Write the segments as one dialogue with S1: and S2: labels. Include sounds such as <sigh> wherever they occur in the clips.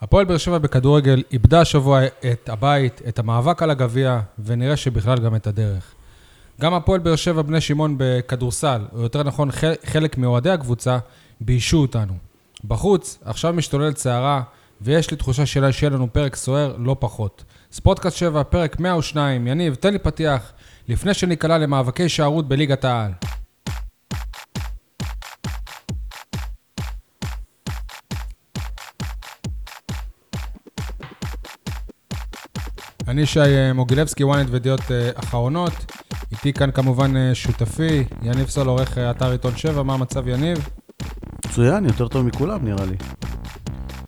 S1: הפועל באר שבע בכדורגל איבדה השבוע את הבית, את המאבק על הגביע, ונראה שבכלל גם את הדרך. גם הפועל באר שבע בני שמעון בכדורסל, או יותר נכון חל- חלק מאוהדי הקבוצה, ביישו אותנו. בחוץ, עכשיו משתוללת סערה, ויש לי תחושה שלה שיהיה לנו פרק סוער לא פחות. ספורטקאסט 7, פרק 102, יניב, תן לי פתיח, לפני שניקלע למאבקי שערות בליגת העל. אני שי אה, מוגילבסקי, וואנט וידיעות אה, אחרונות. איתי כאן כמובן אה, שותפי, יניב סול, עורך אה, אתר עיתון 7, מה המצב יניב?
S2: מצוין, יותר טוב מכולם נראה לי.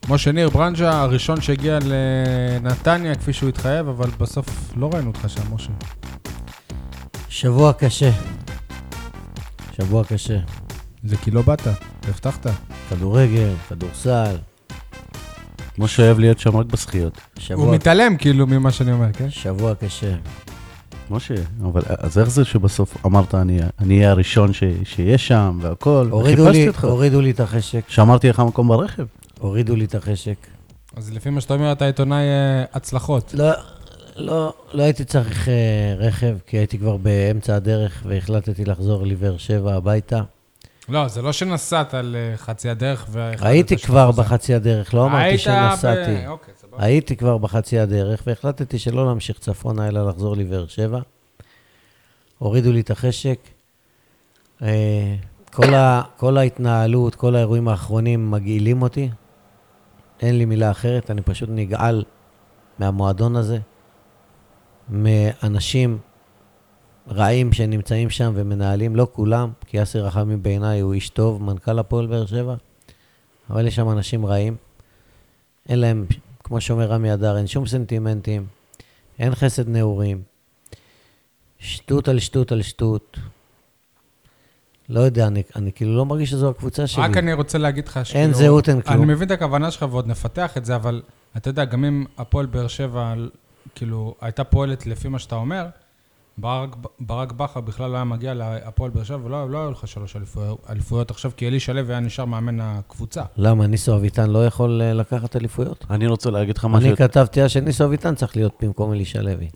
S1: משה ניר ברנז'ה, הראשון שהגיע לנתניה כפי שהוא התחייב, אבל בסוף לא ראינו אותך שם, משה.
S3: שבוע קשה. שבוע קשה.
S1: זה כי לא באת, הבטחת.
S3: כדורגל, כדורסל,
S2: משה אוהב להיות שם רק בשחיות.
S1: הוא
S3: שבוע,
S1: מתעלם כאילו ממה שאני אומר, כן?
S3: שבוע קשה.
S2: משה, אבל אז איך זה שבסוף אמרת, אני אני אהיה הראשון ש- שיהיה שם והכל?
S3: הורידו
S2: וחיפשתי
S3: לי,
S2: אותך.
S3: הורידו לי את החשק,
S2: שמרתי לך מקום ברכב.
S3: הורידו לי את החשק.
S1: אז לפי מה שאתה אומר, אתה עיתונאי אה, הצלחות.
S3: לא, לא, לא הייתי צריך אה, רכב, כי הייתי כבר באמצע הדרך והחלטתי לחזור לבאר שבע הביתה.
S1: לא, זה לא שנסעת על אה, חצי הדרך והחלטת
S3: הייתי
S1: שאתה
S3: כבר
S1: חוזר.
S3: בחצי הדרך, לא אמרתי
S1: היית
S3: שנסעתי.
S1: ב... אוקיי, סבבה.
S3: הייתי כבר בחצי הדרך, והחלטתי שלא להמשיך צפונה, אלא לחזור לבאר שבע. הורידו לי את החשק. אה, כל, ה, כל ההתנהלות, כל האירועים האחרונים מגעילים אותי. אין לי מילה אחרת, אני פשוט נגעל מהמועדון הזה, מאנשים רעים שנמצאים שם ומנהלים, לא כולם, כי אסי רחמים בעיניי הוא איש טוב, מנכ"ל הפועל באר שבע, אבל יש שם אנשים רעים. אין להם, כמו שאומר רמי אדר, אין שום סנטימנטים, אין חסד נעורים. שטות על שטות על שטות. לא יודע, אני, אני כאילו לא מרגיש שזו הקבוצה שלי.
S1: רק אני רוצה להגיד לך
S3: אין זהות, אין כלום.
S1: אני מבין את הכוונה שלך ועוד נפתח את זה, אבל אתה יודע, גם אם הפועל באר שבע, כאילו, הייתה פועלת לפי מה שאתה אומר, ברק, ברק בכר בכלל לא היה מגיע להפועל באר שבע, ולא לא היו לך שלוש אליפויות, אליפויות עכשיו, כי אלישע לוי היה נשאר מאמן הקבוצה.
S3: למה, ניסו אביטן לא יכול אה, לקחת אליפויות?
S2: אני רוצה להגיד לך משהו.
S3: אני כתבתי אז שניסו אביטן צריך להיות במקום אלישע לוי.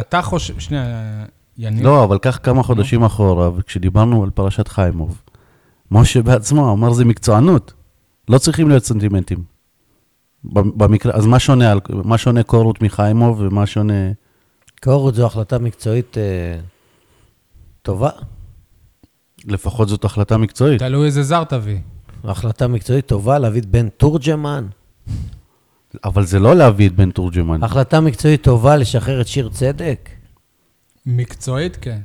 S1: אתה חושב, שנייה, יניב,
S2: לא, אבל קח כמה חודשים אחורה, וכשדיברנו על פרשת חיימוב, משה בעצמו אמר זה מקצוענות. לא צריכים להיות סנטימנטים. במקרה, אז מה שונה, על- מה שונה קורות מחיימוב ומה שונה...
S3: קורות זו החלטה מקצועית אה, טובה.
S2: לפחות זאת החלטה מקצועית.
S1: תלוי איזה זר תביא.
S3: החלטה מקצועית טובה להביא את בן תורג'מן.
S2: אבל זה לא להביא את בן תורג'מן.
S3: החלטה מקצועית טובה לשחרר את שיר צדק?
S1: מקצועית, כן.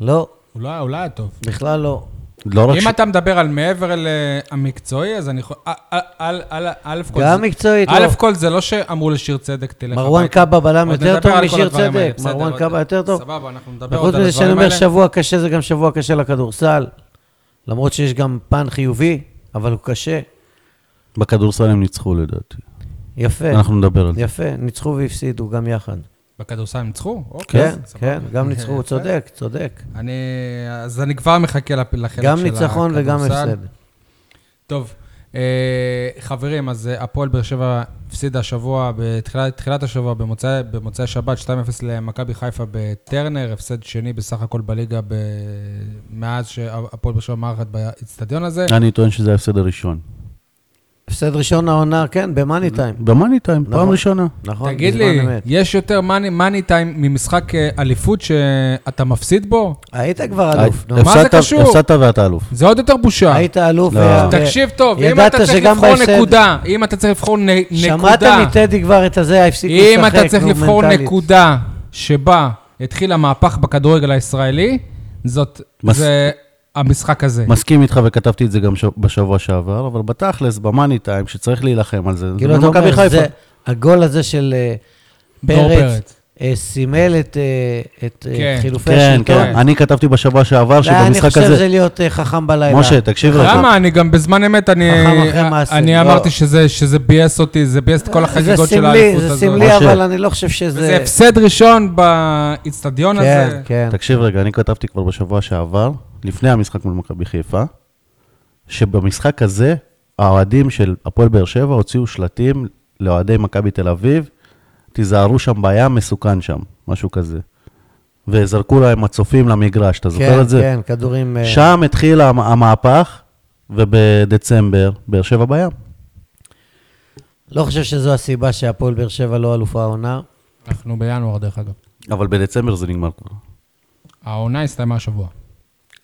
S3: לא,
S1: הוא לא היה- הוא לא היה טוב.
S3: בכלל לא.
S2: לא רק ש...
S1: אם אתה מדבר על מעבר אל אה, המקצועי, אז אני יכול... אה, אה, א', א', א', כל
S3: גם
S1: זה-
S3: מקצועית, לא.
S1: א' כל זה לא שאמרו לשיר צדק, תלך
S3: מרואן
S1: הביתה.
S3: קאבה בלם
S1: עוד
S3: יותר
S1: נדבר
S3: טוב
S1: על כל
S3: משיר
S1: הדברים האלה,
S3: צדק.
S1: בסדר,
S3: מרואן
S1: עוד-
S3: קאבה יותר טוב.
S1: סבבה, אנחנו נדבר עוד
S3: וחוץ
S1: על
S3: מזה שאני
S1: הדברים
S3: אומר
S1: האלה.
S3: שבוע קשה, זה גם שבוע קשה לכדורסל. למרות שיש גם פן חיובי, אבל הוא קשה.
S2: בכדורסל הם ניצחו לדעתי.
S3: יפה,
S2: אנחנו נדבר על זה.
S3: יפה. ניצחו והפסידו גם יחד.
S1: בכדורסל הם ניצחו? אוקיי,
S3: כן,
S1: סבבה.
S3: כן, גם ניצחו,
S1: <laughs>
S3: הוא
S1: יפה.
S3: צודק, צודק.
S1: אני... אז אני כבר מחכה לפ- לחלק של
S3: גם ניצחון וגם
S1: הכדורסל.
S3: הפסד.
S1: טוב, אה, חברים, אז אה, הפועל באר שבע הפסידה השבוע, בתחילת תחילת השבוע, במוצאי, במוצאי שבת, 2-0 למכבי חיפה בטרנר, הפסד שני בסך הכל בליגה ב... מאז שהפועל באר שבע מארחת באצטדיון הזה.
S2: אני טוען שזה ההפסד הראשון.
S3: הפסד ראשון העונה, כן, במאני טיים.
S2: במאני טיים, פעם
S3: נכון.
S2: ראשונה.
S3: נכון,
S1: תגיד
S3: בזמן
S1: לי,
S3: אמת.
S1: יש יותר מאני טיים ממשחק אה, אליפות שאתה מפסיד בו?
S3: היית כבר אלוף, נו.
S1: מה זה
S2: הפסדת-
S1: קשור?
S2: הפסדת ואתה אלוף.
S1: זה עוד יותר בושה.
S3: היית אלוף.
S2: לא.
S3: ו-
S1: תקשיב טוב, אם
S3: ידעת
S1: אתה צריך
S3: שגם
S1: לבחור
S3: בהפסד-
S1: נקודה, אם אתה צריך לבחור נ- נקודה,
S3: שמעת מטדי כבר את הזה, הפסיקו לשחק,
S1: אם
S3: נו,
S1: אתה צריך לבחור
S3: מנטלית.
S1: נקודה שבה התחיל המהפך בכדורגל הישראלי, זאת,
S2: מס-
S1: זה המשחק הזה.
S2: מסכים איתך וכתבתי את זה גם ש- בשבוע שעבר, אבל בתכלס, במאני טיים, שצריך להילחם על זה, זה
S3: כאילו, אתה
S2: במכבי
S3: אומר,
S2: חיפה.
S3: זה, הגול הזה של אה,
S1: דור
S3: פרץ, אה, סימל את, אה, את אה,
S1: כן.
S3: חילופי
S2: כן,
S3: השלטון.
S2: כן. אני כתבתי בשבוע שעבר
S3: לא, אני
S2: שבמשחק
S3: חושב
S2: הזה...
S3: זה להיות אה, חכם בלילה.
S2: משה, תקשיב רגע.
S1: למה? אני גם בזמן אמת, אני, אה,
S3: חכם אחרי מעשה,
S1: אני
S3: לא.
S1: אמרתי שזה, שזה ביאס אותי, זה ביאס את כל החגיגות של
S3: סמלי,
S1: האליפות
S3: אה, זה
S1: הזאת.
S3: סמלי,
S2: משה.
S3: אבל אני לא חושב שזה...
S1: זה הפסד ראשון באיצטדיון הזה.
S3: כן, כן.
S2: תקשיב רגע, אני כתבתי כבר בשבוע שעבר, לפני המשחק מול מכבי חיפה, שבמשחק הזה, האוהדים של הפועל באר שבע הוציאו שלטים לאוהדי מכבי תל אביב, תיזהרו שם בים, מסוכן שם, משהו כזה. וזרקו להם מצופים למגרש, אתה זוכר
S3: כן,
S2: את זה?
S3: כן, כדורים... אה,
S2: שם התחיל המ- המהפך, ובדצמבר, באר שבע בים.
S3: לא חושב שזו הסיבה שהפועל באר שבע לא אלופה העונה.
S1: אנחנו בינואר, דרך אגב.
S2: אבל בדצמבר זה נגמר כבר.
S1: העונה הסתיימה השבוע.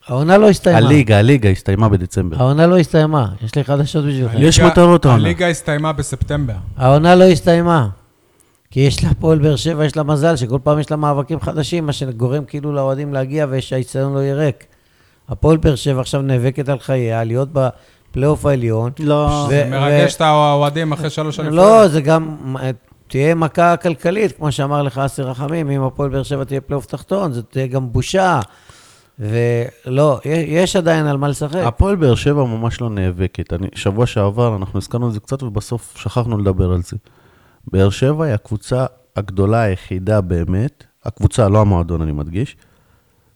S3: העונה לא הסתיימה.
S2: הליגה, הליגה הסתיימה בדצמבר.
S3: העונה לא הסתיימה, יש לי חדשות בשבילכם.
S2: יש
S1: הליגה-
S2: מטרות העונה.
S1: הליגה הסתיימה בספטמבר.
S3: העונה לא הסתיימה. כי יש להפועל באר שבע, יש לה מזל שכל פעם יש לה מאבקים חדשים, מה שגורם כאילו לאוהדים להגיע ושהאיצטדיון לא יהיה ריק. הפועל באר שבע עכשיו נאבקת על חייה, להיות בפלייאוף העליון.
S2: לא.
S3: ו-
S1: זה
S3: ו-
S1: מרגש את האוהדים אחרי שלוש שנים.
S3: לא, זה גם תהיה מכה כלכלית, כמו שאמר לך אסי רחמים, אם הפועל באר שבע תהיה פלייאוף תחתון, זאת תהיה גם בושה. ולא, יש- יש עדיין על מה לשחק.
S2: הפועל באר שבע ממש לא נאבקת. אני, שבוע שעבר אנחנו הזכרנו על זה קצת, ובסוף שכחנו לדבר על זה. באר שבע היא הקבוצה הגדולה היחידה באמת, הקבוצה, לא המועדון, אני מדגיש,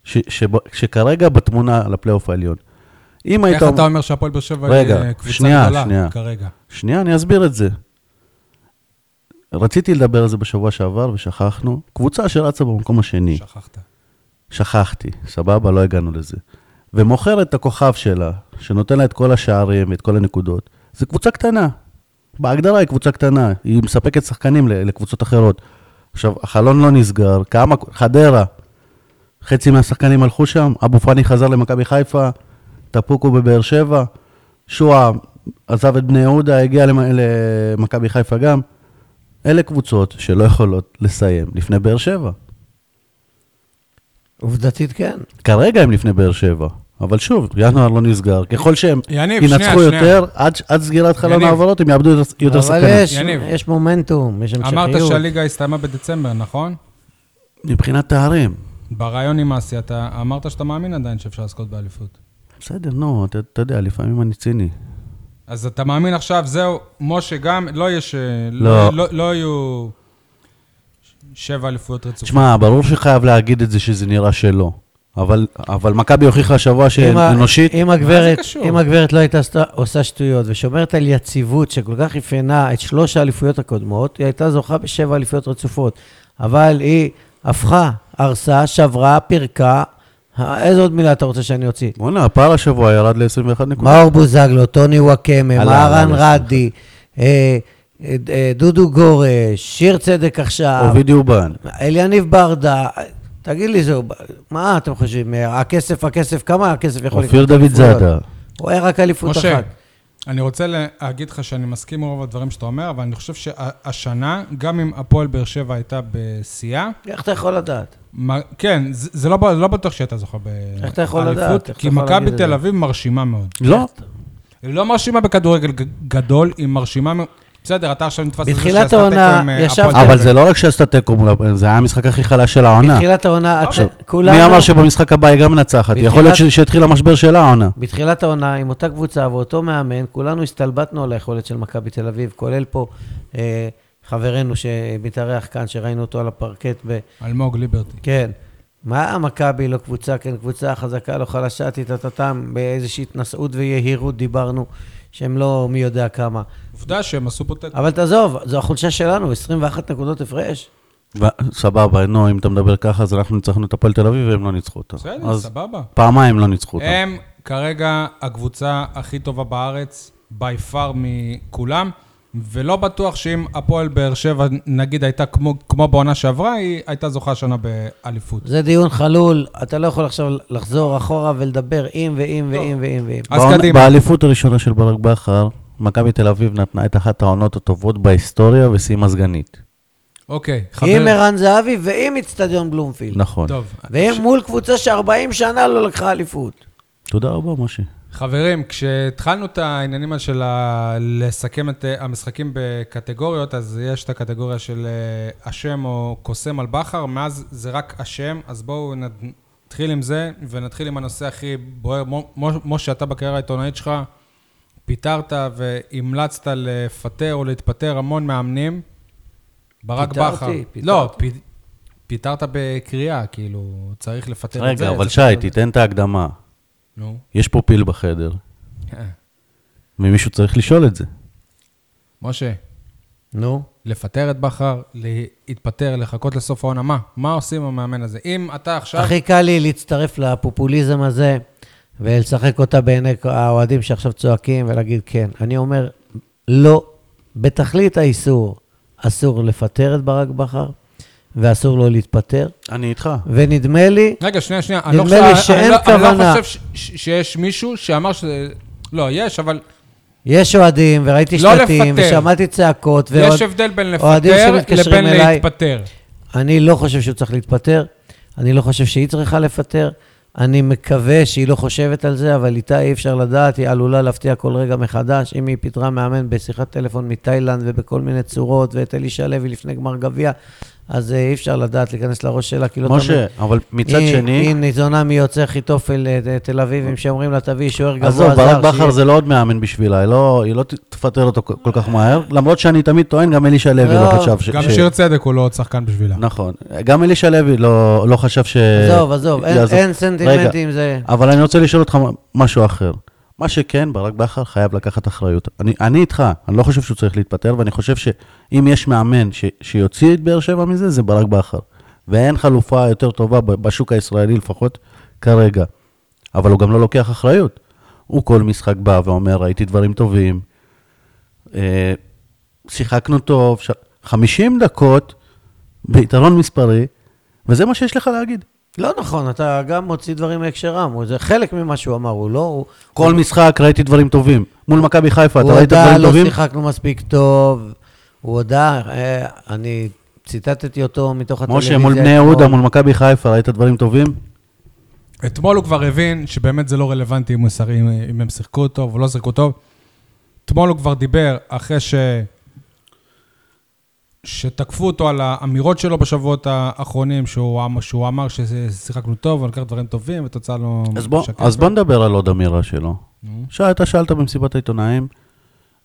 S2: ש, שב, שכרגע בתמונה לפלייאוף העליון. אם
S1: איך
S2: היית...
S1: אתה אומר שהפועל באר שבע
S2: רגע,
S1: היא אה, קבוצה
S2: שנייה,
S1: גדולה
S2: שנייה.
S1: כרגע?
S2: שנייה, אני אסביר את זה. רציתי לדבר על זה בשבוע שעבר ושכחנו. קבוצה שרצה במקום השני.
S1: שכחת.
S2: שכחתי, סבבה, לא הגענו לזה. ומוכרת את הכוכב שלה, שנותן לה את כל השערים ואת כל הנקודות, זו קבוצה קטנה. בהגדרה היא קבוצה קטנה, היא מספקת שחקנים ל- לקבוצות אחרות. עכשיו, החלון לא נסגר, כמה, חדרה, חצי מהשחקנים הלכו שם, אבו פאני חזר למכבי חיפה, טפוקו בבאר שבע, שועה עזב את בני יהודה, הגיע למ- למכבי חיפה גם. אלה קבוצות שלא יכולות לסיים לפני באר שבע.
S3: עובדתית כן.
S2: כרגע הם לפני באר שבע, אבל שוב, ינואר לא נסגר. ככל שהם
S1: יניב,
S2: ינצחו
S1: שנייה, שנייה.
S2: יותר, עד, עד סגירת חלון
S1: יניב.
S2: העברות הם יאבדו יותר- יותר
S3: אבל
S2: שחקנים.
S3: יש-
S1: יניב.
S3: יש מומנטום, יש המשכיות.
S1: אמרת שהליגה הסתיימה בדצמבר, נכון?
S2: מבחינת תארים,
S1: ברעיון עם אסי, אתה אמרת שאתה מאמין עדיין שאפשר לזכות באליפות.
S2: בסדר, נו, אתה, אתה יודע, לפעמים אני ציני.
S1: אז אתה מאמין עכשיו, זהו, משה גם, לא יהיה ש...
S2: לא.
S1: לא, לא יהיו שבע אליפויות רצופות.
S2: תשמע, ברור שחייב להגיד את זה שזה נראה שלא, אבל, אבל מכבי הוכיחה השבוע
S3: אם ה-
S2: שאנושית,
S3: אם הגברת,
S1: קשור?
S3: אם הגברת לא הייתה עשתה- עושה שטויות ושומרת על יציבות שכל כך אפיינה את שלוש האליפויות הקודמות, היא הייתה זוכה בשבע אליפויות רצופות. אבל היא הפכה, הרסה, שברה, פירקה. אה, איזה עוד מילה אתה רוצה שאני אוציא?
S2: בואנה, הפער השבוע ירד ל-21 נקודות.
S3: מאור בוזגלו, טוני וואקמה,
S2: עלה,
S3: מהרן
S2: עלה,
S3: רדי, אה, אה, אה, דודו גורש, שיר צדק עכשיו,
S2: עובדי אובן.
S3: אליניב ברדה. תגיד לי, זהו, מה אתם חושבים? אה, הכסף, הכסף, כמה הכסף יכול
S2: אופיר
S3: לקנות
S2: דוד
S3: אליפויות?
S2: זאדה.
S3: רואה רק אליפות
S1: משה,
S3: אחת.
S1: אני רוצה להגיד לך שאני מסכים עם רוב הדברים שאתה אומר, אבל אני חושב שהשנה, גם אם הפועל באר שבע הייתה בשיאה,
S3: איך אתה יכול לדעת?
S1: מה- כן, זה זה לא ב- לא בטוח שהייתה זוכה באליפות.
S3: איך אתה יכול לדעת? איך אתה
S1: כי
S3: יכול
S1: מכבי
S3: להגיד את
S1: תל
S3: זה?
S1: אביב מרשימה מאוד.
S2: לא,
S1: היא לא מרשימה בכדורגל ג- גדול, היא מרשימה... מאוד- בסדר, אתה עכשיו נתפס על זה
S3: בתחילת
S1: שעשתה תיקו
S3: העונה
S1: עם, אה, הפועל
S3: ישבתי-
S1: תל אביב.
S2: אבל זה לא רק שעשתה תיקו, מול הפועל, זה היה המשחק הכי חלש של העונה.
S3: בתחילת העונה,
S2: עכשיו,
S3: אתם-
S2: מי
S3: כולנו,
S2: אמר שבמשחק הבא היא גם מנצחת?
S3: בתחילת-
S2: יכול להיות ש- שהתחיל המשבר שלה העונה.
S3: בתחילת העונה, עם אותה קבוצה ואותו מאמן, כולנו הסתלבטנו על היכולת של מכבי תל אביב, כולל פה אה, חברנו שמתארח כאן, שראינו אותו על הפרקט ב...
S1: אלמוג ליברטי.
S3: כן. מה מכבי לא קבוצה, כן קבוצה חזקה, לא חלשה, טיטטטם, באיזושהי התנשאות ויהירות דיברנו, שהם לא מי יודע כמה.
S1: עובדה שהם עשו פה תיקו.
S3: אבל תעזוב, זו החולשה שלנו, 21 נקודות הפרש.
S2: ו- סבבה, נו, אם אתה מדבר ככה, אז אנחנו ניצחנו את הפועל תל אביב והם לא ניצחו אותה.
S1: בסדר,
S2: אז
S1: סבבה. אה,
S2: פעמיים לא ניצחו אותה.
S1: הם כרגע הקבוצה הכי טובה בארץ, by far מכולם, ולא בטוח שאם הפועל באר שבע, נגיד, הייתה כמו, כמו בעונה שעברה, היא הייתה זוכה השנה באליפות.
S3: זה דיון חלול, אתה לא יכול עכשיו לחזור אחורה ולדבר אם ואם ואם ואם ואם.
S1: אז
S2: בעונה-
S1: קדימה.
S2: באליפות הראשונה של ברק בכר, מכבי תל אביב נתנה את אחת העונות הטובות בהיסטוריה וסיימה סגנית.
S1: אוקיי,
S3: עם
S1: חברים.
S3: ערן זהבי ועם אצטדיון בלומפילד.
S2: נכון.
S1: טוב,
S3: והם מול קבוצה ש-40 שנה לא לקחה אליפות.
S2: תודה רבה, משה.
S1: חברים, כשהתחלנו את העניינים האלה של ה... לסכם את אה, המשחקים בקטגוריות, אז יש את הקטגוריה של אה, אשם או קוסם על בכר, מאז זה רק אשם, אז בואו נתחיל עם זה, ונתחיל עם הנושא הכי בוער. מו- מו- משה, אתה בקריירה העיתונאית שלך, פיטרת והמלצת לפטר או להתפטר המון מאמנים. ברק
S3: פיטרתי,
S1: בכר.
S3: פיטרתי.
S1: לא, פ... פיטרת בקריאה, כאילו, צריך לפטר את זה.
S2: רגע, אבל
S1: צריך-
S2: שי, תיתן את ההקדמה.
S1: נו. <laughs>
S2: יש פה פיל בחדר, ומישהו צריך לשאול את זה.
S1: משה,
S3: נו,
S1: לפטר את בכר, להתפטר, לחכות לסוף העונה. מה? מה עושים עם המאמן הזה? אם אתה עכשיו...
S3: הכי קל לי להצטרף לפופוליזם הזה ולשחק אותה בעיני האוהדים שעכשיו צועקים ולהגיד כן. אני אומר, לא, בתכלית האיסור, אסור לפטר את ברק בכר ואסור לו להתפטר,
S2: אני איתך.
S3: ונדמה לי
S1: רגע, שנייה, שנייה. אני לא
S3: נדמה לי
S1: חושב- אני
S3: שאין
S1: לא- אני לא
S3: כוונה.
S1: חושב ש- ש- שיש מישהו שאמר שזה... לא, יש, אבל
S3: יש אוהדים, וראיתי
S1: לא
S3: שלטים,
S1: לפטר.
S3: ושמעתי צעקות, ועוד...
S1: יש הבדל בין
S3: אוהדים
S1: לפטר
S3: שמתקשרים
S1: לבין
S3: אליי.
S1: להתפטר.
S3: אני לא חושב שהוא צריך להתפטר, אני לא חושב שהיא צריכה לפטר, אני מקווה שהיא לא חושבת על זה, אבל איתה אי אפשר לדעת, היא עלולה להפתיע כל רגע מחדש. אם היא פיטרה מאמן בשיחת טלפון מתאילנד ובכל מיני צורות, ואת אלישע לוי לפני גמר גביע, אז אה, אי אפשר לדעת להיכנס לראש שלה, כי לא
S2: משה, אבל מצד
S3: היא, היא
S2: שני,
S3: ניזונה מיוצא חיתופל אה, תל אביבים, שאומרים לה, תביאי שוער גבוה
S2: עזוב, ברק
S3: זר,
S2: בכר זה לא עוד מאמן בשבילה, היא לא- היא לא ת- תפטר אותו כל כל כך מהר, למרות שאני תמיד טוען, גם אלישע לוי
S3: לא.
S2: לא חשב ש...
S1: גם
S2: ש-
S1: שיר צדק הוא לא עוד שחקן בשבילה.
S2: נכון, גם אלישע לוי לא לא חשב ש...
S3: עזוב, עזוב, אין,
S2: יעזוב.
S3: אין
S2: רגע,
S3: סנטימנטים, זה...
S2: אבל אני רוצה לשאול אותך משהו אחר. מה שכן, ברק בכר חייב לקחת אחריות. אני, אני איתך, אני לא חושב שהוא צריך להתפטר, ואני חושב שאם יש מאמן ש, שיוציא את באר שבע מזה, זה ברק בכר. ואין חלופה יותר טובה ב- בשוק הישראלי לפחות כרגע. אבל הוא גם לא לוקח אחריות. הוא כל משחק בא ואומר, ראיתי דברים טובים, אה, שיחקנו טוב, ש... 50 דקות ביתרון מספרי, וזה מה שיש לך להגיד.
S3: לא נכון, אתה גם מוציא דברים מהקשרם, הוא- זה חלק ממה שהוא אמר, הוא לא... הוא-
S2: כל משחק ראיתי דברים טובים. מול מכבי חיפה, אתה
S3: הוא
S2: ראית
S3: הודה,
S2: דברים
S3: לא
S2: טובים?
S3: שיחקנו מספיק טוב, הוא הודה, אה, אני ציטטתי אותו מתוך הטלוויזיה.
S2: משה, מול בני
S3: אתמול.
S2: יהודה, מול מכבי חיפה, ראית דברים טובים?
S3: לא,
S1: אתמול הוא כבר הבין שבאמת זה לא רלוונטי אם, הוא שר... אם, אם הם שיחקו טוב או לא שיחקו טוב. אתמול הוא כבר דיבר אחרי ש... שתקפו אותו על האמירות שלו בשבועות האחרונים, שהוא, אמ- שהוא אמר ששיחקנו טוב, הוא לקח דברים טובים, ותוצאה לא
S2: אז בוא- אז בוא נדבר על עוד אמירה שלו.
S1: נו.
S2: שי, אתה שאלת במסיבת העיתונאים,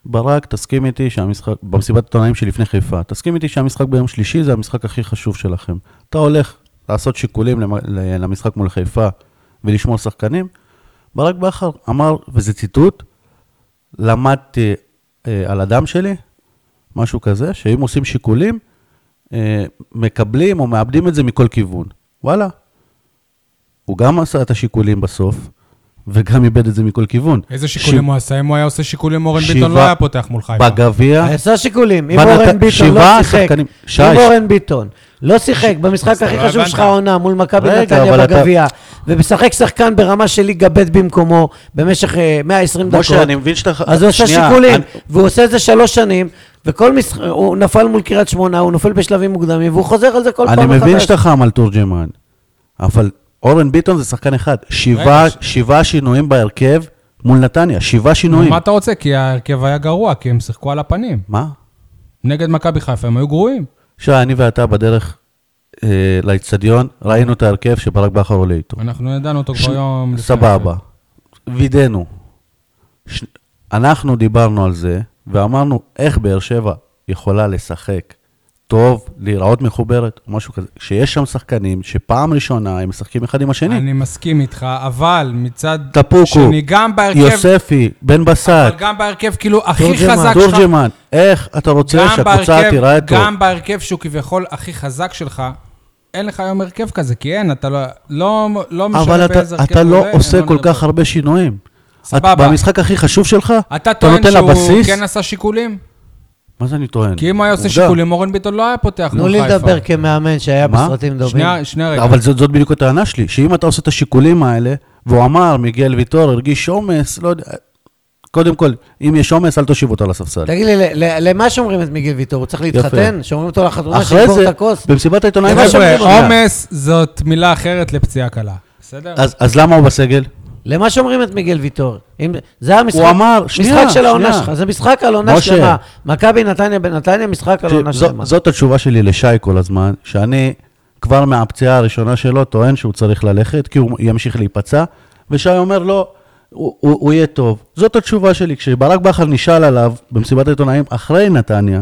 S2: ברק, תסכים איתי שהמשחק, במסיבת העיתונאים שלפני חיפה, תסכים איתי שהמשחק ביום שלישי זה המשחק הכי חשוב שלכם. אתה הולך לעשות שיקולים למ- ל- למשחק מול חיפה ולשמור שחקנים. ברק בכר אמר, וזה ציטוט, למדתי אה, על הדם שלי, משהו כזה, שאם עושים שיקולים, אה, מקבלים או מאבדים את זה מכל כיוון. וואלה. הוא גם עשה את השיקולים בסוף, וגם איבד את זה מכל כיוון.
S1: איזה שיקולים הוא עשה? אם הוא היה עושה שיקולים, אורן
S2: שבעה-
S1: ביטון לא היה פותח מול חיפה.
S2: בגביע,
S3: עשה שיקולים, אם
S2: בנת-
S3: אורן ביטון
S2: שבעה
S3: לא שיחק,
S2: שחקנים- שי,
S3: אם
S2: ש-
S3: אורן ביטון לא שיחק במשחק
S1: אתה
S3: הכי
S1: לא
S3: חשוב
S1: הבנת.
S3: שלך העונה מול מכבי
S2: רגע,
S3: נתניה
S2: אבל אתה-
S3: בגביע, ומשחק שחקן ברמה של ליגה ב' במקומו במשך אה, 120 דקות.
S2: משה, אני מבין שאתה...
S3: אז הוא עושה
S2: שנייה,
S3: שיקולים,
S2: אני-
S3: והוא עושה את זה שלוש שנים, וכל משחק, הוא נפל מול קריית שמונה, הוא נופל בשלבים מוקדמים, והוא חוזר על זה כל פעם
S2: אני
S3: מחדש.
S2: מבין שאתה חם על תורג'מן, אבל אורן ביטון זה שחקן אחד. שבעה-
S1: רגע,
S2: שבעה שינויים בהרכב מול נתניה, שבעה שינויים.
S1: מה אתה רוצה? כי ההרכב היה גרוע, כי הם שיחקו על הפנים.
S2: מה?
S1: נגד מכבי חיפה הם היו גרועים.
S2: שי, אני ואתה בדרך אה, לאצטדיון, ראינו את ההרכב שברק בכר עולה איתו.
S1: אנחנו ידענו אותו
S2: ש-
S1: כבר יום... לפני
S2: סבבה. וידאנו. ש... אנחנו דיברנו על זה, ואמרנו איך באר שבע יכולה לשחק טוב, להיראות מחוברת, או משהו כזה. שיש שם שחקנים שפעם ראשונה הם משחקים אחד עם השני.
S1: אני מסכים איתך, אבל מצד
S2: טפוקו,
S1: שני, גם בהרכב,
S2: יוספי, בן בסט,
S1: אבל גם בהרכב כאילו הכי
S3: תורג'מן,
S1: חזק שלך,
S2: תורג'מן, איך אתה רוצה
S1: גם
S2: שהקבוצה
S1: בהרכב-
S2: תיראה טוב?
S1: גם בהרכב שהוא כביכול הכי חזק שלך, אין לך היום הרכב כזה, כי אין, אתה לא, לא, לא משנה
S2: אבל אתה,
S1: באיזה הרכב
S2: אתה
S1: הוא
S2: לא
S1: עולה,
S2: עושה
S1: הם
S2: כל
S1: נראים
S2: כך הרבה שינויים.
S1: סבבה.
S2: את, במשחק הכי חשוב שלך,
S1: טוב. אתה טוען
S2: נותן
S1: שהוא
S2: לבסיס?
S1: כן עשה שיקולים?
S2: מה זה אני טוען?
S1: כי אם הוא היה עושה
S2: עובדה.
S1: שיקולים, אורן ביטון לא היה פותח
S3: תנו
S1: מול
S3: לי
S1: חיפה.
S3: לדבר כמאמן שהיה
S2: מה?
S3: בסרטים דומים.
S1: שנייה, שנייה רגע.
S2: אבל זאת, זאת בדיוק הטענה שלי, שאם אתה עושה את השיקולים האלה, והוא אמר, מיגל ויטור הרגיש עומס, לא יודע, קודם כל, אם יש עומס, אל תושיב אותו לספסל.
S3: תגיד לי, ל- ל- למה שומרים את מיגל ויטור? הוא צריך להתחתן? שומרים אותו לחתונה,
S2: אחרי
S3: שיגמור לא את
S2: זה,
S3: הכוס?
S2: במסיבת העיתונאים...
S3: זה מה
S2: שנייה.
S1: חבר'ה, אוקיי. עומס זאת מילה אחרת לפציעה קלה, בסדר?
S2: אז, אז למה הוא בסגל?
S3: למה שומרים את מיגל ויטור? אם- זה המשחק...
S2: הוא אמר, שנייה,
S3: משחק של העונה
S2: שנייה.
S3: שלך, זה משחק על עונה
S2: משה.
S3: שלמה. מכבי נתניה בנתניה, משחק על עונה
S2: ש-
S3: שלמה.
S2: זו- זאת התשובה שלי לשי כל הזמן, שאני כבר מהפציעה הראשונה שלו טוען שהוא צריך ללכת, כי הוא ימשיך להיפצע, ושי אומר לא, הוא, הוא, הוא יהיה טוב. זאת התשובה שלי. כשברק בכר נשאל עליו במסיבת העיתונאים אחרי נתניה,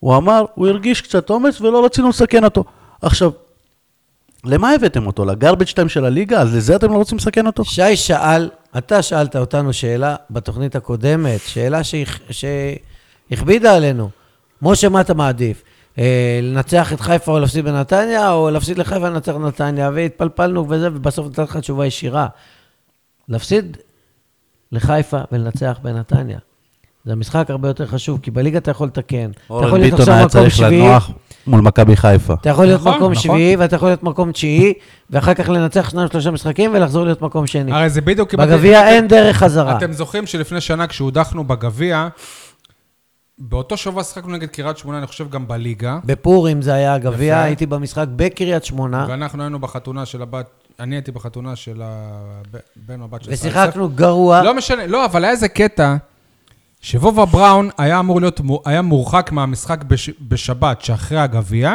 S2: הוא אמר, הוא הרגיש קצת עומס ולא רצינו לסכן אותו. עכשיו, למה הבאתם אותו? לגרבג' טיים של הליגה? אז לזה אתם לא רוצים לסכן אותו?
S3: שי שאל, אתה שאלת אותנו שאלה בתוכנית הקודמת, שאלה שהכ- שהכבידה עלינו. משה, מה אתה מעדיף? אה, לנצח את חיפה או להפסיד בנתניה, או להפסיד לחיפה ולנצח נתניה, והתפלפלנו וזה, ובסוף נתתי לך תשובה ישירה. להפסיד לחיפה ולנצח בנתניה. זה משחק הרבה יותר חשוב, כי בליגה אתה יכול לתקן. אתה יכול
S2: אורן ביטון
S3: להיות עכשיו
S2: היה
S3: מקום
S2: צריך
S3: שביעי,
S2: לנוח מול מכבי חיפה.
S3: אתה יכול להיות
S1: נכון,
S3: מקום
S1: נכון.
S3: שביעי, ואתה יכול להיות מקום תשיעי, ואחר כך לנצח שניים, שלושה משחקים ולחזור להיות מקום שני.
S1: הרי זה בדיוק... כמעט-
S3: בגביע אין דרך חזרה.
S1: אתם זוכרים שלפני שנה כשהודחנו בגביע, באותו שבוע שחקנו נגד קריית שמונה, אני חושב גם בליגה,
S3: אה? בפורים זה היה הגביע,
S1: יפה.
S3: הייתי במשחק בקריית שמונה,
S1: ואנחנו היינו בחתונה של הבת, אני הייתי בחתונה של הבן או הבת של סאלסה.
S3: ושיחקנו אה? גרוע.
S1: לא משנה, לא, אבל היה איזה קטע, שוובה בראון היה אמור להיות, מו- היה מורחק מהמשחק בש, בשבת שאחרי הגביע,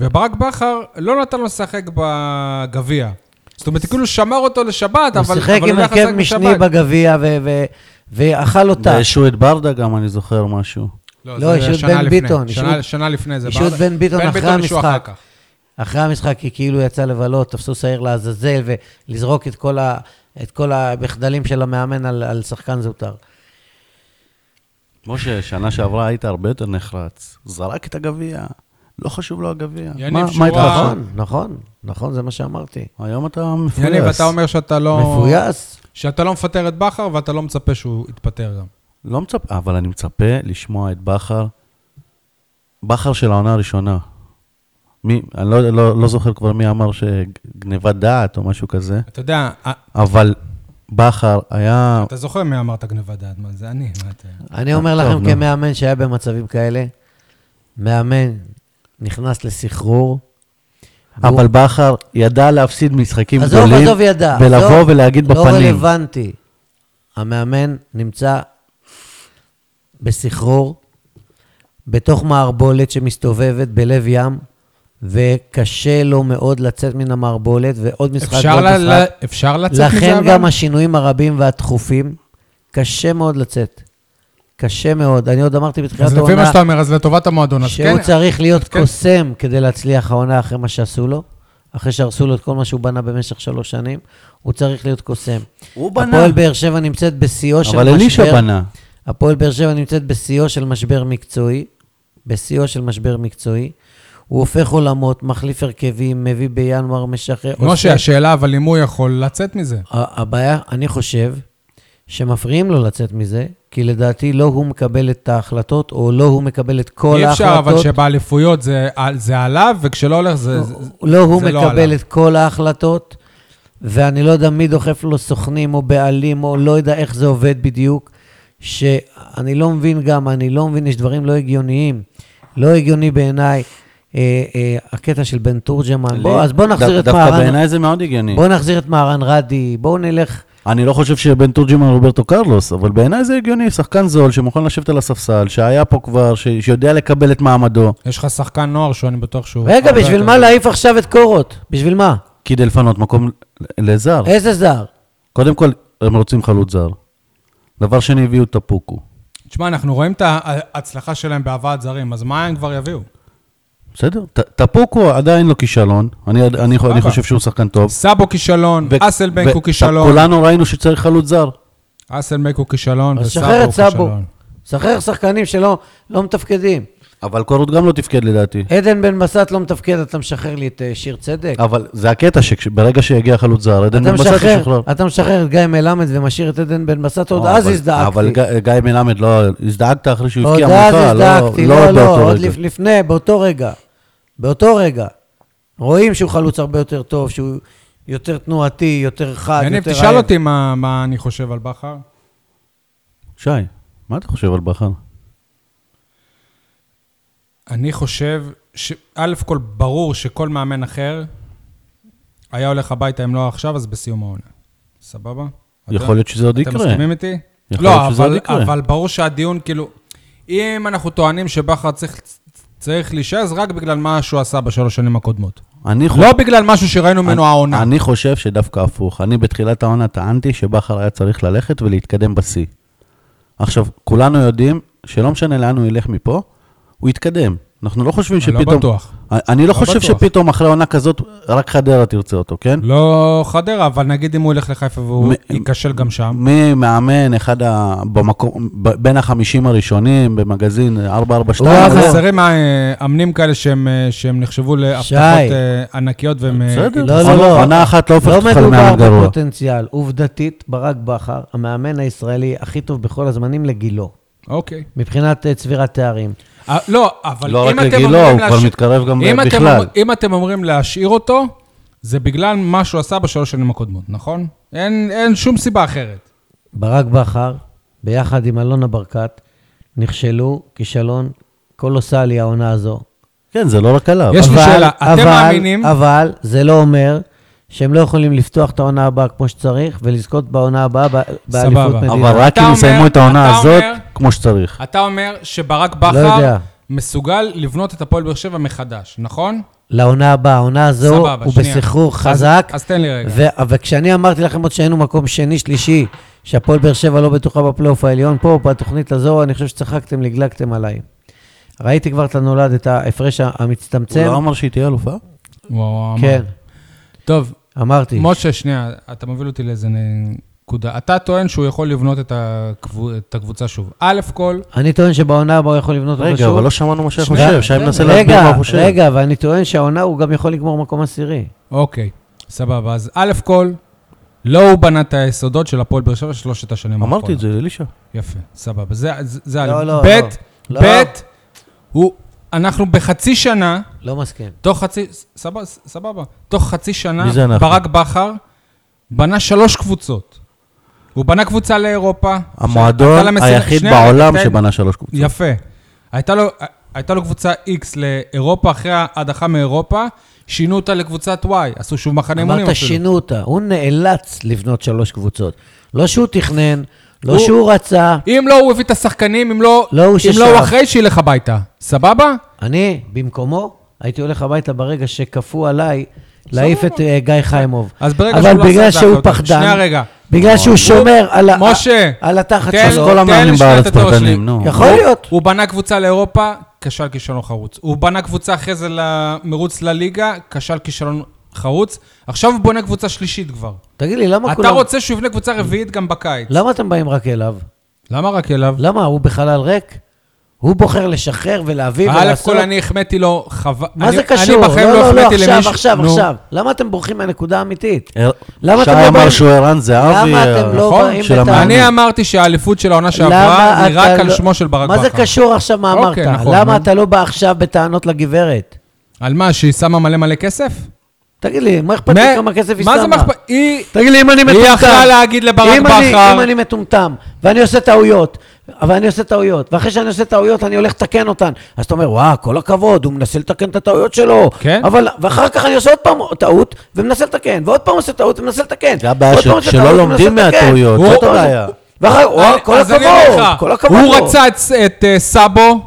S1: וברק בכר לא נתן לו לשחק בגביע. זאת אומרת, כאילו שמר אותו לשבת,
S3: הוא
S1: אבל
S3: שיחק
S1: אבל
S3: עם
S1: לא יכל
S3: הרכב
S1: לשחק
S3: משני
S1: בשבת.
S3: בגביע ו- ו- ואכל אותה.
S2: והשעו את ברדה גם, אני זוכר משהו.
S3: לא,
S1: זה
S3: ישות
S1: שנה
S3: בן
S1: לפני,
S3: ביטון,
S1: שנה,
S3: ישות-
S1: שנה לפני זה.
S3: ישות
S1: בר-
S3: בן ביטון אחרי
S1: ישו
S3: המשחק.
S1: אחר כך.
S3: אחרי המשחק היא כאילו יצאה לבלות, תפסו שעיר לעזאזל ולזרוק את כל, ה, את כל המחדלים של המאמן על, על שחקן זוטר.
S2: משה, שנה שעברה היית הרבה יותר נחרץ. זרק את הגביע, לא חשוב לו הגביע.
S1: יניב
S2: מה-
S1: שועה.
S2: מה איתך עכשיו?
S3: נכון, נכון, נכון, זה מה שאמרתי.
S2: היום אתה מפויס.
S1: יניב, אתה אומר שאתה לא...
S3: מפויס.
S1: שאתה לא מפטר את בכר ואתה לא מצפה שהוא יתפטר גם.
S2: לא מצפה, אבל אני מצפה לשמוע את בכר, בכר של העונה הראשונה. מי, אני לא, לא, לא זוכר כבר מי אמר שגניבת דעת או משהו כזה,
S1: אתה יודע, אה,
S2: אבל בכר היה...
S1: אתה זוכר מי אמרת גניבת דעת? מה, זה אני, מה אתה...
S3: אני אומר
S2: אה, טוב,
S3: לכם
S2: נו.
S3: כמאמן שהיה במצבים כאלה, מאמן נכנס לסחרור. והוא-
S2: אבל בכר ידע להפסיד משחקים
S3: עזוב,
S2: גדולים,
S3: עזוב ידע.
S2: ולבוא
S3: עזוב,
S2: ולהגיד
S3: לא לא
S2: בפנים.
S3: רלוונטי. המאמן נמצא בסחרור, בתוך מערבולת שמסתובבת בלב ים, וקשה לו מאוד לצאת מן המערבולת, ועוד משחק
S1: אפשר
S3: ועוד
S1: ל-
S3: משחק.
S1: ל- אפשר לצאת מזה,
S3: לכן
S1: אבל?
S3: גם השינויים הרבים והתכופים, קשה מאוד לצאת. קשה מאוד. אני עוד אמרתי בתחילת
S1: אז לפי מה
S3: העונה,
S1: שאתה אומר, אז לטובת המועדון, אז כן.
S3: שהוא צריך להיות
S1: כן.
S3: קוסם כדי להצליח העונה אחרי מה שעשו לו, אחרי שהרסו לו את כל מה שהוא בנה במשך שלוש שנים, הוא צריך להיות קוסם.
S2: הוא
S3: הפועל באר שבע נמצאת בשיאו של
S2: אבל
S3: משבר...
S2: אלישע בנה.
S3: הפועל באר שבע נמצאת בשיאו של משבר מקצועי, בשיאו של משבר מקצועי. הוא הופך עולמות, מחליף הרכבים, מביא בינואר, משחרר...
S1: משה,
S3: עושה-
S1: השאלה, אבל אם הוא יכול לצאת מזה.
S3: ה- הבעיה, אני חושב, שמפריעים לו לצאת מזה, כי לדעתי לא הוא מקבל את ההחלטות, או לא הוא מקבל את כל
S1: אי אפשר,
S3: ההחלטות.
S1: אבל שבאליפויות זה על- זה עליו, וכשלא הולך זה... זה-
S3: לא, הוא
S1: זה לא
S3: מקבל
S1: עליו.
S3: את כל ההחלטות, ואני לא יודע מי דוחף לו סוכנים או בעלים, או לא יודע איך זה עובד בדיוק, שאני לא מבין גם, אני לא מבין, יש דברים לא הגיוניים. לא הגיוני בעיניי אה, אה, הקטע של בן תורג'מן. בוא, אז בוא נחזיר
S2: דו-
S3: את
S2: דווקא
S3: מהרן,
S2: בעיניי זה מאוד הגיוני.
S3: בוא נחזיר את מהרן רדי, בואו נלך...
S2: אני לא חושב שבן תורג'מן הוא רוברטו קרלוס, אבל בעיניי זה הגיוני, שחקן זול שמוכן לשבת על הספסל, שהיה פה כבר, ש... שיודע לקבל את מעמדו,
S1: יש לך שחקן נוער שאני בטוח שהוא...
S3: רגע,
S1: הרבה
S3: בשביל
S1: יותר-
S3: מה להעיף עכשיו את קורות? בשביל מה?
S2: כדי לפנות מקום ל- לזר.
S3: איזה זר?
S2: קודם כל, הם רוצים חלוץ זר. דבר שני, הביאו את הפוקו.
S1: תשמע, אנחנו רואים את ההצלחה שלהם בהבאת זרים, אז מה הם כבר יביאו?
S2: בסדר? ט- טפוקו עדיין לא כישלון, אני, עד- אני, אני
S1: סבבה.
S2: חושב שהוא שחקן טוב.
S1: סאבו כישלון,
S2: ו-
S1: אסלבנק
S2: ו-
S1: הוא כישלון,
S2: כולנו ראינו שצריך חלוץ זר.
S1: אסלבנק הוא כישלון,
S3: אז
S1: וסאבו
S3: שחרר
S1: הוא
S3: את סאבו.
S1: כישלון.
S3: שחרר שחקנים שלא לא מתפקדים.
S2: אבל קורות גם לא תפקד לדעתי.
S3: עדן בן בסט לא מתפקד, אתה משחרר לי את אה, שיר צדק.
S2: אבל זה הקטע שברגע שיגיע חלוץ זר, עדן
S3: אתה
S2: בן בסט
S3: משחרר,
S2: ישוחרר.
S3: אתה משחרר את גיא מלמד ומשאיר את עדן בן בסט, עוד
S2: לא,
S3: אז
S2: אבל-
S3: הזדעקתי.
S2: אבל ג- גיא מלמד לא, הזדעקת אחרי שהוא
S3: עוד
S2: הבקיע
S3: אז
S2: מולך, לא,
S3: הזדעקתי,
S2: לא
S3: לא, לא,
S2: באותו
S3: עוד
S2: רגע.
S3: לפ- לפני, באותו רגע. באותו רגע. רואים שהוא חלוץ הרבה יותר טוב, שהוא יותר תנועתי, יותר חד,
S1: יניב,
S3: יותר
S1: תשאל אותי מה מה אני חושב על בכר.
S2: שי, מה אתה חושב על בכר?
S1: אני חושב, ש- א' כל, ברור שכל מאמן אחר היה הולך הביתה, אם לא עכשיו, אז בסיום העונה. סבבה? אתה-
S2: יכול להיות שזה עוד
S1: אתם
S2: יקרה.
S1: מסכימים איתי?
S2: יכול
S1: לא,
S2: להיות שזה עוד
S1: אבל,
S2: יקרה.
S1: אבל ברור שהדיון, כאילו, אם אנחנו טוענים שבכר צריך, צריך להישאר, אז רק בגלל מה שהוא עשה בשלוש שנים הקודמות.
S2: אני חו-
S1: לא בגלל משהו שראינו ממנו
S2: נכון. אני-
S1: העונה.
S2: אני חושב שדווקא הפוך. אני בתחילת העונה טענתי שבכר היה צריך ללכת ולהתקדם בשיא. עכשיו, כולנו יודעים שלא משנה לאן הוא ילך מפה, הוא יתקדם. אנחנו לא חושבים
S1: אני
S2: שפתאום...
S1: לא בטוח.
S2: אני לא
S1: לא
S2: חושב
S1: בטוח.
S2: שפתאום אחרי עונה כזאת, רק חדרה תרצה אותו, כן?
S1: לא חדרה, אבל נגיד אם הוא ילך לחיפה והוא
S2: מ-
S1: ייכשל גם שם.
S2: מי מאמן אחד ה... במקום, ב- בין החמישים הראשונים, במגזין 442?
S1: וואו,
S2: לא.
S1: חסרים מאמנים כאלה שהם, אה, שהם נחשבו
S3: שי.
S1: להבטחות אה, ענקיות והם... אה,
S2: בסדר,
S1: כאילו-
S3: לא, לא, לא.
S2: עונה אחת לא הופכת
S3: לא
S2: אותך למאמן
S3: מדובר
S2: גרוע.
S3: בפוטנציאל. עובדתית, ברק בכר, המאמן הישראלי הכי טוב בכל הזמנים לגילו,
S1: אוקיי.
S3: מבחינת אה, צבירת תארים.
S1: אה, לא, אבל
S2: לא רק
S1: אם אתם
S2: לגילו,
S1: אומרים
S2: הוא כבר
S1: להשאיר-
S2: מתקרב גם אה,
S1: אם אתם
S2: בכלל.
S1: אומר- אם אתם אומרים להשאיר אותו, זה בגלל מה שהוא עשה בשלוש שנים הקודמות, נכון? אין אין שום סיבה אחרת.
S3: ברק בכר, ביחד עם אלונה ברקת, נכשלו כישלון קולוסלי העונה הזו.
S2: כן, זה לא רק עליו.
S1: יש- לי
S3: אבל-
S1: שאלה, אתם
S3: אבל-
S1: מאמינים-
S3: אבל זה לא אומר שהם לא יכולים לפתוח את העונה הבאה כמו שצריך ולזכות בעונה הבאה ב- באליפות
S1: סבבה.
S3: מדינה.
S2: אבל רק
S1: אתה
S2: אם
S1: אומר-
S2: יסיימו את העונה
S1: אתה
S2: הזאת
S1: אומר-
S2: כמו שצריך.
S1: אתה אומר שברק
S3: לא
S1: בכר
S3: יודע.
S1: מסוגל לבנות את הפועל באר שבע מחדש, נכון?
S3: לעונה הבאה, העונה הזו,
S1: סבבה,
S3: הוא
S1: שנייה.
S3: בסחרור
S1: אז-
S3: חזק.
S1: אז תן לי רגע.
S3: ו- וכשאני אמרתי לכם עוד שהיינו מקום שני, שלישי, שהפועל באר שבע לא בטוחה בפלייאוף העליון פה, בתוכנית הזו, אני חושב שצחקתם, לגלגתם עליי. ראיתי כבר את הנולד, את ההפרש
S2: הוא
S3: המצטמצם.
S2: לא אמר שהיא תהיה אלופה?
S1: וואו, אמר.
S3: כן,
S1: טוב,
S3: אמרתי.
S1: משה, שנייה, אתה מוביל אותי לאיזה נקודה. אתה טוען שהוא יכול לבנות את הקבו- את הקבוצה שוב. א' כל,
S3: אני טוען שבעונה הבאה הוא יכול לבנות אותה
S2: רגע,
S3: שוב.
S2: אבל לא שמענו מה שאנחנו
S1: שנייה,
S2: חושב, שי מנסה להסביר
S3: רגע,
S2: מה הוא חושב.
S3: רגע, ואני טוען שהעונה הוא גם יכול לגמור מקום עשירי.
S1: אוקיי, סבבה. אז א' כל, לא הוא בנה את היסודות של הפועל באר שבע שלושת השנים
S2: אמרתי את זה לאלישע.
S1: יפה, סבבה. זה, זה, זה
S3: לא,
S1: א'.
S3: לא,
S1: ב',
S3: לא.
S1: ב',
S3: לא.
S1: הוא, אנחנו בחצי שנה,
S3: לא מסכים.
S1: תוך חצי, סבבה, סבבה, תוך חצי שנה,
S2: מי זה אנחנו?
S1: ברק בכר בנה שלוש קבוצות. הוא בנה קבוצה לאירופה.
S2: המועדון
S1: שעלתה למסירה-
S2: היחיד
S1: שנייה,
S2: בעולם
S1: תן-
S2: שבנה שלוש קבוצות.
S1: יפה. הייתה לו, הייתה לו קבוצה X לאירופה, אחרי ההדחה מאירופה, שינו אותה לקבוצת Y, עשו שוב מחנה אימונים
S3: אמרת
S1: אפילו.
S3: שינו אותה, הוא נאלץ לבנות שלוש קבוצות. לא שהוא תכנן, לא
S1: הוא-
S3: שהוא רצה.
S1: אם לא, הוא הביא את השחקנים, אם לא,
S3: לא הוא
S1: אם
S3: ששלח.
S1: לא, הוא אחרי שילך הביתה. סבבה?
S3: אני, במקומו, הייתי הולך הביתה ברגע שכפו עליי להעיף את אה, גיא חיימוב.
S1: אז ברגע שהוא
S3: אבל
S1: לא עשה
S3: בגלל
S1: את זה,
S3: שהוא
S1: אתה יודע.
S3: פחדן,
S1: שנייה, רגע.
S3: בגלל שהוא שומר על ה-
S1: משה,
S3: על התחת
S1: תן-
S2: אז
S3: שלו,
S2: כל
S1: תן
S2: המאמנים
S1: לשנייה את
S2: בארץ
S1: התיאוריה שלי.
S2: פחדנים, נו.
S3: יכול להיות.
S1: הוא בנה קבוצה לאירופה, כשל כישלון חרוץ. הוא בנה קבוצה אחרי זה למרוץ לליגה, כשל כישלון חרוץ. עכשיו הוא בונה קבוצה שלישית כבר.
S3: תגיד לי, למה
S1: אתה
S3: כולם... לא.
S1: רוצה שהוא יבנה קבוצה רביעית גם בקיץ.
S3: למה אתם באים רק אליו?
S1: למה רק אליו?
S3: למה, הוא בחלל ריק? הוא בוחר לשחרר ולהביא
S1: א'
S3: ולעשות?
S1: כל אני החמאתי לו, חבל...
S3: מה
S1: אני-
S3: זה קשור?
S1: אני בחיים
S3: לא, לא, לא,
S1: החמאתי
S3: עכשיו,
S1: למישהו-
S3: עכשיו,
S1: נו,
S3: עכשיו. למה אתם בורחים מהנקודה האמיתית?
S2: הר-
S3: למה
S2: שי
S3: אתם לא
S2: אמר
S3: באים-
S2: שהוא ערן זהבי,
S3: למה אתם לא
S2: נכון?
S3: באים
S2: של
S3: בטענות?
S2: המאמן.
S1: אני אמ- אמרתי שהאליפות של העונה שעברה
S3: למה
S1: היא
S3: אתה
S1: רק על
S3: לא-
S1: שמו של ברק בכר.
S3: מה זה קשור עכשיו מה אמרת?
S1: אוקיי, נכון,
S3: למה
S1: נו.
S3: אתה לא בא עכשיו בטענות לגברת?
S1: על מה, שהיא שמה מלא מלא כסף?
S3: תגיד לי, מה אכפת
S1: מה-
S3: לי כמה כסף היא שמה?
S1: מה זה מכפ... היא...
S3: תגיד לי, אם אני מטומטם...
S1: היא יכלה להגיד לברק
S3: אם אני-
S1: בכר...
S3: אם אני מטומטם, ואני עושה טעויות, אבל אני עושה טעויות, ואחרי שאני עושה טעויות, אני הולך לתקן אותן. אז אתה אומר, וואה, כל הכבוד, הוא מנסה לתקן את הטעויות שלו.
S1: כן.
S3: אבל, ואחר כך אני עושה עוד פעם טעות, ומנסה לתקן, ועוד פעם עושה טעות, ומנסה לתקן.
S2: זה הבעיה
S3: ועוד
S2: ש-
S3: פעם עושה
S2: שלא
S3: טעות,
S2: לומדים
S3: ומנסה לתקן.
S2: מהטעויות,
S1: זאת
S3: ועוד
S2: הבעיה.
S3: פעם- ואחר, וואו, כל
S1: אה, אז אני
S3: הכבוד,
S1: אומר לך,
S3: כל הכבוד.
S1: הוא
S3: לו.
S1: רצה את, את אה, סאבו,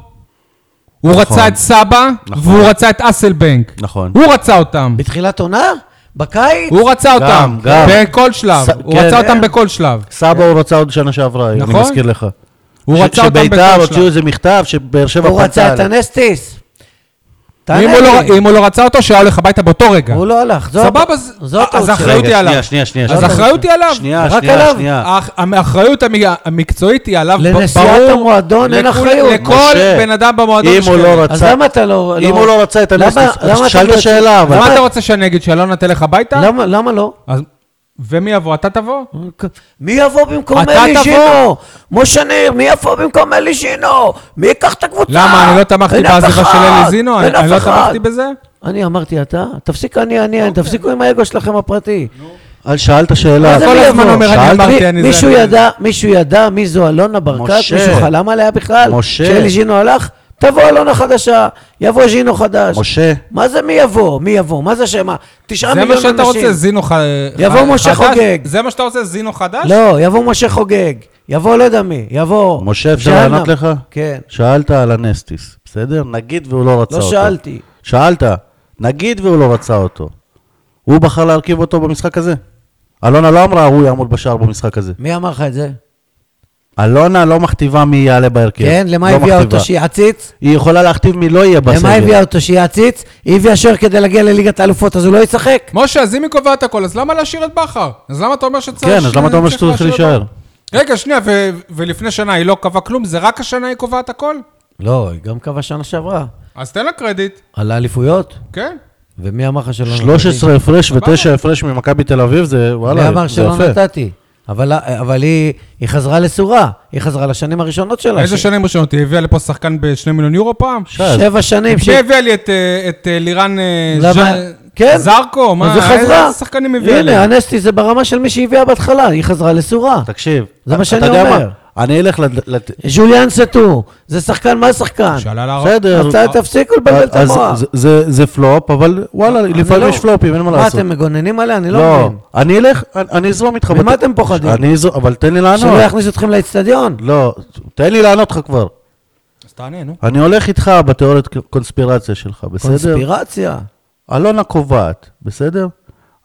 S1: הוא רצה את סבא, והוא רצה את אסלבנק.
S2: נכון.
S1: הוא רצה אותם.
S3: בתחילת עונה? בקיץ?
S1: הוא רצה אותם.
S2: גם.
S1: בכל שלב.
S2: ס-
S1: הוא
S2: כן.
S1: רצה אותם בכל שלב.
S2: סבא הוא רצה עוד שנה שעברה, אני
S1: נכון.
S2: מזכיר לך.
S1: הוא
S2: ש-
S1: רצה אותם
S2: שביתר
S1: בכל
S2: הוציאו
S1: שלב.
S2: איזה מכתב שבאר שבע
S3: הוא רצה את
S2: עליה.
S3: הנסטיס. תענה
S1: אם הוא לא-
S3: לי.
S1: אם הוא לא רצה אותו, שהיה הולך הביתה באותו רגע.
S3: הוא לא הלך, זאת-
S1: סבבה, אז- אז
S3: זאת האופציה.
S1: האחריות היא
S2: רגע,
S1: עליו.
S2: שנייה, שנייה,
S1: אז
S2: שנייה.
S1: האחריות היא עליו.
S2: שנייה,
S3: רק
S2: שנייה,
S3: עליו.
S2: שנייה.
S1: האח- האחריות המי- המקצועית היא עליו, ב- ברור.
S3: לנשיאת המועדון אין
S1: לכול-
S3: אחריות.
S1: לכל
S2: משה,
S1: בן אדם במועדון
S2: אם
S1: יש
S2: הוא
S1: כאלה.
S2: לא
S3: אז
S2: רצה...
S3: למה אתה לא...
S2: אם הוא לא רצה את
S3: למה-
S2: הנסטיס,
S3: למה אתה
S2: אז שאל את
S3: לא-
S2: השאלה, אבל...
S1: למה אתה רוצה שאני אגיד שאלונה תלך הביתה?
S3: למה- למה לא?
S1: אז- ומי יבוא? אתה תבוא?
S3: מי יבוא במקום
S1: אתה
S3: אלי
S1: תבוא.
S3: שינו? משה ניר, מי יבוא במקום אלי שינו? מי ייקח את הקבוצה?
S1: למה, אני לא תמכתי
S3: אין אף
S1: בעזיבה של
S3: אחד,
S1: אלי זינו?
S3: אין
S1: אני אני
S3: אף
S1: לא
S3: אחד.
S1: תמכתי בזה?
S3: אני אמרתי אתה? תפסיק אני אני, תפסיקו עם האגו שלכם הפרטי.
S1: אה.
S2: אל- שאלת שאלה.
S3: מה זה
S1: לא, כל
S3: מי
S1: הזמן
S3: יבוא?
S1: אומר, אני
S3: שאלתי.
S1: אמרתי, אני זה,
S3: מישהו
S1: אני זה.
S3: ידע, מישהו ידע מי זו אלונה ברקת?
S2: משה.
S3: מישהו חלם עליה בכלל?
S2: משה.
S3: כשאלי ז'ינו הלך? תבוא אלונה חדשה, יבוא ז'ינו חדש.
S2: משה,
S3: מה זה מי יבוא? מי יבוא? מה זה שמה? תשעה
S1: זה
S3: מיליון
S1: מה
S3: אנשים.
S1: שאתה רוצה, זינו ח-
S3: יבוא
S1: ח-
S3: משה
S1: חדש?
S3: חוגג.
S1: זה מה שאתה רוצה, זינו חדש?
S3: לא, יבוא משה חוגג, יבוא לא יודע מי, יבוא...
S2: משה, אפשר
S3: ג'הנם.
S2: לענות לך?
S3: כן.
S2: שאלת על הנסטיס, בסדר? נגיד והוא לא רצה
S3: לא
S2: אותו.
S3: שאלתי.
S2: שאלת, נגיד והוא לא רצה אותו. הוא בחר להרכיב אותו במשחק הזה. אלונה לא אמרה, הוא יעמוד בשער במשחק הזה.
S3: מי אמר לך את זה?
S2: אלונה לא מכתיבה מי יעלה בהרכב.
S3: כן, למה
S2: לא
S3: הביאה
S2: מכתיבה.
S3: אותו שהיא עציץ?
S2: היא יכולה להכתיב מי לא יהיה בסגל.
S3: למה הביאה אותו שהיא עציץ? היא הביאה שוער כדי להגיע לליגת האלופות, אז הוא לא ישחק?
S1: משה, אז אם היא קובעת הכל, אז למה להשאיר את בכר? אז למה אתה אומר שצריך...
S2: כן, אז למה אתה אומר
S1: צריך
S2: שצריך
S1: להשאיר את
S2: להישאר?
S1: בכר? רגע, שנייה, ו- ולפני שנה היא לא קבעה כלום, זה רק השנה היא קובעת הכל?
S3: לא, היא גם קבעה שנה שעברה.
S1: אז תן לה קרדיט,
S3: על האליפויות?
S1: כן?
S3: ומי אמר לך שלא נתתי?
S2: 13 הפרש ו-9 הפרש ממכבי תל אביב, זה
S3: מי
S2: וואלה,
S3: אמר
S2: זה
S3: שלא
S2: יפה.
S3: נתתי? אבל, אבל היא, היא חזרה לסורה, היא חזרה לשנים הראשונות שלה.
S1: איזה
S3: ש-
S1: שנים ראשונות? היא הביאה לפה שחקן בשני מיליון יורו פעם?
S3: שבע שנים.
S1: היא הביאה לי את, אה, את אה, לירן אה,
S3: למה?
S1: ז'אן-
S3: כן.
S1: זרקו? מה,
S3: אז היא חזרה.
S1: איזה שחקנים הביאה לי?
S3: הנה, הנסטי זה ברמה של מי שהביאה בהתחלה, היא חזרה לסורה.
S2: תקשיב,
S3: זה מה
S2: אתה
S3: שאני
S2: יודע
S3: אומר.
S2: מה? אני אלך לד- לת-
S3: ז'וליאן סטו, זה שחקן, מה שחקן?
S1: שעלה להר-
S2: בסדר.
S3: אז ת- תפסיקו לבלבל את
S2: אז
S3: המוח.
S2: זה- זה- זה פלופ, אבל וואלה,
S3: אני
S2: לפעמים
S3: לא-
S2: יש פלופים, אין מה לעשות.
S3: מה, אתם מגוננים עליה? אני לא
S2: לא,
S3: מבין.
S2: אני אלך, אני- אני אזרום איתך.
S3: ממה
S2: בת-
S3: אתם פוחדים?
S2: אני אזרום, אבל תן לי לענות.
S3: שלא יכניסו אתכם לאצטדיון.
S2: לא, תן לי לענות לך כבר.
S1: אז תענה, נו.
S2: אני הולך איתך בתיאוריית קונספירציה שלך, בסדר?
S3: קונספירציה.
S2: אלונה קובעת, בסדר?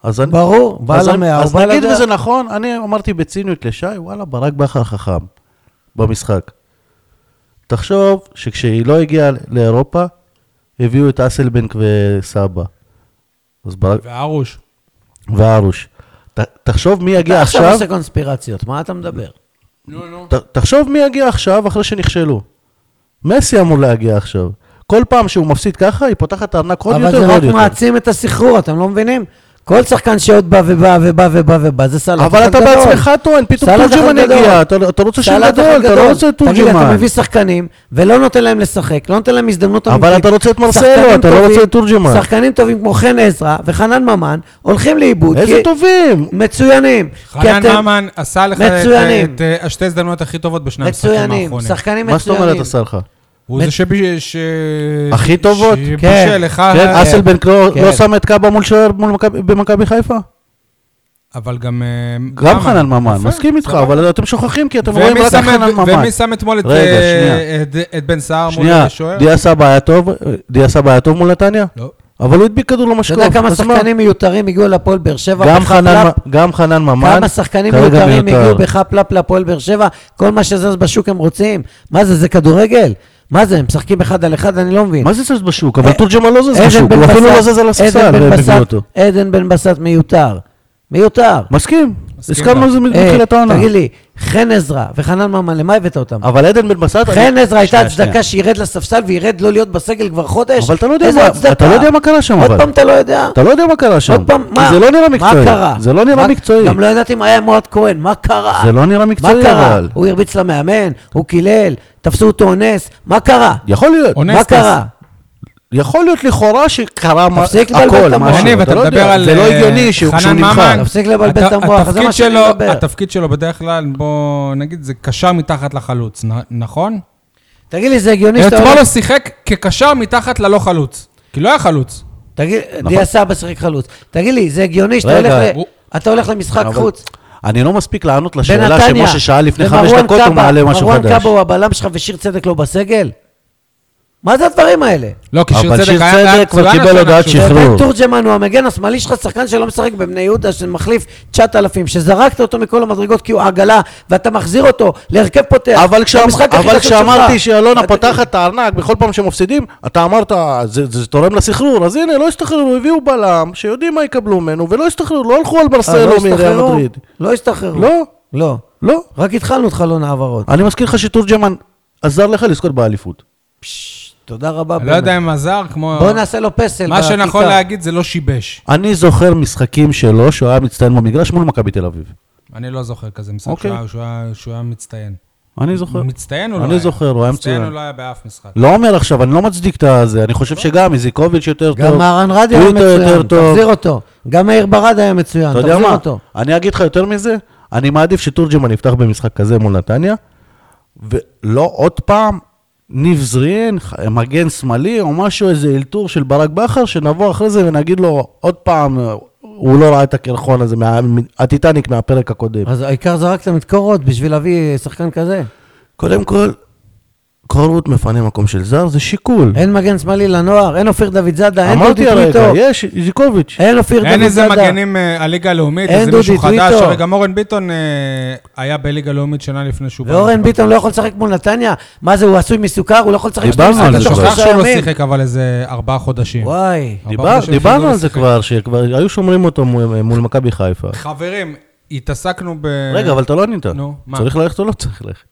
S2: אז אני...
S3: ברור, בא
S2: אז אני-
S3: למאה, הוא
S2: אז
S3: בא
S2: נגיד
S3: לדעה.
S2: וזה נכון, אני אמרתי בציניות לשי, וואלה, ברק בכר חכם במשחק. תחשוב שכשהיא לא הגיעה לאירופה, הביאו את אסלבנק וסבא. אז ברק...
S1: והרוש.
S2: והרוש. ת- תחשוב מי יגיע
S3: אתה עכשיו
S2: עכשיו,
S3: עושה קונספירציות, מה אתה מדבר?
S1: נו, נו.
S2: ת- תחשוב מי יגיע עכשיו אחרי שנכשלו. מסי אמור להגיע עכשיו. כל פעם שהוא מפסיד ככה, היא פותחת את הארנק עוד
S3: אבל
S2: יותר
S3: זה
S2: ועוד
S3: רק
S2: יותר.
S3: מעצים את הסחרור, אתם לא מבינים? כל שחקן שעוד בא ובא ובא ובא ובא, זה סלט.
S2: אבל
S3: אחד
S2: אתה
S3: גדול.
S2: בעצמך טוען, פתאום
S3: סלט אחד
S2: תורג'מן
S3: גדול.
S2: יגיע, אתה אתה רוצה שהוא
S3: סלט
S2: גדול,
S3: אחד
S2: אתה לא רוצה את
S3: תגיד, אתה
S2: תורג'מן.
S3: מביא שחקנים, ולא נותן להם לשחק, לא נותן להם הזדמנות
S2: אבל
S3: אמיתית.
S2: אתה רוצה את מרסלו,
S3: שחקנים
S2: אתה לא
S3: טובים-
S2: רוצה את תורג'מן.
S3: שחקנים טובים כמו חן עזרא וחנן ממן, הולכים לאיבוד.
S2: איזה
S3: כי-
S2: טובים!
S3: מצוינים. כי
S1: חנן
S3: אתם-
S1: ממן עשה לך את-
S3: מצוינים.
S1: את אה, השתי הזדמנויות הכי טובות בשני המשחקים
S3: מצוינים,
S1: האחרונים.
S3: שחקנים מצוינים.
S2: מה זאת אומרת עשה לך?
S1: הוא
S3: מצ-
S1: זה שב- ש...
S2: הכי טובות?
S1: שבישל לך...
S2: כן, אסלבנק לא
S3: כן.
S2: לא שם את קאבה מול שוער מול מכבי- במכבי חיפה?
S1: אבל גם... אה,
S2: גם חנן ממן,
S1: יפה,
S2: מסכים איתך,
S1: סבבה.
S2: אבל אתם שוכחים כי אתם
S1: ומי
S2: רואים רק
S1: שם
S2: על
S1: את-
S2: חנן ממן.
S1: ומי שם אתמול את,
S2: רגע,
S1: אה,
S2: שנייה.
S1: את- את בן סער מול
S2: שנייה,
S1: השוער?
S2: דיה סבא היה טוב, דיה סבא היה טוב מול נתניה?
S1: לא.
S2: אבל הוא הדביק כדור
S3: אתה
S2: למשקוף.
S3: יודע כמה
S2: אז מה?
S3: שחקנים מיותרים הגיעו להפועל באר שבע?
S2: גם
S3: בחפל"פ?
S2: חנן- גם חנן ממן,
S3: כמה שחקנים
S2: כרגע
S3: מיותרים
S2: מיותר.
S3: הגיעו בחפלפ להפועל באר שבע? כל מה שזז בשוק הם רוצים. מה זה, זה כדורגל? מה זה, הם משחקים אחד על אחד? אני לא מבין.
S2: מה זה זז בשוק? אבל
S3: אה,
S2: תורג'מן לא זז
S3: עדן
S2: בשוק,
S3: בן
S2: הוא אפילו
S3: בסט-
S2: לא זז על הספסל,
S3: עדן בן
S2: והם הביאו
S3: בסט-
S2: אותו.
S3: עדן בן בסט מיותר. מיותר.
S2: מסכים,
S1: מסכים
S2: הסכמנו
S1: גם.
S2: לזה
S3: אה,
S2: מתחילת העונה.
S3: תגיד לי, חן עזרא וחנן ממן, למה הבאת אותם?
S2: אבל עדן בן בסט...
S3: חן
S2: אני-
S3: עזרא הייתה
S2: שנייה, שנייה.
S3: הצדקה שירד לספסל וירד לא להיות בסגל כבר חודש?
S2: אבל אתה לא יודע
S3: איזה
S2: מה-
S3: הצדקה?
S2: אתה לא יודע מה קרה שם,
S3: עוד
S2: אבל.
S3: פעם אתה לא יודע?
S2: אתה לא יודע מה קרה שם.
S3: עוד פעם,
S2: כי
S3: מה?
S2: זה לא נראה מקצועי.
S3: מה קרה?
S2: זה לא נראה
S3: מה-
S2: מקצועי.
S3: גם לא ידעתי מה היה עם אוהד כהן, מה קרה?
S2: זה לא נראה מקצועי,
S3: מה קרה?
S2: אבל.
S3: הוא הרביץ למאמן, הוא קילל, תפסו אותו אונס, מה קרה?
S2: יכול להיות.
S1: עונה.
S3: מה
S1: אונס,
S3: קרה?
S2: יכול להיות לכאורה שקרה מה-
S3: תפסיק לבלבל את
S2: הכל,
S3: המוח.
S2: משהו.
S1: יניב,
S2: אתה
S1: אתה
S2: לא
S1: מדבר
S2: יודע.
S1: על...
S2: זה לא
S1: אה,
S2: הגיוני שהוא
S1: חנן
S2: כשהוא נבחר.
S1: ממן.
S3: תפסיק לבלבל
S1: אתה-
S3: את המוח, זה
S1: התפקיד
S3: מה שאני
S1: שלו-
S3: מדבר.
S1: התפקיד שלו בדרך כלל, בוא נגיד, זה קשר מתחת לחלוץ, נ- נכון?
S3: תגיד לי, זה הגיוני שאתה...
S1: אתמול
S3: הולך-
S1: הוא שיחק כקשר מתחת ללא חלוץ. כי לא היה חלוץ.
S3: תגיד, דיה סבא שיחק חלוץ. תגיד לי, זה הגיוני שאתה
S2: נכון. רגע,
S3: הולך ל-
S1: הוא-
S3: אתה הולך למשחק
S2: אבל-
S3: חוץ?
S2: אני לא מספיק לענות לשאלה
S3: בנתניה,
S2: שמשה שאל לפני
S3: ומרואן
S2: חמש דקות,
S3: קאבה-
S2: הוא מעלה משהו
S3: מרואן
S2: חדש.
S3: קאבה הוא הבלם שלך ושיר צדק לא בסגל? מה זה הדברים האלה?
S1: לא, כי שיר
S2: אבל
S1: צדק
S2: שיר
S1: היה...
S2: צדק
S1: היה
S2: כבר
S1: מצוין
S2: קיבל
S1: השנה
S2: הודעת
S1: כשהוא-
S2: שחרור.
S3: ובן תורג'מן הוא המגן השמאלי שלך, שחקן שלא משחק בבני יהודה, שמחליף 9,000, שזרקת אותו מכל המדרגות כי הוא עגלה, ואתה מחזיר אותו להרכב פותח.
S2: אבל כשאמ-
S3: במשחק כן. הכי
S2: אבל
S3: חשוב
S2: כשאמרתי
S3: שלך.
S2: שאלונה
S3: אתה-
S2: פותחת את הארנק בכל פעם שמפסידים, אתה אמרת, "זה- זה תורם לסחרור. אז הנה, לא הסתחררו, הביאו בלם, שיודעים מה יקבלו ממנו, ולא הסתחררו, לא הלכו על
S3: אה, לא
S2: ברסלו מריאל
S3: השתחררו?
S2: מדריד.
S3: לא השתחררו.
S2: לא,
S3: לא.
S2: לא.
S3: רק התחלנו את חלון ההעברות.
S2: אני מזכיר לך שתורג'מן עזר לך לזכות באליפות.
S3: פש, תודה רבה.
S1: אני לא
S3: באמת.
S1: יודע אם עזר, כמו...
S3: בוא נעשה לו פסל.
S1: מה שנכון
S3: בכיכר.
S1: להגיד זה לא שיבש.
S2: אני זוכר משחקים שלו, שהוא היה מצטיין במגרש מול מכבי תל אביב.
S1: אני לא זוכר כזה משחק
S2: אוקיי.
S1: שהוא היה- שהוא היה- שהוא היה מצטיין.
S2: אני זוכר.
S1: מצטיין הוא לא
S2: אני
S1: היה.
S2: זוכר, הוא היה
S1: מצטיין
S2: מצוין.
S1: הוא לא היה באף משחק.
S2: לא אומר עכשיו, אני לא מצדיק את זה, אני חושב שגם איזיקוביץ' יותר טוב.
S3: גם מהרן רדי היה
S2: טוויטו
S3: מצוין,
S2: יותר טוב.
S3: תחזיר אותו. גם מאיר ברד היה מצוין,
S2: אתה יודע
S3: תחזיר
S2: מה?
S3: אותו.
S2: אני אגיד לך יותר מזה, אני מעדיף שתורג'מן יפתח במשחק כזה מול נתניה, ולא עוד פעם ניב זרין, ח- מגן שמאלי, או משהו, איזה אלתור של ברק בכר, שנבוא אחרי זה ונגיד לו עוד פעם, הוא לא ראה את הקרחון הזה, מה- הטיטניק מהפרק הקודם.
S3: אז העיקר זרקתם את קורות בשביל להביא שחקן כזה.
S2: קודם כל,
S4: קורות מפנה מקום של זר, זה שיקול.
S3: אין מגן שמאלי לנוער, אין אופיר דוד זאדה, אין דודי
S4: אמרתי הרגע,
S3: טוויטו,
S4: יש, איזיקוביץ'.
S3: אין
S2: לא
S3: אופיר דוד זאדה.
S1: אין איזה מגנים, אה, הליגה הלאומית,
S3: אין
S1: איזה מישהו
S3: דודי,
S1: חדש,
S3: טוויטו.
S1: הרי גם אורן ביטון אה, היה בליגה הלאומית שנה לפני שהוא... בא.
S3: ואורן ביטון לא יכול לשחק מול נתניה? מה זה, הוא עשוי מסוכר? הוא לא יכול לשחק שני
S2: דיברנו
S3: משחקים
S2: על
S1: אתה
S2: זה
S3: תוך
S2: כבר.
S1: שוכח
S3: שלושה
S1: שהוא לא
S3: ימים.
S1: שיחק אבל איזה ארבעה חודשים.
S3: וואי.
S1: ארבעה
S4: דיבר-
S1: חודשים שהוא
S4: דיברנו
S1: לא
S4: על זה
S1: שיחק.
S4: כבר, שכבר היו שומרים אותו מול מול מכבי חיפה.
S1: חברים, התעסקנו ב...
S2: רגע, אבל אתה לא ענית.
S1: נו, מה?
S2: צריך ללכת או לא צריך ללכת?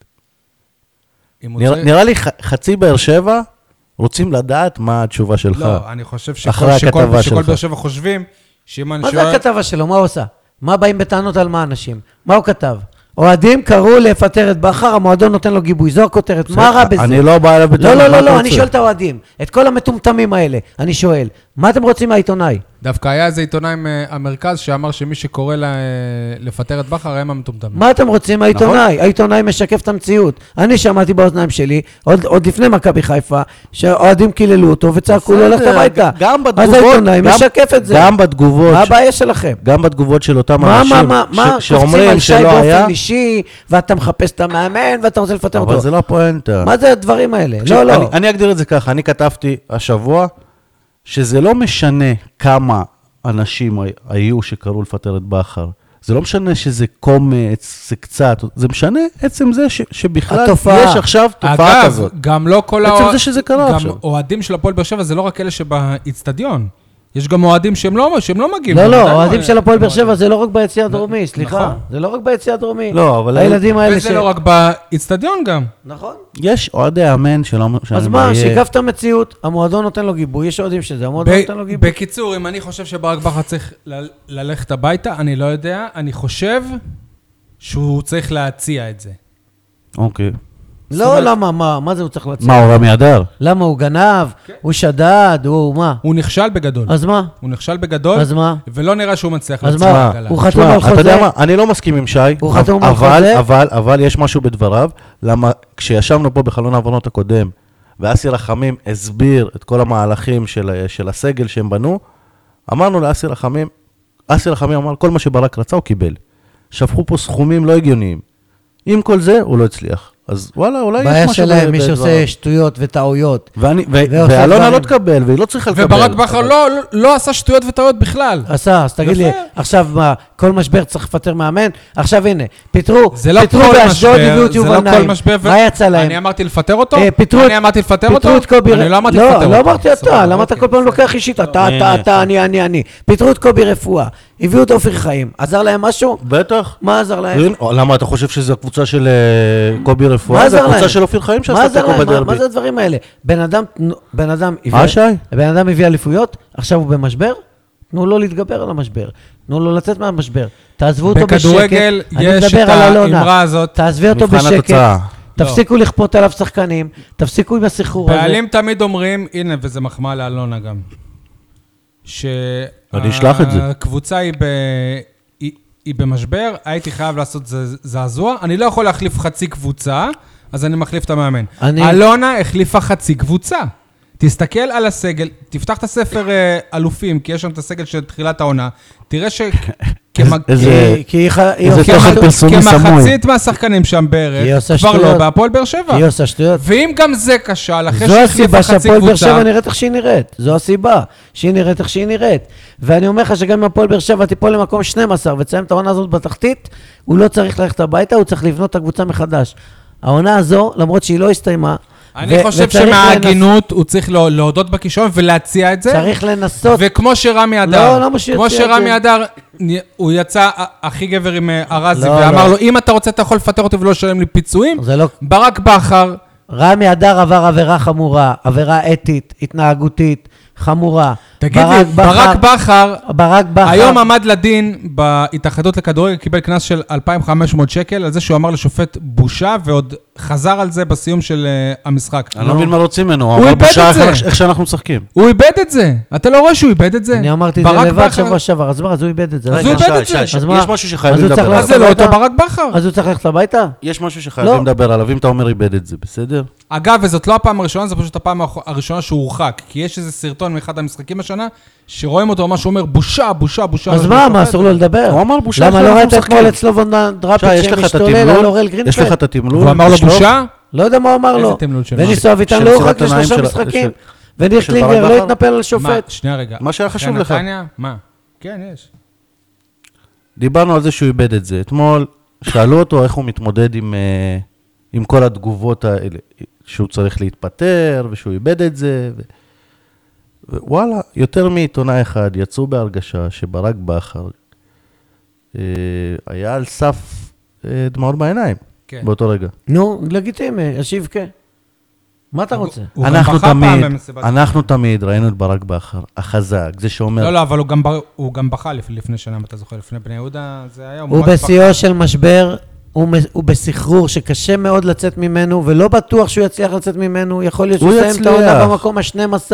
S1: אם הוא
S2: נרא-
S1: צריך-
S2: נראה לי ח- חצי באר שבע רוצים לדעת מה התשובה שלך.
S1: לא, אני חושב שכל-
S2: אחרי
S1: שכל-
S2: הכתבה
S1: שכל
S2: שלך.
S1: באר שבע חושבים שאם אני
S3: מה
S1: שואל-
S3: זה הכתבה שלו? מה הוא עשה? מה באים בטענות על מה אנשים? מה הוא כתב? אוהדים קראו לפטר את בכר, המועדון נותן לו גיבוי. זו הכותרת, מה רע בזה?
S2: אני לא בא אליו
S3: לא,
S2: בטענות,
S3: לא,
S2: מה
S3: לא,
S2: אתה
S3: לא, אני
S2: רוצה?
S3: שואל את האוהדים, את כל המטומטמים האלה, אני שואל, מה אתם רוצים מהעיתונאי?
S1: דווקא היה איזה עיתונאי מהמרכז שאמר שמי שקורא לה- לפטר את בכר הם המטומטמים.
S3: מה אתם
S2: נכון.
S3: רוצים מהעיתונאי? העיתונאי משקף את המציאות. אני שמעתי באוזניים שלי, עוד- עוד לפני מכבי חיפה, שהאוהדים קיללו אותו וצעקו לו,
S2: בסדר,
S3: לך הביתה.
S2: גם
S3: אז
S2: בתגובות-
S3: העיתונאי
S2: גם-
S3: משקף את זה.
S2: גם בתגובות,
S3: מה הבעיה שלכם?
S2: גם בתגובות של אותם
S3: מה, מה,
S2: אנשים
S3: מה,
S2: ש-
S3: מה, קופצים
S2: שאומרים
S3: על שי
S2: שלא היה,
S3: באופן אישי, ואתה מחפש את המאמן, ואתה רוצה לפטר
S2: אבל
S3: אותו.
S2: זה לא הפואנטה.
S3: מה זה הדברים האלה?
S2: תקשיב,
S3: לא,
S2: אני,
S3: לא.
S2: אני אגדיר את זה ככה, אני כתבתי השבוע, שזה לא משנה כמה אנשים הי- היו שקראו לפטר את בכר. זה לא משנה שזה קומץ, זה קצת, זה משנה עצם זה ש, שבכלל
S3: התופעה.
S2: יש עכשיו תופעה
S1: אגב,
S2: כזאת.
S1: גם לא כל
S2: עצם
S1: האוה-
S2: זה שזה קרה
S1: גם
S2: עכשיו.
S1: אוהדים של הפועל באר שבע זה לא רק אלה שבאיצטדיון. יש גם אוהדים שהם לא שהם לא מגיעים.
S3: לא, לא,
S1: בוודאי
S3: אוהדים של הפועל באר
S1: אוהדים.
S3: שבע זה לא רק ביציע הדרומי, סליחה.
S1: נכון.
S3: זה לא רק ביציע הדרומי.
S2: לא, אבל-
S3: הילדים האלה ש...
S1: וזה לא רק באיצטדיון גם.
S3: נכון.
S2: יש אוהדי אמן שלא משנה
S3: אז מה, שיקף את המציאות, המועדון נותן לו גיבוי, יש אוהדים שזה, המועדון לא נותן לו
S1: ב-
S3: גיבוי.
S1: בקיצור, אם אני חושב שברק בכר צריך ל- ללכת הביתה, אני לא יודע, אני חושב שהוא צריך להציע את זה.
S2: אוקיי.
S3: לא, למה, מה, מה זה הוא צריך להציע?
S2: מה, כן. הוא רמי אדר?
S3: למה, הוא גנב? הוא שדד? הוא מה?
S1: הוא נכשל בגדול.
S3: אז מה?
S1: הוא נכשל בגדול,
S3: אז מה?
S1: ולא נראה שהוא מצליח
S3: אז
S1: לצאת
S3: מה?
S1: מהגלה.
S3: הוא חתום
S2: תשמע,
S3: על
S2: אתה יודע
S3: חוזה?
S2: מה, אני לא מסכים עם שי,
S3: הוא חתום על
S2: אבל-
S3: חוזה?
S2: אבל, אבל יש משהו בדבריו, למה כשישבנו פה בחלון העוונות הקודם, ואסי רחמים הסביר את כל המהלכים של, של הסגל שהם בנו, אמרנו לאסי רחמים, אסי רחמים אמר, כל מה שברק רצה הוא קיבל. שפכו פה סכומים לא הגיוניים. עם כל זה, הוא לא הצליח. אז וואלה, אולי לא, יש משהו
S3: בעיה שלהם,
S2: ב-
S3: מי
S2: בדבריו.
S3: שעושה שטויות וטעויות.
S2: ואני, ו-
S3: ועושה
S2: ואלונה
S3: דברים.
S2: לא תקבל, והיא לא צריכה לקבל.
S1: וברק בכר
S2: אבל-
S1: לא- לא- לא עשה שטויות וטעויות בכלל.
S3: עשה, אז תגיד לי,
S1: יפה.
S3: עכשיו מה, כל משבר צריך לפטר מאמן? עכשיו הנה, פיטרו,
S1: זה לא כל
S3: פיטרו באשדוד, הביאו
S1: משבר,
S3: את
S1: זה
S3: יובל
S1: לא כל
S3: נעים.
S1: משבר. ו-
S3: מה יצא להם?
S1: אני אמרתי לפטר אותו?
S3: אה, פיטרו את-
S1: אני אמרתי לפטר אותו?
S3: פיטרו את קובי...
S1: אני לא אמרתי
S3: לא,
S1: לפטר אותו.
S3: לא אמרתי
S1: סבבה,
S3: אתה, למה אתה
S1: אוקיי,
S3: כל פעם
S1: בסדר.
S3: לוקח אישית? אתה, אתה,
S2: לא, הנה,
S3: אתה, אני, אני, אני. פיטרו את קובי רפואה, הביאו את עופר חיים. עזר להם משהו?
S2: בטח.
S3: מה עזר להם?
S2: אין, למה אתה חושב שזו הקבוצה של אה, קובי
S3: אוקיי. מה
S2: רפואה?
S3: עזר
S2: זו הקבוצה
S3: להם?
S2: של אופיר חיים
S3: מה
S2: שעשתה
S3: עזר
S2: תיקו
S3: להם? מה-
S2: בדרבי.
S3: מה זה הדברים האלה? בן אדם, תנו- בן אדם הביא...
S2: שי?
S3: בן אדם הביא אליפויות, עכשיו הוא במשבר? תנו לו להתגבר על המשבר. תנו לו לצאת מהמשבר. תעזבו אותו בשקט.
S1: בכדורגל
S3: אני
S1: יש
S3: מדבר
S1: את
S3: על אלונה.
S1: האמרה הזאת. לא.
S3: תעזבי אותו
S2: מבחן
S3: בשקט.
S2: התוצאה.
S3: תפסיקו לכפות עליו שחקנים, תפסיקו עם הסחרור הזה.
S1: בעלים תמיד אומרים, הנה, וזה מחמאה לאלונה גם,
S2: אני אשלח את זה.
S1: שהקבוצה היא, ב... היא... היא במשבר, הייתי חייב לעשות ז... זעזוע, אני לא יכול להחליף חצי קבוצה, אז אני מחליף את המאמן.
S3: אני-
S1: אני... אלונה החליפה חצי קבוצה. תסתכל על הסגל, תפתח את הספר אה, אלופים, כי יש שם את הסגל של תחילת העונה, תראה
S2: <laughs>
S1: ש... כמג-
S2: איזה-
S3: כי- כי היא ח- היא
S2: איזה
S3: עושה
S2: תוכן
S3: שטויות.
S2: פרסום. פרסומי סמוי.
S1: כמחצית מהשחקנים שם
S3: היא
S1: בערך,
S3: עושה
S1: כבר לא
S3: שטויות.
S1: בהפועל באר שבע.
S3: היא עושה שטויות.
S1: ואם גם זה כשל, אחרי
S3: זו
S1: שהחליפה
S3: הסיבה
S1: חצי
S3: שהפועל באר
S1: קבוצה,
S3: שבע נראית איך שהיא נראית. זו הסיבה שהיא נראית איך שהיא נראית. ואני אומר לך שגם אם הפועל באר שבע תיפול למקום 12 ותסיים את העונה הזאת בתחתית, הוא לא צריך ללכת הביתה, הוא צריך לבנות את הקבוצה מחדש. העונה הזו, למרות שהיא לא הסתיימה,
S1: אני
S3: ו-
S1: חושב
S3: וצריך לנס-
S1: שמההגינות הוא צריך לא- להודות בכישרון ולהציע את זה.
S3: צריך לנסות.
S1: וכמו שרמי אדר,
S3: לא, למה שיציע
S1: כמו
S3: את זה?
S1: שרמי אדר, נ- הוא יצא ה- הכי גבר עם אה, ארזי,
S3: לא,
S1: ואמר
S3: לא.
S1: לו, אם אתה רוצה, אתה יכול לפטר אותי ולא לשלם לי פיצויים.
S3: זה לא...
S1: ברק בכר,
S3: רמי אדר עבר עבירה חמורה, עבירה אתית, התנהגותית, חמורה.
S1: תגיד לי, ברק בכר,
S3: ברק בכר.
S1: היום עמד לדין בהתאחדות לכדורגל, קיבל קנס של 2,500 שקל על זה שהוא אמר לשופט בושה, ועוד חזר על זה בסיום של אה, המשחק.
S2: אני לא מבין מה רוצים ממנו,
S1: הוא
S2: הוא אמר
S1: איבד
S2: בשעה
S1: את זה.
S2: אחרי איך שאנחנו משחקים.
S1: הוא איבד את זה. אתה לא רואה שהוא איבד את זה?
S3: אני אמרתי את
S1: ברק
S3: זה לבד
S1: בכר-
S3: שבוע שעבר, אז מה, אז הוא איבד את זה.
S1: אז
S3: רגע.
S1: הוא איבד את
S2: שי,
S1: זה.
S2: שי,
S3: אז
S2: שי,
S3: מה?
S2: יש משהו שחייבים
S3: אז הוא צריך
S2: לדבר
S1: אז
S2: עליו.
S1: זה לא
S3: אתה-
S1: אותו ברק בכר.
S3: אז הוא צריך ללכת הביתה?
S2: יש משהו שחייבים
S3: לא.
S2: לדבר עליו, אם אתה אומר איבד את זה, בסדר?
S1: אגב, וזאת לא הפעם הראשונה, זו פשוט הפעם האח- הראשונה שהוא הורחק. כי יש איזה סרטון מאחד המשחקים השנה, שרואים אותו ממש אומר, בושה, בושה, בושה.
S3: אז מה, מה, אסור לו לדבר?
S2: הוא אמר בושה,
S3: למה
S2: אנחנו
S3: לא ראית
S2: משחקים.
S3: אתמול אצל לובון
S2: שי,
S3: דראפיץ'
S2: יש לך את
S3: שמשתולל על אוראל
S2: התמלול, יש לך
S3: גרינפלד?
S2: את התמלול,
S1: הוא אמר לו
S2: לשלוף?
S1: בושה?
S3: לא יודע מה הוא אמר
S1: איזה
S3: לו.
S1: תמלול של
S3: וניסו אביטן
S4: של
S3: לא
S4: מסירת
S3: הורחק לשלושה
S4: עיניים של-
S3: משחקים,
S4: של-
S3: וניר
S4: של ברק
S3: קלינגר
S4: בכר?
S3: לא התנפל על
S1: מה,
S3: שופט.
S1: שנייה רגע.
S4: מה שהיה חשוב
S1: אחרי
S4: לך.
S1: נתניה? מה? כן, יש.
S2: דיברנו על זה שהוא איבד את זה. אתמול שאלו אותו איך הוא מתמודד עם, אה, עם כל התגובות האלה, שהוא צריך להתפטר, ושהוא איבד את זה. ו... ווואלה, יותר מעיתונאי אחד יצאו בהרגשה שברק בכר אה, היה על סף אה, דמעות בעיניים
S1: כן.
S2: באותו רגע.
S3: נו, לגיטימי, ישיב כן. מה אתה רוצה?
S1: הוא גם
S2: אנחנו
S1: בכה פעם
S2: תמיד,
S1: במסיבת
S2: אנחנו תמיד ראינו את ברק בכר, החזק, זה שאומר,
S1: לא, לא, אבל הוא גם בר- הוא גם בכה לפ- לפני שנה, אם אתה זוכר, לפני בני יהודה, זה היה...
S3: הוא
S1: ממש בכה.
S3: בשיאו של משבר, הוא מ- הוא בסחרור שקשה מאוד לצאת ממנו, ולא בטוח שהוא יצליח לצאת ממנו, יכול להיות
S2: הוא
S3: שהוא יסיים את העונה
S2: יצליח.
S3: במקום ה-12,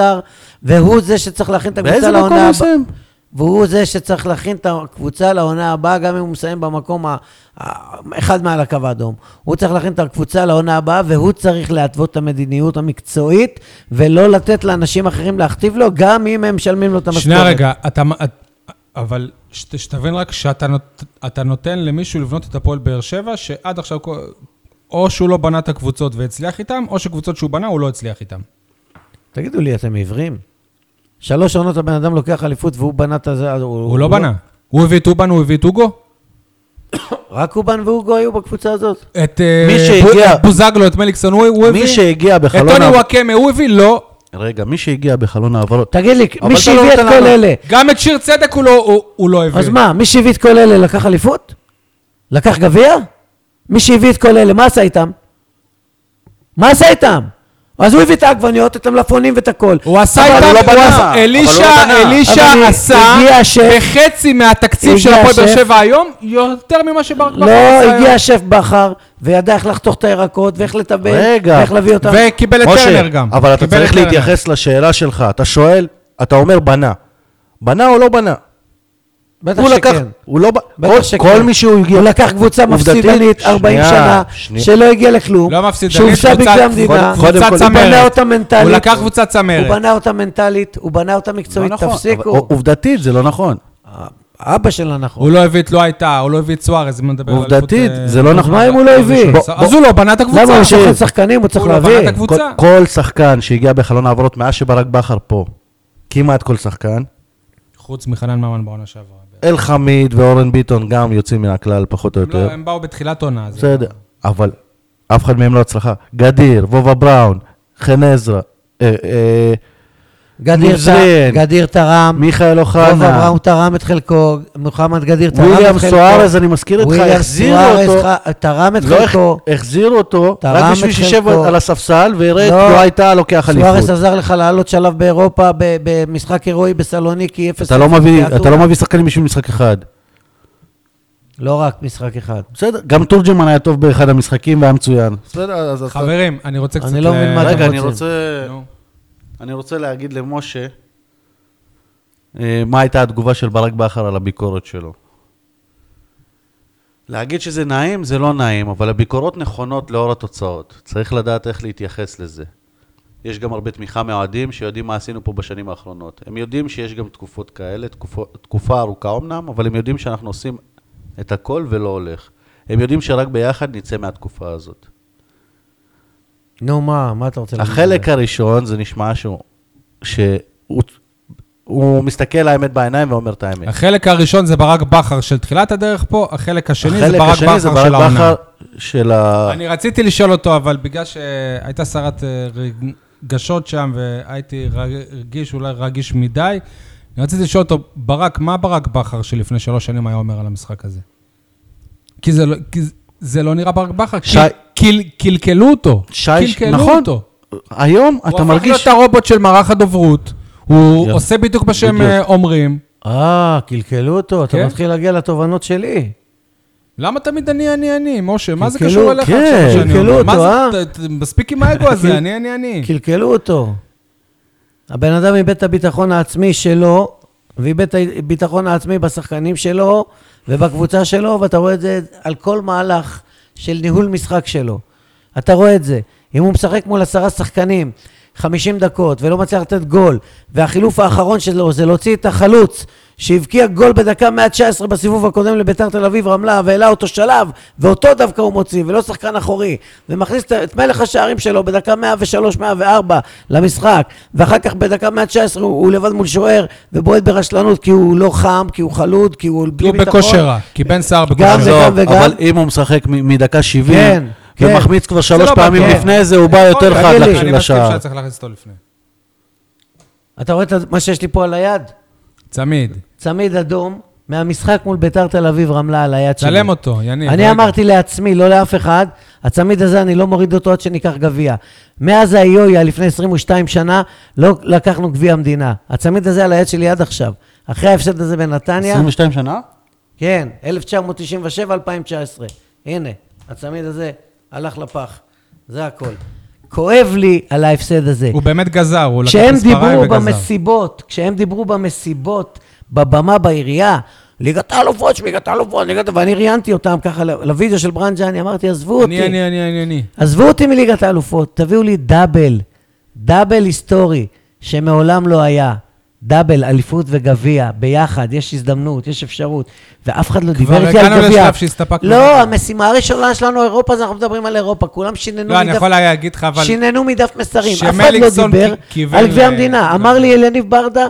S3: והוא זה שצריך להכין את הקבוצה
S2: באיזה מקום
S3: לעונה
S2: הוא
S3: הבאה.
S2: יסיים?
S3: והוא זה שצריך להכין את הקבוצה לעונה הבאה, גם אם הוא מסיים במקום ה... ה- אחד מעל הקו האדום. הוא צריך להכין את הקבוצה לעונה הבאה, והוא צריך להתוות את המדיניות המקצועית, ולא לתת לאנשים אחרים להכתיב לו, גם אם הם משלמים לו את המשכורת.
S1: שנייה רגע, אתה... מ- את- אבל שת- שתבין רק שאתה נות- אתה נותן למישהו לבנות את הפועל באר שבע, שעד עכשיו כל- או שהוא לא בנה את הקבוצות והצליח איתם, או שקבוצות שהוא בנה הוא לא הצליח איתם.
S3: תגידו לי, אתם עיוורים? שלוש עונות הבן אדם לוקח אליפות והוא בנה את הזה, אז הוא,
S1: הוא לא בנה. הוא הביא את אובן, הוא הביא את אוגו?
S3: רק אובן והוגו היו בקבוצה הזאת.
S1: את אה,
S4: מי שהגיע-
S1: בו- בוזגלו, את מליקסון, הוא הוא הביא?
S4: מי שהגיע
S1: את
S4: בחלון...
S1: טוני
S4: ה-
S1: וואקמה הוא הביא? לא.
S2: רגע, מי שהגיע בחלון העברות,
S3: תגיד לי,
S2: אבל
S3: מי
S2: אתה
S3: שהביא
S2: לא
S3: את
S2: נותן
S3: כל
S2: לנו-
S4: אה.
S3: אלה,
S1: גם את שיר צדק הוא לא- הוא- הוא לא הביא.
S3: אז מה, מי שהביא את כל אלה לקח אליפות? לקח גביע? מי שהביא את כל אלה, מה עשה איתם? מה עשה איתם? אז הוא הביא את העגבניות, את המלפונים ואת הכל.
S1: הוא עשה
S3: אבל
S1: איתם,
S3: הוא לא
S1: הוא
S3: בנה.
S1: עשה- אלישע,
S3: אבל
S1: אלישע עשה
S3: הגיע השף.
S1: בחצי מהתקציב של
S3: הגיע
S1: הפועל באר
S3: השף.
S1: שבע היום, יותר ממה שברק בכר עשה
S3: לא,
S1: היום.
S3: הגיע שף בכר, וידע איך לחתוך את הירקות, ואיך לטבל,
S2: רגע.
S3: ואיך להביא אותם.
S1: וקיבל את טרנר גם.
S2: אבל אתה
S1: קיבל
S2: צריך
S1: את טרנר.
S2: להתייחס לשאלה שלך. אתה שואל, אתה אומר בנה. בנה או לא בנה?
S3: בטח
S2: הוא לקח,
S3: שכן.
S2: הוא לא... ב-
S3: בטח
S2: כל-
S3: שכן.
S2: כל מי שהוא הגיע...
S3: הוא לקח קבוצה
S2: עובדתית-
S3: מפסידנית 40
S2: שנייה,
S3: שנה,
S2: שנייה.
S3: שלא הגיע לכלום,
S1: לא מפסיד,
S3: שהובסה בגלל המדינה,
S2: קודם- קודם
S1: קבוצה
S2: כל-
S1: צמרת.
S3: הוא בנה אותה מנטלית.
S1: הוא לקח קבוצה
S3: הוא
S1: צמרת.
S3: בנה אותה מנטלית, הוא בנה אותה מקצועית,
S2: לא נכון, אבל-
S3: תפסיקו.
S2: עובדתית זה לא נכון.
S3: אבא שלה נכון.
S1: הוא לא הביא את לא הייתה, הוא לא הביא את סוארז, אם נדבר על אליפות,
S2: עובדתית
S1: אה,
S2: זה לא
S3: אז
S2: נכון.
S3: מה אם הוא לא הביא?
S2: בוא-
S1: אז הוא לא בנה את הקבוצה.
S3: למה הוא שוכר
S1: הוא
S3: שחקנים? הוא צריך
S1: לא בנה את
S3: להביא.
S2: כל-
S1: הקבוצה.
S2: כל שחקן שהגיע בחלון העברות מאז שברק בכר פה, כמעט כל שחקן,
S1: חוץ מחנן ממן בעונה שעברה.
S2: אל חמיד ואורן ביטון גם יוצאים מן הכלל פחות או
S1: הם לא-
S2: יותר.
S1: הם באו בתחילת עונה. אז-
S2: בסדר, אבל אף אחד מהם לא הצלחה. גדיר, וובה בראון, חן עזרא, אה, אה,
S3: גדיר
S2: מוזרין.
S3: ט- גדיר תרם,
S2: מיכאל
S3: רוב
S2: אוחנה,
S3: אברהם תרם את חלקו, מוחמד גדיר תרם את חלקו.
S2: וויליאם סוארז, אני מזכיר אותך,
S3: וויליאם
S2: החזירו
S3: סוארז
S2: אותו,
S3: ח- תרם את
S2: לא הח-
S3: חלקו.
S2: החזירו אותו,
S3: תרם
S2: רק בשביל
S3: את
S2: שישב
S3: חלקו.
S2: על הספסל ויראה את
S3: לא.
S2: לא הייתה לוקח
S3: סוארס
S2: אליפות.
S3: עזר לך לעלות שלב באירופה ב- במשחק הירואי בסלוניקי 0
S2: אתה לא מביא- אתה לא מביא שחקנים בשביל משחק אחד.
S3: לא רק משחק אחד.
S2: בסדר, גם תורג'מן היה טוב באחד המשחקים והיה מצוין. בסדר, אז... אז-
S1: חברים, אני רוצה
S3: אני
S1: קצת...
S3: לא מבין
S1: ל-
S3: מה אתם
S2: רגע, אני
S3: רוצים?
S2: רוצה...
S1: נו.
S2: אני רוצה להגיד למשה, אה, מה הייתה התגובה של ברק בכר על הביקורת שלו. להגיד שזה נעים, זה לא נעים, אבל הביקורות נכונות לאור התוצאות. צריך לדעת איך להתייחס לזה. יש גם הרבה תמיכה מהאוהדים שיודעים מה עשינו פה בשנים האחרונות. הם יודעים שיש גם תקופות כאלה, תקופו, תקופה ארוכה אמנם, אבל הם יודעים שאנחנו עושים את הכל ולא הולך. הם יודעים שרק ביחד נצא מהתקופה הזאת.
S3: נו, מה, מה אתה רוצה להגיד?
S2: החלק הראשון זה נשמע שהוא, שהוא הוא מסתכל לאמת בעיניים ואומר את האמת.
S1: החלק הראשון זה ברק בכר של תחילת הדרך פה, החלק השני זה
S2: החלק
S1: ברק
S2: השני
S1: בכר של העונה.
S2: של ה...
S1: אני רציתי לשאול אותו, אבל בגלל שהייתה סערת אה, רגשות שם, והייתי רגיש, אולי רגיש מדי, אני רציתי לשאול אותו, ברק, מה ברק בכר שלפני שלוש שנים היה אומר על המשחק הזה? כי זה לא, כי זה- זה לא נראה ברק בכר,
S2: שי-
S1: כי- קיל- קלקלו אותו.
S2: שי-
S1: קלקלו
S2: נכון.
S1: אותו.
S2: היום
S1: הוא
S2: אתה
S1: הפך להיות
S2: מרגיש...
S1: הרובוט של מערך הדוברות, הוא
S2: יופי.
S1: עושה בדיוק מה שהם
S2: בדיוק.
S1: אה, אומרים.
S3: אה, קלקלו אותו, אתה
S1: כן?
S3: מתחיל להגיע לתובנות שלי.
S1: למה תמיד אני, אני, אני, משה? מה זה
S3: קלקלו,
S1: קשור אליך
S2: כן,
S1: עכשיו שאני
S3: קלקלו
S1: אומר? מה
S3: אותו,
S1: זה-
S3: אה?
S1: ת- ת- מספיק עם
S2: <laughs>
S1: האגו הזה,
S2: כאילו,
S3: קל-
S1: אני, אני, אני.
S3: קלקלו אותו. הבן אדם איבד את הביטחון העצמי שלו, ואיבד את הביטחון העצמי בשחקנים שלו ובקבוצה שלו, ואתה רואה את זה על כל מהלך של ניהול משחק שלו. אתה רואה את זה. אם הוא משחק מול עשרה שחקנים 50 דקות ולא מצליח לתת גול, והחילוף האחרון שלו זה להוציא את החלוץ שהבקיע גול בדקה 119 בסיבוב הקודם לביתר תל אביב, רמלה, והעלה אותו שלב, ואותו דווקא הוא מוציא, ולא שחקן אחורי, ומכניס את- את מלך השערים שלו בדקה 103-104 למשחק, ואחר כך בדקה 119 הוא, הוא לבד מול שוער, ובועט ברשלנות כי הוא לא חם, כי הוא חלוד, כי הוא
S1: כי הוא לא בכושר רע, כי בן סער
S3: גם
S1: בכושר לא רע.
S3: וגם וגם.
S2: אבל אם הוא משחק מ- מדקה 70,
S3: כן, כן.
S2: ומחמיץ כבר
S1: זה
S2: שלוש
S1: לא
S2: פעמים
S1: בטוח.
S2: לפני זה, הוא בא יותר
S1: אוקיי,
S2: חד
S1: אני
S2: לש-
S1: מסכים
S2: לשער.
S1: שהיה צריך להכניס אותו לפני.
S3: אתה רואה את ה- מה שיש לי פה על היד?
S1: צמיד.
S3: צמיד אדום מהמשחק מול ביתר תל אביב רמלה על היד שלי.
S1: צלם אותו, יניב.
S3: אני
S1: רגע.
S3: אמרתי לעצמי, לא לאף אחד, הצמיד הזה, אני לא מוריד אותו עד שניקח גביע. מאז האיויה, לפני 22 שנה, לא לקחנו גביע המדינה. הצמיד הזה על היד שלי עד עכשיו. אחרי ההפסד הזה בנתניה,
S2: 22 שנה?
S3: כן, 1997-2019. הנה, הצמיד הזה הלך לפח. זה הכל. כואב לי על ההפסד הזה.
S2: כן.
S1: הוא באמת גזר, הוא לקח
S3: כשהם
S1: מספריים
S3: דיברו
S1: וגזר.
S3: במסיבות, כשהם דיברו במסיבות, בבמה בעירייה, ליגת האלופות, ליגת האלופות, ליגת... ואני ראיינתי אותם ככה ל- לוידאו של ברנג'ני, אמרתי, עזבו אותי.
S2: כן.
S1: אני, אני, אני, אני, אני.
S3: עזבו אותי מליגת האלופות, תביאו לי דאבל, דאבל היסטורי, שמעולם לא היה. דאבל, אליפות וגביע, ביחד, יש הזדמנות, יש אפשרות, ואף אחד לא דיבר איתי על גביע.
S1: הגענו לשלב שהסתפקנו.
S3: לא, המשימה הראשונה שלנו אירופה, אז אנחנו מדברים על אירופה, כולם שיננו
S1: לא, אני
S3: מדף-
S1: יכול להגיד לך, אבל...
S3: שיננו מדף מסרים, אף אחד לא
S1: שמליקסון
S3: דיבר
S1: כ- כיוון
S3: על גביע
S1: ל- נכון.
S3: המדינה. אמר לי אליניב ברדה,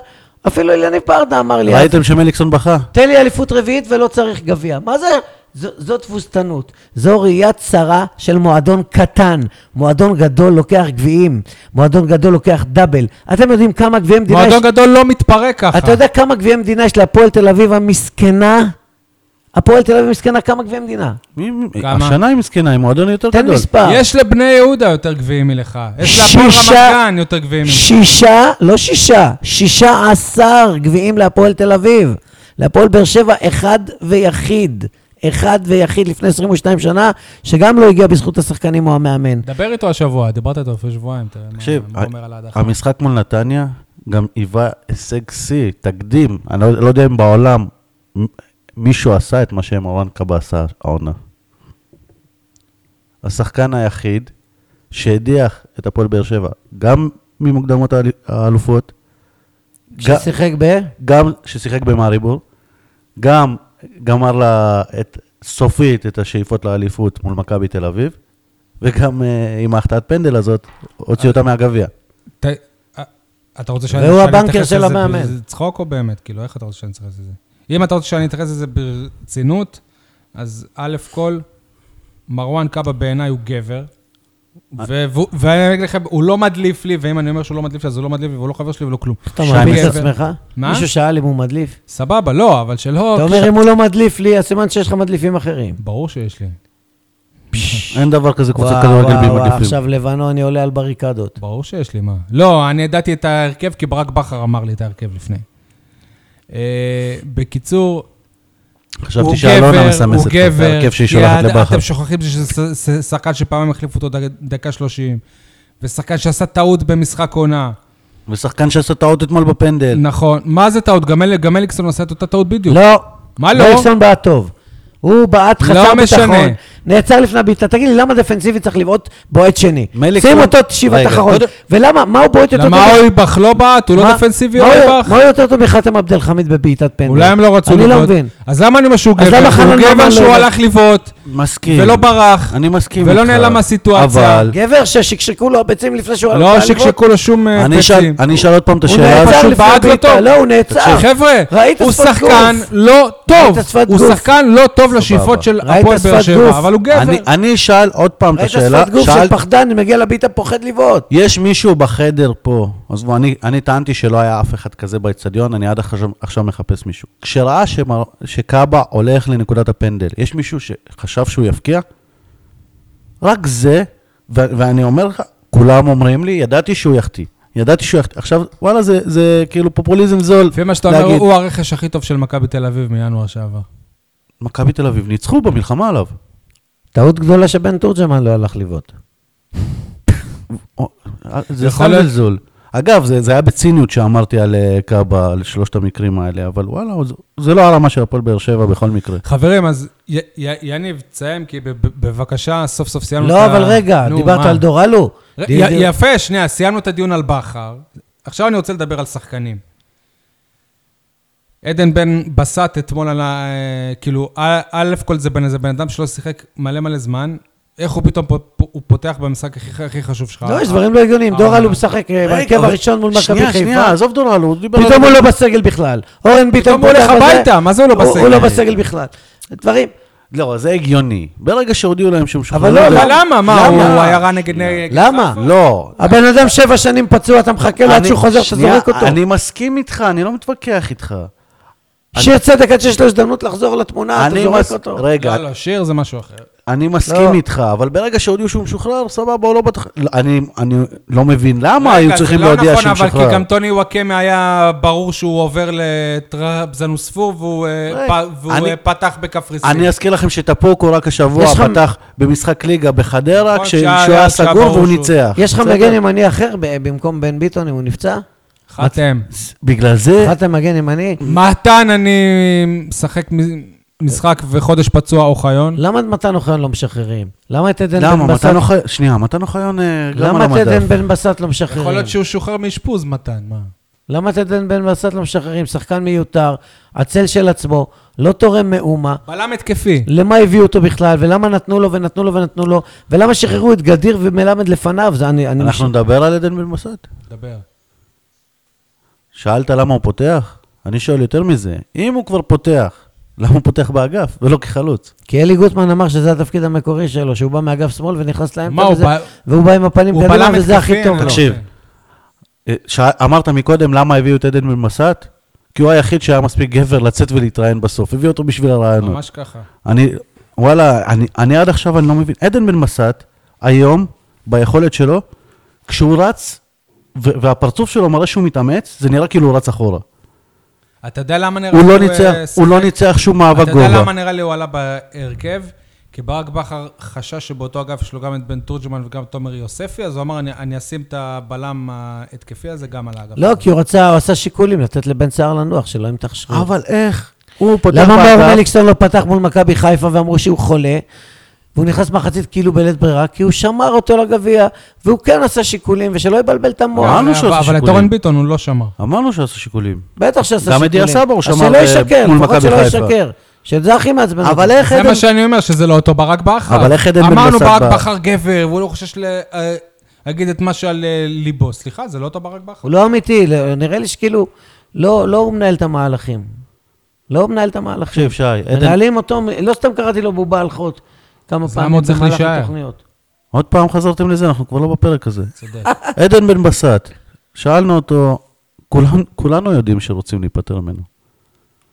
S3: אפילו אליניב ברדה אמר לי,
S2: ראיתם שמליקסון בכה?
S3: תן לי אליפות רביעית ולא צריך גביע. מה זה? זו, זו תבוסתנות, זו ראייה צרה של מועדון קטן. מועדון גדול לוקח גביעים, מועדון גדול לוקח דאבל. אתם יודעים כמה גביעי מדינה יש...
S1: מועדון גדול לא מתפרק ככה.
S3: אתה יודע כמה גביעי מדינה יש להפועל תל אביב המסכנה? הפועל תל אביב המסכנה, כמה גביעי מדינה?
S2: מי- מי-
S1: כמה?
S2: השנה היא מסכנה, היא מועדון יותר
S3: תן
S2: גדול.
S3: מספר.
S1: יש לבני יהודה יותר גביעים מלך. יש להפועל רמת
S3: שישה-
S1: גן יותר גביעים ממך.
S3: שישה, לא שישה, שישה עשר גביעים להפועל תל אביב. להפועל באר שבע אחד ויחיד. אחד ויחיד לפני 22 שנה, שגם לא הגיע בזכות השחקנים או המאמן.
S1: דבר איתו השבוע, דיברת איתו לפני שבועיים, תראה מה-
S2: תקשיב,
S1: מה הוא אומר על ההדחה.
S2: המשחק מול נתניה גם היווה הישג שיא, תקדים. אני לא לא יודע אם בעולם מ- מישהו עשה את מה שמרואן קאבה עשה העונה. השחקן היחיד שהדיח את הפועל באר שבע, גם ממוקדמות האל- האלופות, ג-
S3: ששיחק ב...
S2: גם ששיחק במאריבור, גם גמר לה את, סופית את השאיפות לאליפות מול מכבי תל אביב, וגם אה, עם ההחטאת פנדל הזאת, הוציא אותה מהגביע.
S1: ת- אה, אתה רוצה שאני
S3: והוא
S1: שאני
S3: הבנקר
S1: אתייחס
S3: של
S1: לזה
S3: המאמן.
S1: בצחוק או באמת? כאילו, איך אתה רוצה שאני אתייחס לזה? אם אתה רוצה שאני אתייחס לזה ברצינות, אז א' כל, מרואן קאבה בעיניי הוא גבר. ו- והוא- ואני אגיד לכם, הוא לא מדליף לי, ואם אני אומר שהוא לא מדליף לי, אז הוא לא מדליף לי, והוא לא חבר שלי ולא כלום.
S3: אתה
S2: שי
S3: מדליף את
S1: גבר.
S3: עצמך?
S1: מה?
S3: מישהו שאל אם הוא מדליף?
S1: סבבה, לא, אבל שלא...
S3: אתה אומר, אם הוא לא מדליף לי, אז סימן שיש לך מדליפים <laughs> אחרים.
S1: ברור שיש לי.
S2: אין דבר כזה קבוצת
S3: וואו,
S2: כדורגל בלי
S3: וואו, וואו,
S2: מדליפים.
S3: עכשיו לבנוני עולה על בריקדות.
S1: ברור שיש לי, מה? לא, אני ידעתי את ההרכב, כי ברק בכר אמר לי את ההרכב לפני. אה, בקיצור,
S2: חשבתי שאלונה מסמסת
S1: הוא
S2: את
S1: גבר,
S2: ההרכב שהיא
S1: כי
S2: שולחת
S1: עד-
S2: לבכר.
S1: אתם שוכחים שזה ש- ש- שחקן שפעמים החליפו אותו דק- דקה 30, ושחקן שעשה טעות במשחק עונה.
S2: ושחקן שעשה טעות אתמול בפנדל.
S1: נכון. מה זה טעות? גם אל- גם אליקסון עשה את אותה טעות בדיוק.
S3: כן. לא.
S1: מה לא?
S3: מליקסון בעט טוב. הוא בעט חסר
S1: לא משנה.
S3: ביטחון, נעצר לפני הבעיטה. תגיד לי, למה דפנסיבי צריך לבעוט בועט שני?
S2: מליקסון-
S3: שים אותו שבעת
S2: רגע,
S3: האחרון.
S2: קודם-
S3: ולמה, מה הוא בועט יותר טוב?
S1: לא- למה
S3: מח-
S1: אויבך לא בעט? הוא
S3: מה-
S1: לא דפנסיבי
S3: מה הוא-
S1: אויבך?
S3: מה הוא יותר טוב מחתם עבד אל חמיד בבעיטת פנדל?
S1: אולי הם לא רצו
S3: אני
S1: לבעוט.
S3: לא מבין.
S1: אז למה אני אומר שהוא
S3: אז
S1: גבר?
S3: למה חנן
S1: הוא גבר
S3: ממן לא
S1: שהוא
S3: הבעט?
S1: הלך לבעוט,
S2: מסכים.
S1: ולא ברח.
S2: אני מסכים
S1: ולא
S2: איתך.
S1: נעלם מהסיטואציה.
S2: אבל
S3: גבר ששקשקו לו הביצים לפני שהוא... הלך
S1: לא
S3: לעליבות,
S1: שקשקו לו שום אה,
S2: אני אשאל-
S1: פצים.
S2: אני אשאל עוד פעם את
S3: הוא
S2: השאלה
S1: אבל
S3: נעצר
S1: שהוא
S2: הזאת.
S3: לפני
S1: בעט לא
S3: הבעיטה.
S1: טוב.
S3: לא, הוא נעצר.
S1: חבר'ה,
S3: ראית
S1: הוא
S3: שפת
S1: שחקן
S3: גוף.
S1: לא טוב.
S3: ראית שפת
S1: הוא
S3: גוף.
S1: שחקן לא טוב לשאיפות של
S3: ראית
S1: הפועל באר
S3: שפת גוף.
S1: שבע, אבל הוא גבר.
S2: אני- אני אשאל עוד פעם את
S3: ראית
S2: השאלה.
S3: שפת גוף
S2: שאלת-
S3: של פחדן, אני מגיע לבעיטה, פוחד לבעוט.
S2: יש מישהו בחדר פה, עזבו, אני, אני טענתי שלא היה אף אחד כזה באצטדיון, אני עד עכשיו, עכשיו מחפש מישהו. כשראה שמר, שקאבה הולך לנקודת הפנדל, יש מישהו שחשב שהוא יפקיע? רק זה, ו- ואני אומר לך, כולם אומרים לי, ידעתי שהוא יחטיא. ידעתי שהוא יחטיא. עכשיו, וואלה, זה, זה כאילו פופוליזם זול.
S1: לפי מה שאתה אומר, הוא הרכש הכי טוב של מכבי תל אביב מינואר שעבר.
S2: מכבי תל אביב ניצחו במלחמה עליו.
S3: טעות גדולה שבן תורג'מן לא הלך לבעוט.
S2: או, זה
S1: יכול
S2: סתם
S1: להיות-
S2: זלזול. אגב, זה, זה היה בציניות שאמרתי על אה, קאבה, על שלושת המקרים האלה, אבל וואלה, זה, זה לא הרמה של הפועל באר שבע בכל מקרה.
S1: חברים, אז י- י- יניב, תסיים, כי ב- ב- בבקשה, סוף סוף סיימנו את ה...
S3: לא, אבל רגע,
S1: נו,
S3: דיברת
S1: מה?
S3: על דורלו.
S1: ר-
S3: די-
S1: י- יפה, שנייה, סיימנו את הדיון על בכר. עכשיו אני רוצה לדבר על שחקנים. עדן בן בסט אתמול על ה... אה, כאילו, א- א' כל זה בן איזה בן אדם שלא שיחק מלא מלא זמן, איך הוא פתאום פ- פ- הוא פותח במשחק הכי הכי חשוב שלך?
S3: לא, יש דברים לא הגיוניים.
S1: אה,
S3: דורל
S1: אה.
S3: הוא משחק אה,
S4: רגע,
S3: בהרכב
S4: אבל-
S3: הראשון מול מכבי
S4: שנייה, שנייה,
S3: חיפה.
S4: עזוב דורל, הוא דיבר...
S3: פתאום הוא לא בסגל בכלל. אורן ביטון
S1: פתאום הוא הולך
S3: פותח בזה,
S1: הביתה, מה זה הוא לא
S3: הוא- הוא
S1: בסגל?
S3: לא בסגל בכלל. דברים.
S2: לא, זה הגיוני. ברגע שהודיעו להם שהם
S3: אבל לא,
S1: אבל
S3: לא.
S1: למה? מה, הוא
S3: למה?
S1: היה רע נגד... נגד-
S3: למה?
S2: לא.
S3: הבן אדם שבע שנים פצוע, אתה מחכה לו עד
S2: אני-
S3: שהוא חוזר, אתה
S2: שנייה,
S3: זורק אותו.
S2: אני מסכים איתך, אני לא מתווכח איתך.
S3: שיר צדק עד שיש לו הזדמנות לחזור לתמונה, אתה
S2: אני
S3: זורק
S2: מס-
S3: אותו.
S2: רגע,
S1: לא, לא, שיר זה משהו אחר.
S2: אני מסכים איתך, אבל ברגע שהודיעו שהוא משוחרר, סבבה, הוא לא בטח... לא, אני- אני לא מבין למה
S1: רגע,
S2: היו צריכים להודיע שהוא
S1: זה לא נכון, אבל כי
S2: משוחרר.
S1: גם טוני וואקמה היה ברור שהוא עובר לטראבזנוספור, והוא אה,
S2: רגע,
S1: פ- והוא,
S2: אני-
S1: אה, פתח בקפריסין.
S2: אני אזכיר לכם שטפוקו רק השבוע
S3: יש לך-
S2: פתח במשחק ליגה בחדרה,
S1: נכון,
S2: כשהוא
S1: שהיה- שהיה
S2: היה סגור
S1: ברור
S2: והוא
S1: שהוא-
S2: ניצח.
S3: יש לך
S2: בסדר?
S3: מגן ימני אחר ב- במקום בן ביטון אם הוא נפצע?
S1: חתם.
S2: בגלל זה,
S3: אחת מגן ימני?
S1: מתן, אני משחק מ- משחק וחודש פצוע אוחיון.
S3: למה את מתן אוחיון לא משחררים? למה את עדן
S2: למה?
S3: בן בסט?
S2: מתן אוחיון, שנייה, מתן אוחיון אה, גם על
S3: למה את עדן
S2: המדף.
S3: בן בסט לא
S1: יכול
S3: משחררים?
S1: להיות שהוא שוחרר מאשפוז, מתן, מה?
S3: למה את עדן בן בסט לא משחררים? שחקן מיותר, הצל של עצמו, לא תורם מאומה.
S1: בלם התקפי.
S3: למה הביאו אותו בכלל, ולמה נתנו לו ונתנו לו ונתנו לו, ולמה שחררו את גדיר ומלמד לפניו? זה אני... אני
S2: אנחנו
S3: מש-
S2: נדבר על עדן בן בסט?
S1: דבר.
S2: שאלת למה הוא פותח? אני שואל יותר מזה, אם הוא כבר פותח, למה הוא פותח באגף ולא כחלוץ?
S3: כי אלי גוטמן אמר שזה התפקיד המקורי שלו, שהוא בא מאגף שמאל ונכנס
S1: מה,
S3: לאמצע,
S1: הוא
S3: וזה-
S1: בא-
S3: והוא בא עם הפנים
S1: הוא
S3: קדימה,
S1: בלם
S3: וזה הכי
S1: התקפי,
S3: טוב
S1: אני
S3: לו.
S1: לא-
S2: תקשיב. אה, שא- אמרת מקודם למה הביאו את עדן בן בסט? כי הוא היחיד שהיה מספיק גבר לצאת ולהתראיין בסוף, הביאו אותו בשביל הרעיונות.
S1: ממש ככה.
S2: אני, וואלה, אני, אני עד עכשיו אני לא מבין. עדן בן מסת, היום, ביכולת שלו, כשהוא רץ, ו- והפרצוף שלו מראה שהוא מתאמץ, זה נראה כאילו הוא רץ אחורה.
S1: אתה יודע למה נראה
S2: הוא
S1: לי
S2: לא
S1: כן, אה,
S2: ניצח, הוא לא ניצח שום מאבק
S1: אתה יודע למה
S2: גובה.
S1: נראה לי הוא עלה בהרכב? כי ברק בכר חשש שבאותו אגף יש לו גם את בן תורג'מן וגם את תומר יוספי, אז הוא אמר, אני, אני אשים את הבלם ההתקפי הזה גם על האגף.
S3: לא,
S1: הזה."
S3: כי הוא רצה, הוא עשה שיקולים לתת לבן סער לנוח, שלא ימתח שריר.
S2: אבל איך? הוא פותח
S3: למה מאור
S2: באגף,
S3: מליקסון לא פתח מול מכבי חיפה ואמרו שהוא חולה, והוא נכנס מחצית כאילו בלית ברירה, כי הוא שמר אותו לגביע, והוא כן עשה שיקולים, ושלא יבלבל את המוח.
S2: אמרנו
S1: אבל-
S2: שהוא עושה
S1: אבל את
S2: שיקולים.
S1: אורן ביטון הוא לא שמר.
S2: אמרנו שעשו שיקולים.
S3: בטח שעשה שיקולים.
S2: גם את דיה סבא הוא
S3: אז
S2: שמר
S3: שלא
S2: ב-
S3: ישקר,
S2: מול
S3: לפחות
S2: מכבי
S3: שלא
S2: חיפה.
S3: ישקר. שזה הכי מעצבן.
S2: אבל
S3: אותי.
S2: איך
S1: זה
S2: עדן...
S1: מה שאני אומר, שזה לא אותו ברק בכר.
S2: אבל איך עדן בן
S1: אמרנו
S2: בסט
S1: ברק
S2: בא-
S1: בכר גבר, והוא לא חושש ל- אה, להגיד את מה שעל אה, ליבו. סליחה, זה לא אותו ברק
S2: <laughs>
S1: בכר.
S3: הוא לא אמיתי, לא- נראה לי שכאילו, לא לא הוא מנהל את המהלכים. לא הוא מנהל את המהלכים.
S2: תקשיב, שי, עדן...
S3: מנהלים אותו, מ- לא סתם קראתי לו בובה על חוט כמה
S1: אז למה
S3: פעמים
S1: הוא צריך להישאר?
S3: התוכניות.
S2: עוד פעם חזרתם לזה, אנחנו כבר לא בפרק הזה.
S1: צודק.
S2: עדן בן בסט, שאלנו אותו, כולנו, כולנו יודעים שרוצים להיפטר ממנו.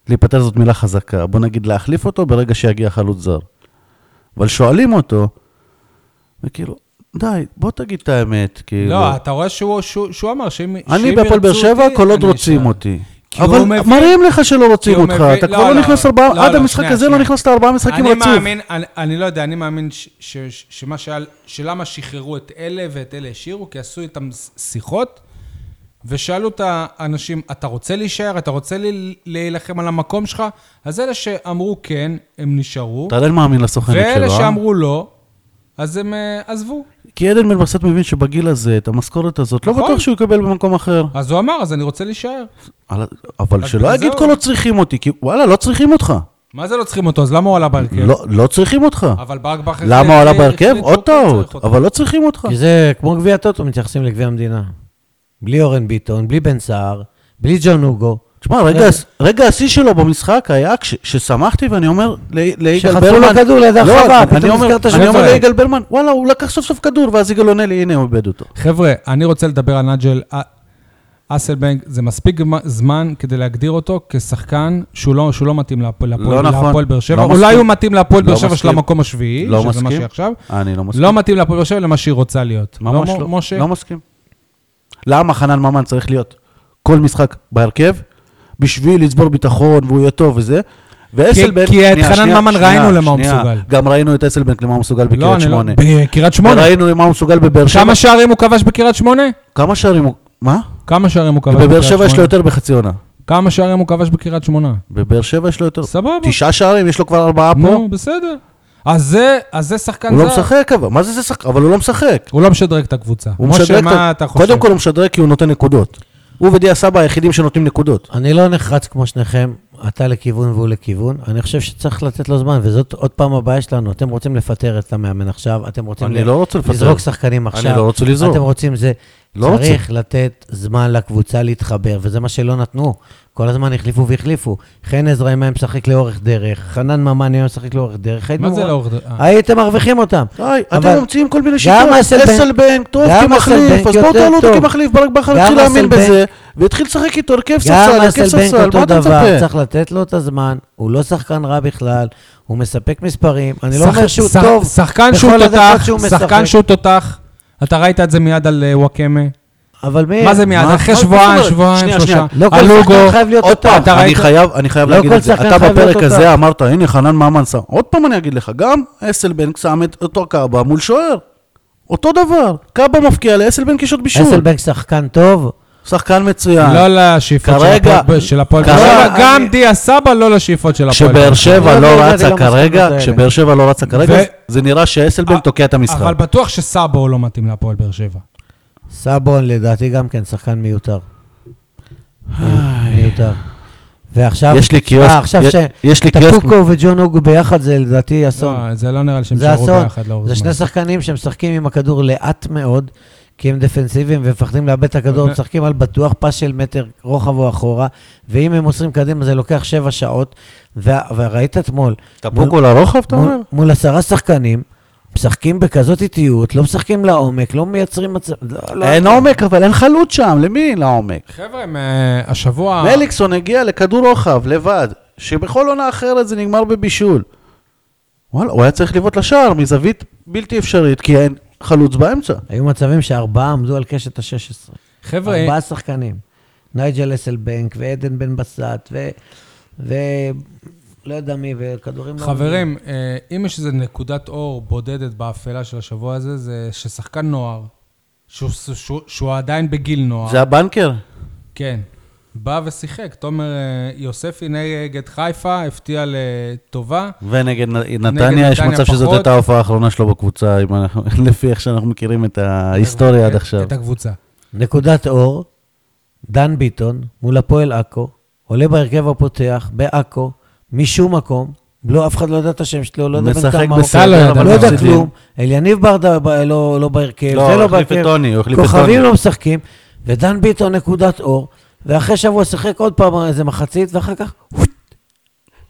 S2: להיפטר זאת מילה חזקה, בוא נגיד להחליף אותו ברגע שיגיע חלוץ זר. אבל שואלים אותו, וכאילו, די, בוא תגיד את האמת, כאילו.
S1: לא, אתה רואה שהוא- שהוא שהוא אמר שאם שאם
S2: אני
S1: ירצו
S2: בהפועל באר שבע,
S1: אותי,
S2: כל עוד
S1: אני
S2: רוצים
S1: אשאר.
S2: אותי.
S1: כי הוא
S2: אבל
S1: מבין-
S2: מראים לך שלא רוצים
S1: כי הוא
S2: אותך,
S1: מבין-
S2: אתה
S1: לא,
S2: כבר
S1: לא,
S2: לא נכנס
S1: לא,
S2: ארבעה,
S1: לא,
S2: עד
S1: לא,
S2: המשחק
S1: שנייה,
S2: הזה לא
S1: שנייה.
S2: נכנסת ארבעה משחקים
S1: אני
S2: רצוף.
S1: מאמין, אני, אני לא יודע, אני מאמין ש, ש, ש, שמה שהיה, שלמה שחררו את אלה ואת אלה השאירו, כי עשו איתם ס- שיחות, ושאלו את האנשים, אתה רוצה להישאר? אתה רוצה לי- להילחם על המקום שלך? אז אלה שאמרו כן, הם נשארו,
S2: אתה עדיין מאמין לסוכנת שלו,
S1: ואלה
S2: אה?
S1: שאמרו לא, אז הם אה, עזבו.
S2: כי עדן בן בסט מבין שבגיל הזה, את המשכורת הזאת, לא
S1: נכון.
S2: בטוח שהוא יקבל במקום אחר.
S1: אז הוא אמר, אז אני רוצה להישאר.
S2: על- אבל
S1: אז
S2: שלא
S1: בגלל
S2: יגיד
S1: זה
S2: כל
S1: הוא-
S2: עוד צריכים אותי, כי וואלה, לא צריכים אותך.
S1: מה זה לא צריכים אותו? אז למה הוא עלה בהרכב?
S2: לא- לא צריכים אותך.
S1: כן. אבל ברק בכר...
S2: למה הוא עלה בהרכב?
S1: החליט
S2: עוד
S1: שהוא כן צריך
S2: טעות,
S1: אותו.
S2: אבל לא צריכים אותך.
S3: כי זה כמו גביע טוטו, מתייחסים לגביע המדינה. בלי אורן ביטון, בלי בן סער, בלי ג'ון הוגו.
S2: תשמע,
S3: כן.
S2: רגע- רגע השיא שלו במשחק היה כש- ששמחתי ואני אומר ל- ליגאל
S3: שחטפו
S2: ברמן...
S3: לו כדור ליד
S2: לא,
S3: הרחבה,
S2: אני-
S3: פתאום
S2: אני אומר-
S3: נזכרת שהוא
S2: אני אומר
S1: צועק.
S2: ליגאל ברמן, וואלה, הוא לקח סוף סוף כדור, ואז יגאל עונה לי, הנה, הוא איבד אותו.
S1: חבר'ה, אני רוצה לדבר על נג'ל א- אסלבנק, זה מספיק גמ- זמן כדי להגדיר אותו כשחקן שהוא לא, שהוא לא מתאים להפועל
S2: לא
S1: להפועל-
S2: נכון.
S1: להפועל באר
S2: לא
S1: שבע. אולי
S2: מסכים.
S1: הוא מתאים להפועל
S2: לא
S1: באר שבע של
S2: מסכים.
S1: המקום השביעי,
S2: לא
S1: שזה מה
S2: מסכים.
S1: שהיא עכשיו.
S2: אני לא מסכים.
S1: לא מתאים להפועל באר שבע למה שהיא רוצה להיות.
S2: ממש
S1: מ-
S2: לא.
S1: משה?
S2: לא מסכים. למה חנן ממן צריך להיות כל משחק בהרכב, בשביל לצבור ביטחון והוא יהיה טוב וזה? ואסלבנק...
S1: כי את
S2: שנייה,
S1: חנן
S2: שנייה,
S1: ממן
S2: שנייה,
S1: ראינו למה הוא
S2: שנייה.
S1: מסוגל. לא,
S2: גם ראינו את אסלבנק למה הוא מסוגל בקריית
S1: אני
S2: שמונה.
S1: בקריית שמונה.
S2: וראינו למה הוא מסוגל בבאר שבע.
S1: כמה שערים הוא כבש בקריית שמונה?
S2: כמה שערים הוא... מה?
S1: כמה שערים הוא כבש
S2: בבאר
S1: בקריית
S2: שבע יש לו
S1: שמונה?
S2: יותר בחצי עונה.
S1: כמה שערים הוא כבש בקריית שמונה?
S2: בבאר שבע יש לו יותר.
S1: סבבה.
S2: תשעה שערים, יש לו כבר ארבעה פה.
S1: נו, בסדר. אז זה, אז זה שחקן
S2: הוא לא
S1: זר.
S2: משחק אבל. מה זה זה שחק? אבל הוא לא משחק.
S1: הוא לא משדרג את הקבוצה.
S2: הוא
S1: משה,
S2: משדרג את ה-
S1: מה אתה חושב?
S2: קודם כל הוא משדרג כי הוא נותן נקודות.
S4: הוא ודיה סבא היחידים שנותנים נקודות.
S3: אני לא נחרץ כמו שניכם, אתה לכיוון והוא לכיוון. אני חושב שצריך לתת לו זמן, וזאת עוד פעם הבעיה שלנו. אתם רוצים לפטר את המאמן עכשיו, אתם רוצים
S4: אני
S3: ל-
S4: לא רוצה לפטר.
S3: לזרוק שחקנים עכשיו.
S4: לא רוצה לזרוק.
S3: אתם רוצים זה.
S4: לא רוצה.
S3: צריך לתת זמן לקבוצה להתחבר, וזה מה שלא נתנו. כל הזמן החליפו והחליפו. חן עזרא אם היה משחק לאורך דרך, חנן ממן אם היה משחק לאורך דרך. הייתם
S1: מה זה
S3: מור-
S1: לאורך דרך? אה.
S3: הייתם מרוויחים אותם.
S4: די,
S3: אבל-
S4: אתם ממציאים כל מיני שיטות.
S3: גם אסלבנק-
S4: אסלבנק, טוב,
S3: גם
S4: כמחליף,
S3: אסלבנק
S4: אז בואו
S3: יותר
S4: תעלו אותו
S3: טוב.
S4: כמחליף, ברק בכר
S3: גם
S4: התחיל להאמין
S3: אסלבנק-
S4: בזה, והתחיל לשחק איתו, הרכב ספסל,
S3: גם
S4: הרכב
S3: אסלבנק
S4: ספסל,
S3: אותו
S4: מה אתה
S3: דבר,
S4: מצפה?
S3: צריך לתת לו את הזמן, הוא לא שחקן רע בכלל, הוא מספק מספרים, אני לא אומר שהוא
S1: שח-
S3: טוב
S1: שחקן
S3: בכל
S1: שהוא
S3: הדקות
S1: תותח,
S3: שהוא משחק,
S1: שחקן שהוא תותח. אתה ראית את זה מיד על אה, וואקמה.
S3: אבל מאיר,
S1: מה זה מיד?
S4: מה-
S1: אחרי
S4: מה- מה
S1: שבועיים,
S4: זאת אומרת?
S1: שבועיים,
S4: שנייה,
S1: שלושה.
S3: לא כל
S1: אלוגו,
S3: שחקן חייב להיות
S4: עוד
S3: אותו.
S4: פעם,
S1: אתה
S4: אני
S1: ראית-
S4: חייב, אני חייב
S3: לא
S4: להגיד
S3: כל
S4: את זה.
S3: שחקן
S4: אתה
S3: חייב להיות
S4: בפרק
S3: אותו.
S4: הזה אמרת, הנה חנן ממן שם. עוד פעם אני אגיד לך, גם אסלבנק שם את אותו קאבה מול שוער. אותו דבר. קאבה מפקיע לאסלבנק יש עוד בישול.
S3: אסלבנק שחקן טוב,
S4: שחקן מצוין.
S1: לא לשאיפות של
S4: כרגע-
S1: הפועל- של הפועל באר
S4: כרגע
S1: שבע,
S4: אני-
S1: גם דיה סבא לא לשאיפות של הפועל
S2: כשבאר
S1: באר שבע.
S2: שבע
S3: לא
S2: לא
S3: יודע,
S2: רצה
S3: אני לא מסכים
S2: כרגע,
S3: לזה.
S2: כשבאר שבע לא רצה כרגע,
S1: ו-
S2: זה נראה שאסלבנק תוקע את המשחק.
S1: אבל בטוח שסאבו הוא לא מתאים להפועל באר שבע.
S3: סבון לדעתי גם כן שחקן מיותר. מיותר. ועכשיו,
S2: יש לי קיוסק-
S3: אה, עכשיו
S2: יש- יש לי קיוסק-
S3: שטקוקו וג'ון אוגו ביחד זה לדעתי אסון.
S1: לא, זה לא נראה לי שהם
S3: זה
S1: שרו
S3: אסון.
S1: ביחד לאורך
S3: זה
S1: זמן.
S3: שני שחקנים שמשחקים עם הכדור לאט מאוד, כי הם דפנסיביים ומפחדים לאבד את הכדור,
S1: אוקיי.
S3: משחקים על בטוח, פס של מטר רוחב או אחורה, ואם הם מוסרים קדימה זה לוקח שבע שעות, וה- וראית אתמול,
S4: טפוקו לרוחב, אתה אומר?
S3: מול, מול עשרה שחקנים, משחקים בכזאת איטיות, לא משחקים לעומק, לא מייצרים מצב... לא, לא,
S4: אין עומק, אבל אין חלוץ שם, למי אין לעומק?
S1: חבר'ה, הם, אה, השבוע...
S4: מליקסון הגיע לכדור רוחב, לבד, שבכל עונה אחרת זה נגמר בבישול. וואלה, הוא היה צריך לבעוט לשער מזווית בלתי אפשרית, כי אין חלוץ באמצע.
S3: היו מצבים שארבעה עמדו על קשת ה-16.
S1: חבר'ה,
S3: ארבעה שחקנים. נייג'ל אסלבנק, ועדן בן בסט, ו... ו... לא יודע מי, וכדורים... לא עומדים.
S1: חברים, אה, אם יש איזו נקודת אור בודדת באפלה של השבוע הזה, זה ששחקן נוער, שהוא- שהוא שהוא עדיין בגיל נוער,
S4: זה הבנקר?
S1: כן, בא ושיחק. תומר אה, יוספי נגד חיפה, הפתיע לטובה.
S2: ונגד נ-
S1: נגד
S2: נתניה, יש
S1: נתניה
S2: מצב שזאת
S1: פחות.
S2: הייתה ההופעה האחרונה שלו בקבוצה,
S4: <laughs>
S2: אם אנחנו- לפי איך שאנחנו מכירים את ההיסטוריה עד
S1: את-
S2: עכשיו.
S1: אה, את הקבוצה.
S3: נקודת אור, דן ביטון, מול הפועל עכו, עולה בהרכב הפותח, בעכו, משום מקום, לא, אף אחד לא יודע את השם שלו, לא יודע בן
S2: משחק
S3: כמה הוא,
S1: אתה לא
S2: בסדר,
S1: יודע,
S2: אבל
S3: לא יודע
S2: מפסידים.
S3: כלום, אליניב ברדה ב- לא לא בהרכב,
S2: לא,
S3: זה
S2: הוא
S3: לא
S2: החליף את
S3: בהרכב,
S2: טוני, הוא החליף את טוני.
S3: כוכבים לא משחקים, ודן ביטון נקודת אור, ואחרי שבוע שיחק עוד פעם אה, איזה מחצית, ואחר כך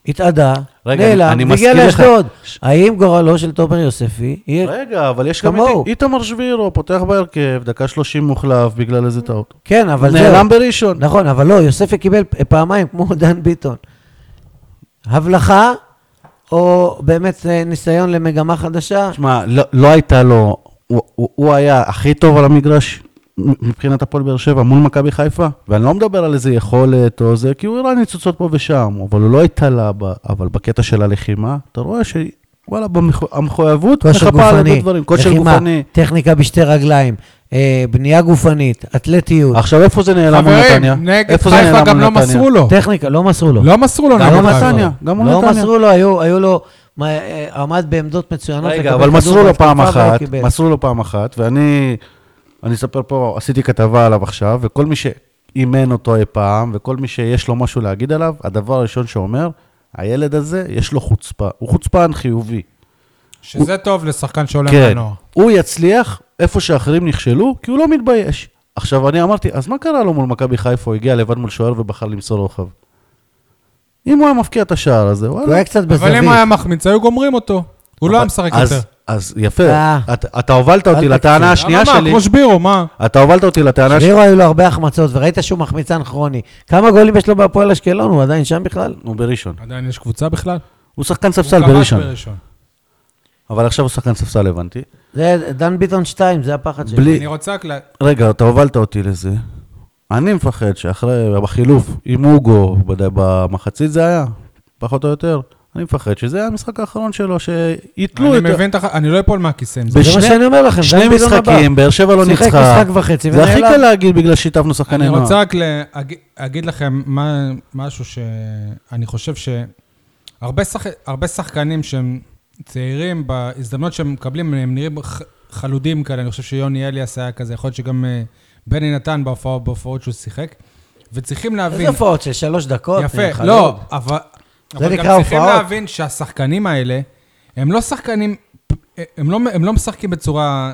S3: התאדה,
S2: רגע, אני-
S3: נעלם,
S2: אני
S3: והגיע
S2: מזכיר לך-
S3: לאשדוד. האם גורלו של תומר יוספי יהיה
S4: רגע, אבל יש גם
S3: כמוהו.
S4: את איתמר שבירו, פותח בהרכב, דקה 30 מוחלף בגלל איזה טעות.
S3: כן, אבל זהו.
S4: נעלם בראשון.
S3: נכון, אבל לא, יוספי קיבל פעמיים, כמו <laughs> דן ביטון. הבלחה, או באמת אה, ניסיון למגמה חדשה?
S2: תשמע, לא- לא הייתה לו, הוא- הוא הוא היה הכי טוב על המגרש מבחינת הפועל באר שבע מול מכבי חיפה, ואני לא מדבר על איזה יכולת או זה, כי הוא הראה ניצוצות פה ושם, אבל הוא לא הייתה לה, ב- אבל בקטע של הלחימה, אתה רואה ש... וואלה, במחו- המחויבות
S3: כושר
S2: מחפה על הרבה
S3: גופני,
S2: דברים, כושר
S3: לחימה,
S2: גופני.
S3: טכניקה בשתי רגליים, אה, בנייה גופנית, אתלטיות,
S2: עכשיו, איפה זה נעלם מול
S1: חברים,
S2: נתניה?
S1: נגד
S2: איפה זה נעלם
S1: חיפה
S2: מול
S1: גם לא
S2: נתניה?
S1: מסרו לו.
S3: טכניקה, לא מסרו לו.
S1: לא מסרו לו
S2: גם
S1: נגד
S2: לא
S1: חיפה.
S2: נתניה. גם מול
S3: לא
S2: נתניה.
S3: מסרו לו, היו, היו לו, מה, אה, עמד בעמדות מצוינות.
S2: רגע,
S3: לקבל
S2: אבל
S3: כדור
S2: מסרו לו
S3: בהתקפה
S2: פעם
S3: ולא
S2: אחת,
S3: קיבל.
S2: מסרו לו פעם אחת, ואני, אני אספר פה, עשיתי כתבה עליו עכשיו, וכל מי שאימן אותו אי פעם, וכל מי שיש לו משהו להגיד עליו, הדבר הראשון שאומר, הילד הזה, יש לו חוצפה, הוא חוצפן חיובי.
S1: שזה טוב לשחקן שעולה
S2: כן,
S1: מהנוער.
S2: הוא יצליח איפה שאחרים נכשלו, כי הוא לא מתבייש. עכשיו, אני אמרתי, אז מה קרה לו מול מכבי חיפה? הוא הגיע לבד מול שוער ובחר למסור רוחב. אם הוא היה מבקיע את השער הזה,
S3: הוא
S2: וואלה.
S3: היה קצת בזווית.
S1: אבל אם היה מחמיץ, היו גומרים אותו. הוא לא היה משחק
S2: אז-
S1: יותר.
S2: אז יפה,
S3: אה.
S2: אתה- אתה הובלת אותי
S3: אל
S2: לטענה
S3: תקצין.
S2: השנייה
S1: למה מה,
S2: שלי.
S1: כמו שבירו, מה?
S2: אתה הובלת אותי לטענה ש...
S3: שבירו היו לו הרבה החמצות, וראית שהוא מחמיצן כרוני. כמה גולים יש לו בהפועל אשקלון? הוא עדיין שם בכלל?
S2: הוא בראשון.
S1: עדיין יש קבוצה בכלל?
S2: הוא שחקן
S1: הוא
S2: ספסל
S1: כבש
S2: בראשון. אבל עכשיו הוא שחקן ספסל, הבנתי.
S3: זה דן ביטון 2, זה הפחד שלי.
S2: בלי...
S1: אני רוצה רק לה...
S2: רגע, אתה הובלת אותי לזה. אני מפחד שאחרי, בחילוף, עם אוגו, בד- במחצית זה היה, פחות או יותר. אני מפחד שזה היה המשחק האחרון שלו, שיתלו את...
S1: אני מבין את הח... אני לא אפול מהכיסא עם זה.
S3: זה מה
S2: בשני-
S3: שאני אומר לכם,
S2: שני
S3: דן ביטון הבא.
S2: משחקים, באר שבע לא
S3: שיחק
S2: ניצחה.
S3: משחק וחצי
S2: זה הכי
S3: ונעלם.
S2: קל להגיד בגלל ששיתפנו
S1: אני
S2: שחקני נוער.
S1: רוצה רק להגיד, להגיד לכם מה, משהו שאני חושב שהרבה שח... הרבה שחקנים שהם צעירים, בהזדמנות שהם מקבלים, הם נראים ח... חלודים כאלה. אני חושב שיוני אליאס היה כזה, יכול להיות שגם אה, בני נתן בהופעות, בהופעות שהוא שיחק, וצריכים להבין...
S3: איזה הופעות של שלוש דקות?
S1: יפה,
S3: חלוד.
S1: לא, אבל...
S3: זה
S1: אבל
S3: נקרא
S1: גם צריכים
S3: הופעות.
S1: להבין שהשחקנים האלה, הם לא שחקנים, הם לא, הם לא משחקים בצורה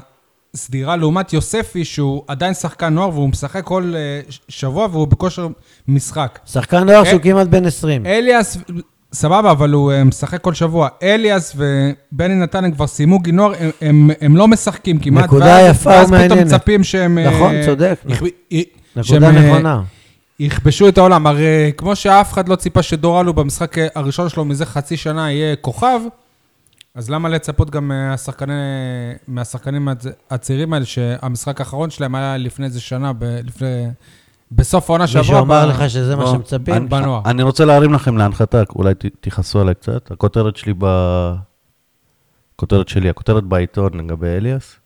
S1: סדירה, לעומת יוספי, שהוא עדיין שחקן נוער, והוא משחק כל אה, ש- שבוע, והוא בכושר משחק.
S3: שחקן נוער
S1: אה,
S3: שהוא כמעט בן 20.
S1: אליאס, סבבה, אבל הוא אה, משחק כל שבוע. אליאס ובני נתן הם כבר סיימו גינור, הם, הם, הם לא משחקים כמעט.
S3: נקודה
S1: ואז-
S3: יפה
S1: ואז פתאום
S3: ומעניינת.
S1: מצפים שהם... אה,
S3: נכון, צודק.
S1: יכב- י- שהם,
S3: נקודה
S1: אה,
S3: נכונה.
S1: יכבשו את העולם. הרי כמו שאף אחד לא ציפה שדורלו במשחק הראשון שלו מזה חצי שנה יהיה כוכב, אז למה לצפות גם מהשחקני, מהשחקנים הצ- הצעירים האלה, שהמשחק האחרון שלהם היה לפני איזה שנה, ב, לפני, בסוף העונה שעברה.
S3: מישהו אמר
S1: ב-
S3: לך שזה מה
S1: ב-
S3: שמצפים?
S1: בנוער.
S2: אני רוצה להרים לכם להנחתה, אולי ת- תכעסו עליי קצת. הכותרת שלי ב... הכותרת שלי, הכותרת בעיתון לגבי אליאס,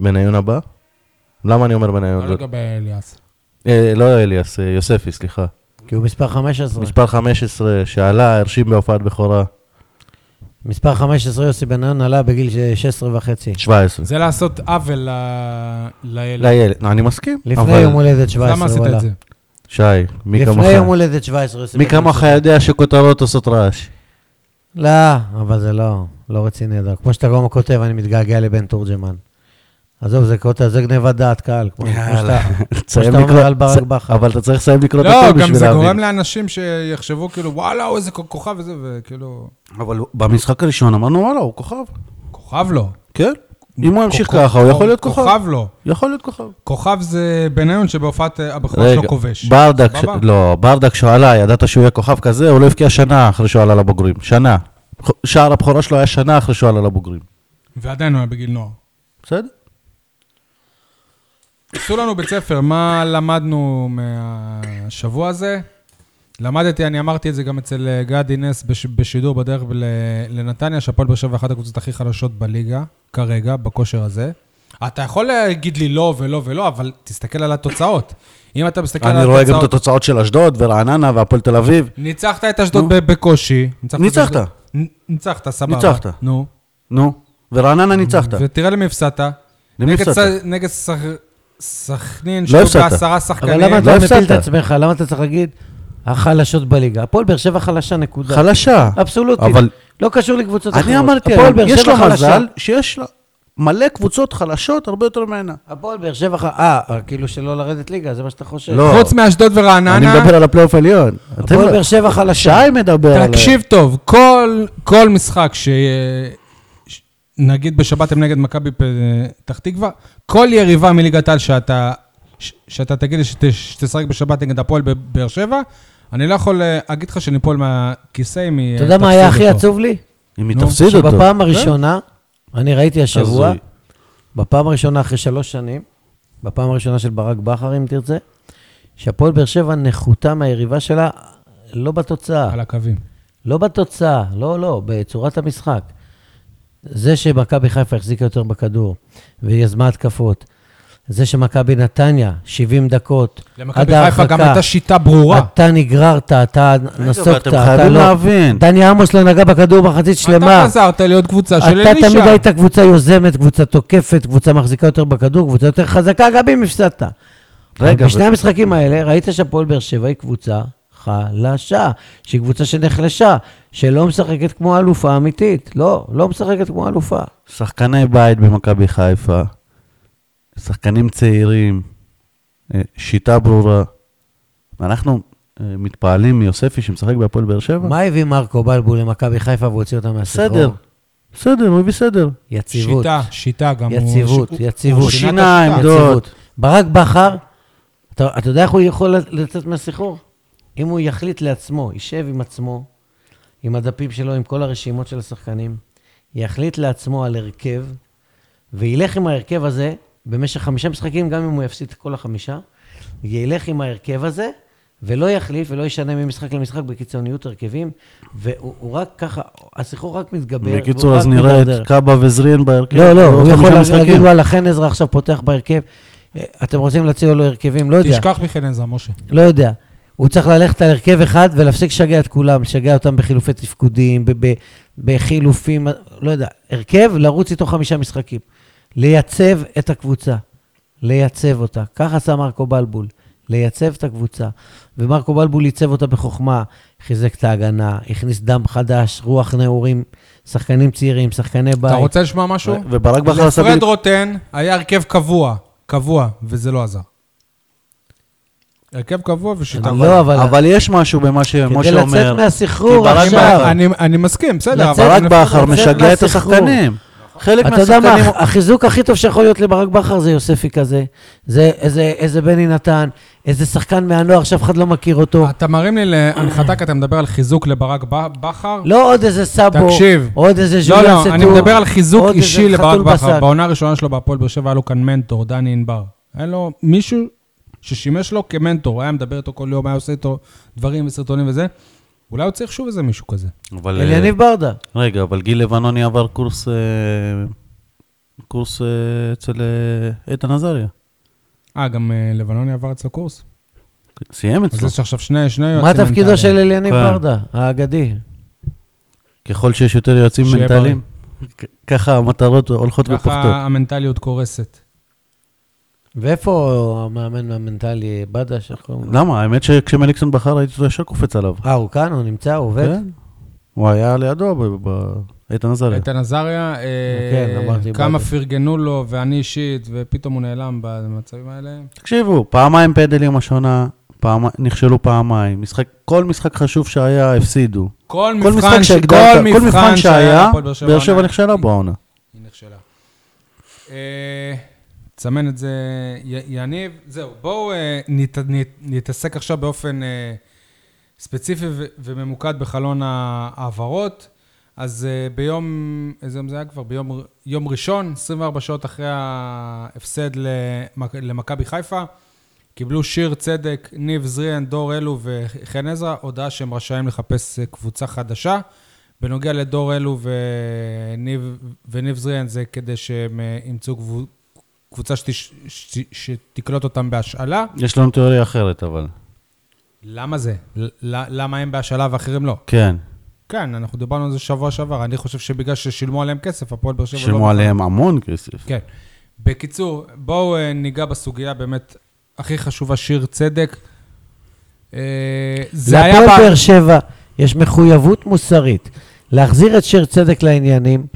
S2: בניון הבא. למה אני אומר בניון?
S1: לא לגבי אליאס.
S2: אה, לא אליאס, אה, יוספי, סליחה.
S3: כי הוא מספר 15.
S2: מספר 15 שעלה, הרשים בהופעת בכורה,
S3: מספר 15 יוסי בן-און עלה בגיל ש- 16 וחצי.
S2: 17.
S1: זה לעשות עוול ל- לילד.
S2: לילד, לא, אני מסכים.
S3: לפני
S2: אבל-
S3: יום הולדת 17.
S1: למה עשית
S3: הוא עלה.
S1: את זה?
S2: שי, מי כמוך,
S3: לפני יום הולדת 17 יוסי
S2: מי
S3: בן-און.
S2: כמוך יודע שכותרות עושות רעש.
S3: לא, אבל זה לא, לא רציני. זה- כמו שאתה גם כותב, אני מתגעגע לבן תורג'מן. עזוב, זה קוטע, זה גניבת דעת קהל. כמו כמו שאתה...
S2: תסיים
S3: שאתה אומר
S2: לקרוא-
S3: על ברק
S2: צ-
S3: בכר.
S2: אבל אתה צריך לסיים לקרוא את
S1: לא,
S2: הכל
S1: גם
S2: בשביל
S1: זה גורם
S2: להבין.
S1: לאנשים שיחשבו כאילו, וואלה, הוא איזה כוכב וזה, וכאילו,
S2: אבל במשחק הראשון אמרנו, וואלה, הוא כוכב.
S1: כוכב לא.
S2: כן. אם הוא ימשיך ככה, הוא יכול להיות כוכב.
S1: כוכב לא.
S2: יכול להיות כוכב.
S1: כוכב זה בניון שבהופעת אה, הבכורה
S2: רגע,
S1: שלו כובש.
S2: ברדק, ש-
S1: סבבה?
S2: לא, ברדק שהוא עלה, ידעת שהוא יהיה כוכב כזה, הוא לא הבקיע שנה אחרי שהוא עלה לבוגרים. שנה. ח- שער הבכורה שלו היה שנה אחרי שהוא עלה לבוגרים.
S1: ועדיין הוא היה בגיל נוער.
S2: בסדר?
S1: עשו לנו בית ספר, מה למדנו מהשבוע הזה? למדתי, אני אמרתי את זה גם אצל אה, גדי נס בש, בשידור בדרך ל- לנתניה, שהפועל באר שבע אחת הקבוצות הכי חלשות בליגה, כרגע, בכושר הזה. אתה יכול להגיד לי לא ולא ולא, אבל תסתכל על התוצאות. אם אתה מסתכל על
S2: אני
S1: התוצאות...
S2: רואה גם את התוצאות של אשדוד ורעננה והפועל תל אביב.
S1: ניצחת את אשדוד ב- בקושי. את
S2: ניצחת.
S1: אשדוד- נ- ניצחת, סבבה.
S2: ניצחת.
S1: נו.
S2: נו, ורעננה ניצחת.
S1: ותראה למי הפסדת.
S2: למי
S1: נגד
S2: הפסדת?
S1: ס- נגד סכ- סכנין,
S2: לא
S1: שהיו
S2: הפסדת.
S1: בעשרה
S3: אבל
S1: שחקנים.
S3: למה
S2: לא
S3: אתה מפיל
S2: הפסדת.
S3: את עצמך? למה אתה צריך להגיד החלשות בליגה? הפועל באר שבע חלשה, נקודה.
S2: חלשה.
S3: אבסולוטית.
S2: אבל-
S3: לא קשור לקבוצות אחרות.
S2: אני אמרתי,
S3: הפועל באר
S2: יש
S3: שבע
S2: לה
S3: חלשה.
S2: מזל שיש לה מלא קבוצות חלשות הרבה יותר ממנה.
S3: הפועל באר שבע חלשה. אה, כאילו שלא לרדת ליגה, זה מה שאתה חושב.
S2: לא.
S1: חוץ מאשדוד
S2: אני
S1: ורעננה,
S2: מדבר על הפלייאוף העליון. אתם
S3: הפועל
S2: לא-
S3: באר שבע חלשה.
S2: שי מדבר על...
S1: תקשיב טוב, כל- כל משחק ש... ש- נגיד בשבת הם נגד מכבי פתח תקווה, כל יריבה מליגת על שאתה ש- שאתה תגיד לי שת- שתשחק בשבת נגד הפועל בבאר שבע, אני לא יכול אה, להגיד לך שניפול מהכיסא אם היא...
S3: אתה יודע מה
S1: תפסיד
S3: היה הכי
S1: אותו.
S3: עצוב לי?
S2: אם היא
S1: נו,
S2: תפסיד אותו. כן.
S3: שבפעם הראשונה, אני ראיתי השבוע,
S2: הזוי.
S3: בפעם הראשונה אחרי שלוש שנים, בפעם הראשונה של ברק בכר, אם תרצה, שהפועל באר שבע נחותה מהיריבה שלה, לא בתוצאה.
S1: על הקווים.
S3: לא בתוצאה, לא, לא, בצורת המשחק. זה שמכבי חיפה החזיקה יותר בכדור ויזמה התקפות, זה שמכבי נתניה, 70 דקות, עד
S1: למכבי חיפה גם
S3: ההרחקה,
S1: הייתה שיטה ברורה.
S3: אתה נגררת, אתה נסוגת,
S2: ואתם
S3: אתה
S2: חייבים
S3: לא...
S2: להבין.
S3: דני עמוס לא נגע בכדור מחצית שלמה.
S1: אתה חזרת להיות קבוצה של
S3: אתה
S1: אלישע.
S3: תמיד היית קבוצה יוזמת, קבוצה תוקפת, קבוצה מחזיקה יותר בכדור, קבוצה יותר חזקה, גם אם הפסדת.
S2: רגע,
S3: רגע, בשני
S2: אבל-
S3: המשחקים האלה ראית שהפועל באר שבע היא קבוצה חלשה, שהיא קבוצה שנחלשה, שלא משחקת כמו האלופה האמיתית. לא, לא משחקת כמו אלופה.
S2: שחקני בית במכבי חיפה, שחקנים צעירים, אה, שיטה ברורה. ואנחנו אה, מתפעלים מיוספי שמשחק בהפועל באר שבע?
S3: מה לא. הביא מרקו בלבו למכבי חיפה והוציא אותה מהסחרור?
S2: סדר. סדר, הוא הביא סדר.
S3: יציבות.
S1: שיטה, שיטה גם. הוא-
S3: יציבות,
S1: הוא-
S3: יציבות.
S1: הוא שינה את
S2: שינה
S1: השיטה.
S2: עמדות.
S3: יציבות. ברק בכר, אתה, אתה יודע איך הוא יכול לצאת מהסחרור? אם הוא יחליט לעצמו, יישב עם עצמו, עם הדפים שלו, עם כל הרשימות של השחקנים, יחליט לעצמו על הרכב, וילך עם ההרכב הזה במשך חמישה משחקים, גם אם הוא יפסיד את כל החמישה, ילך עם ההרכב הזה, ולא יחליף ולא ישנה ממשחק למשחק בקיצוניות הרכבים, והוא הוא רק ככה, הסחרור רק מתגבר. והוא
S2: בקיצור,
S3: רק
S2: אז נראה
S3: מידרדר.
S2: את קאבה וזרין בהרכב.
S1: כן,
S3: לא, לא,
S2: בעוד
S3: הוא יכול
S2: חמישה
S3: להגיד,
S2: משחקים.
S3: וואלה, חן עזרא עכשיו פותח בהרכב. אה, אתם רוצים להציע לו הרכבים? לא יודע,
S1: תשכח מכן עזרא, משה.
S3: לא יודע. הוא צריך ללכת על הרכב אחד ולהפסיק לשגע את כולם, לשגע אותם בחילופי תפקודים, ב- ב- בחילופים, לא יודע. הרכב, לרוץ איתו חמישה משחקים. לייצב את הקבוצה. לייצב אותה. כך עשה מרקו בלבול, לייצב את הקבוצה. ומרקו בלבול ייצב אותה בחוכמה, חיזק את ההגנה, הכניס דם חדש, רוח נעורים, שחקנים צעירים, שחקני בית.
S1: אתה רוצה לשמוע משהו?
S4: וברק בכר עשה...
S1: לפרד
S4: בדיוק-
S1: רוטן היה הרכב קבוע, קבוע, וזה לא עזר. הרכב קבוע ושיטה.
S3: לא, אבל...
S4: אבל יש משהו במה
S3: כדי
S4: שמשה
S3: לצאת
S4: אומר. כי
S3: מהסחרור
S4: ברק
S3: עכשיו.
S4: בכר-
S1: אני- אני מסכים, בסדר,
S3: לצאת-
S1: אבל...
S4: ברק
S3: לצאת
S4: בכר משגע את
S3: מהסחרור.
S4: השחקנים. חלק
S3: אתה יודע מה,
S4: מהשחקנים...
S3: הח- החיזוק הכי טוב שיכול להיות לברק בכר זה יוספי כזה. זה איזה, איזה בני נתן, איזה שחקן מהנוער שאף אחד לא מכיר אותו.
S1: אתה מרים לי להנחתה, כי אתה מדבר על חיזוק לברק ב- בכר.
S3: לא עוד איזה סאבו,
S1: תקשיב.
S3: עוד איזה
S1: לא,
S3: ז'וליאן סטור.
S1: לא, אני מדבר על חיזוק
S3: עוד איזה
S1: אישי לברק
S3: חתול
S1: בכר.
S3: בשק.
S1: בעונה הראשונה שלו בהפועל באר שבע היה לו כאן מנטור, דני ענבר. היה לו מישהו ששימש לו כמנטור, היה מדבר איתו כל יום, היה עושה איתו דברים וסרטונים וזה. אולי הוא צריך שוב איזה מישהו כזה.
S2: אבל... אה,
S3: אליניב ברדה.
S2: רגע, אבל גיל לבנוני עבר קורס... אה, קורס אה, אצל אה, איתן עזריה.
S1: אה, גם אה, לבנוני עבר אצלו קורס?
S2: סיים
S1: אז
S2: אצלו.
S1: יש עכשיו שני שני יועצים
S3: מה תפקידו של
S1: מנטליים.
S3: אליניב
S2: כן.
S3: ברדה, האגדי?
S2: ככל שיש יותר יועצים
S1: שיהיה
S2: מנטליים, כ- ככה המטרות הולכות ופוחתות.
S1: ככה המנטליות קורסת.
S3: ואיפה המאמן המנטלי בדה שקוראים לו?
S2: למה? האמת שכשמליקסון בחר הייתי ישר קופץ עליו.
S3: אה, הוא כאן? הוא נמצא? הוא עובד?
S2: כן. הוא היה לידו, ב- ב- איתן עזריה.
S1: איתן עזריה, אה,
S3: כן, אמרתי,
S1: כמה
S3: בא-
S1: פרגנו לו, ואני אישית, ופתאום הוא נעלם במצבים האלה.
S2: תקשיבו, פעמיים פנדלים השנה, פעמי- נכשלו פעמיים. משחק, כל משחק חשוב שהיה, הפסידו.
S1: כל
S2: כל משחק
S1: מבחן ש-
S2: שהגדרת,
S1: כל
S2: כל מבחן שהיה,
S1: להפועל
S2: באר שבע
S1: העונה,
S2: נכשלה בו העונה.
S1: היא נכשלה. אה, תסמן את זה, י- יניב. זהו, בואו אה, נת- נת- נתעסק עכשיו באופן אה, ספציפי ו- וממוקד בחלון ההעברות. אז אה, ביום, איזה יום זה היה כבר? ביום ר- יום ראשון, 24 שעות אחרי ההפסד למק- למכבי חיפה, קיבלו שיר צדק, ניב זריאן, דור אלו וחן עזרא, הודעה שהם רשאים לחפש אה, קבוצה חדשה. בנוגע לדור אלו וניב, וניב זריאן, זה כדי שהם אה, ימצאו קבו- קבוצה שתש, ש, שתקלוט אותם בהשאלה.
S2: יש לנו תיאוריה אחרת, אבל.
S1: למה זה? ל, למה הם בהשאלה ואחרים לא?
S2: כן,
S1: כן, אנחנו דיברנו על זה שבוע שעבר. אני חושב שבגלל ששילמו עליהם כסף, הפועל באר שבע לא...
S2: שילמו עליהם המון כסף.
S1: כן. בקיצור, בואו אה, ניגע בסוגיה באמת הכי חשובה, שיר צדק. אה, זה היה...
S3: להפועל
S1: ב-
S3: באר שבע יש מחויבות מוסרית להחזיר את שיר צדק לעניינים,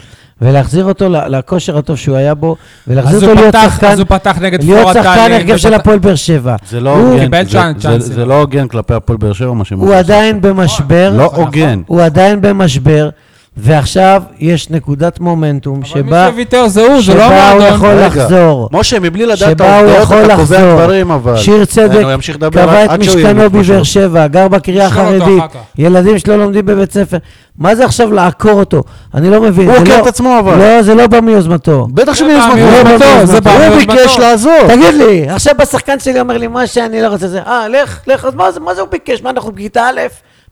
S3: ולהחזיר אותו ל- לכושר הטוב שהוא היה בו, ולהחזיר
S1: אז
S3: אותו
S1: הוא
S3: להיות
S1: פתח-
S3: שחקן,
S1: אז הוא פתח נגד
S3: להיות
S1: פלורטלי,
S3: שחקן הרכב של
S1: ופתח-
S3: הפועל באר שבע.
S2: זה לא
S3: הוא
S2: הוגן,
S1: קיבל
S2: זה-
S1: צ'אנס,
S2: זה-
S1: צ'אנסים.
S2: זה לא הוגן כלפי הפועל באר שבע, מה שהם
S3: הוא עדיין במשבר,
S2: לא הוגן.
S3: הוא עדיין במשבר, ועכשיו יש נקודת מומנטום
S1: אבל מי
S3: שבה
S1: שוויתר זה הוא, זה לא
S3: שבה הוא
S1: המועדון.
S3: יכול
S2: רגע.
S3: לחזור.
S2: משה, מבלי לדעת את
S3: שבה הוא
S2: העובדות,
S3: יכול
S2: אתה קובע
S3: לחזור.
S2: דברים, אבל...
S3: שיר צדק
S2: הוא ימשיך לדבר
S3: קבע
S2: עד-
S3: את
S2: עד שהוא יגיד
S3: משכנו
S2: משהו.
S3: בבאר שבע, גר בקריה
S1: נשאל אותו
S3: החרדית,
S1: אחר כך.
S3: ילדים שלו לומדים בבית ספר. מה זה עכשיו לעקור אותו? אני לא מבין.
S2: הוא
S3: זה
S2: עוקר
S3: לא-
S2: את עצמו, אבל.
S3: לא, זה לא בא מיוזמתו.
S2: בטח
S1: זה
S2: שמיוזמתו,
S1: ביוזמתו, זה
S2: הוא
S1: ביוזמתו.
S2: ביקש לעזוב.
S3: תגיד לי, עכשיו בשחקן שלי אומר לי, מה שאני לא רוצה זה, אה, לך, לך, אז מה זה- מה זה הוא ביקש? מה, אנחנו בכיתה א'?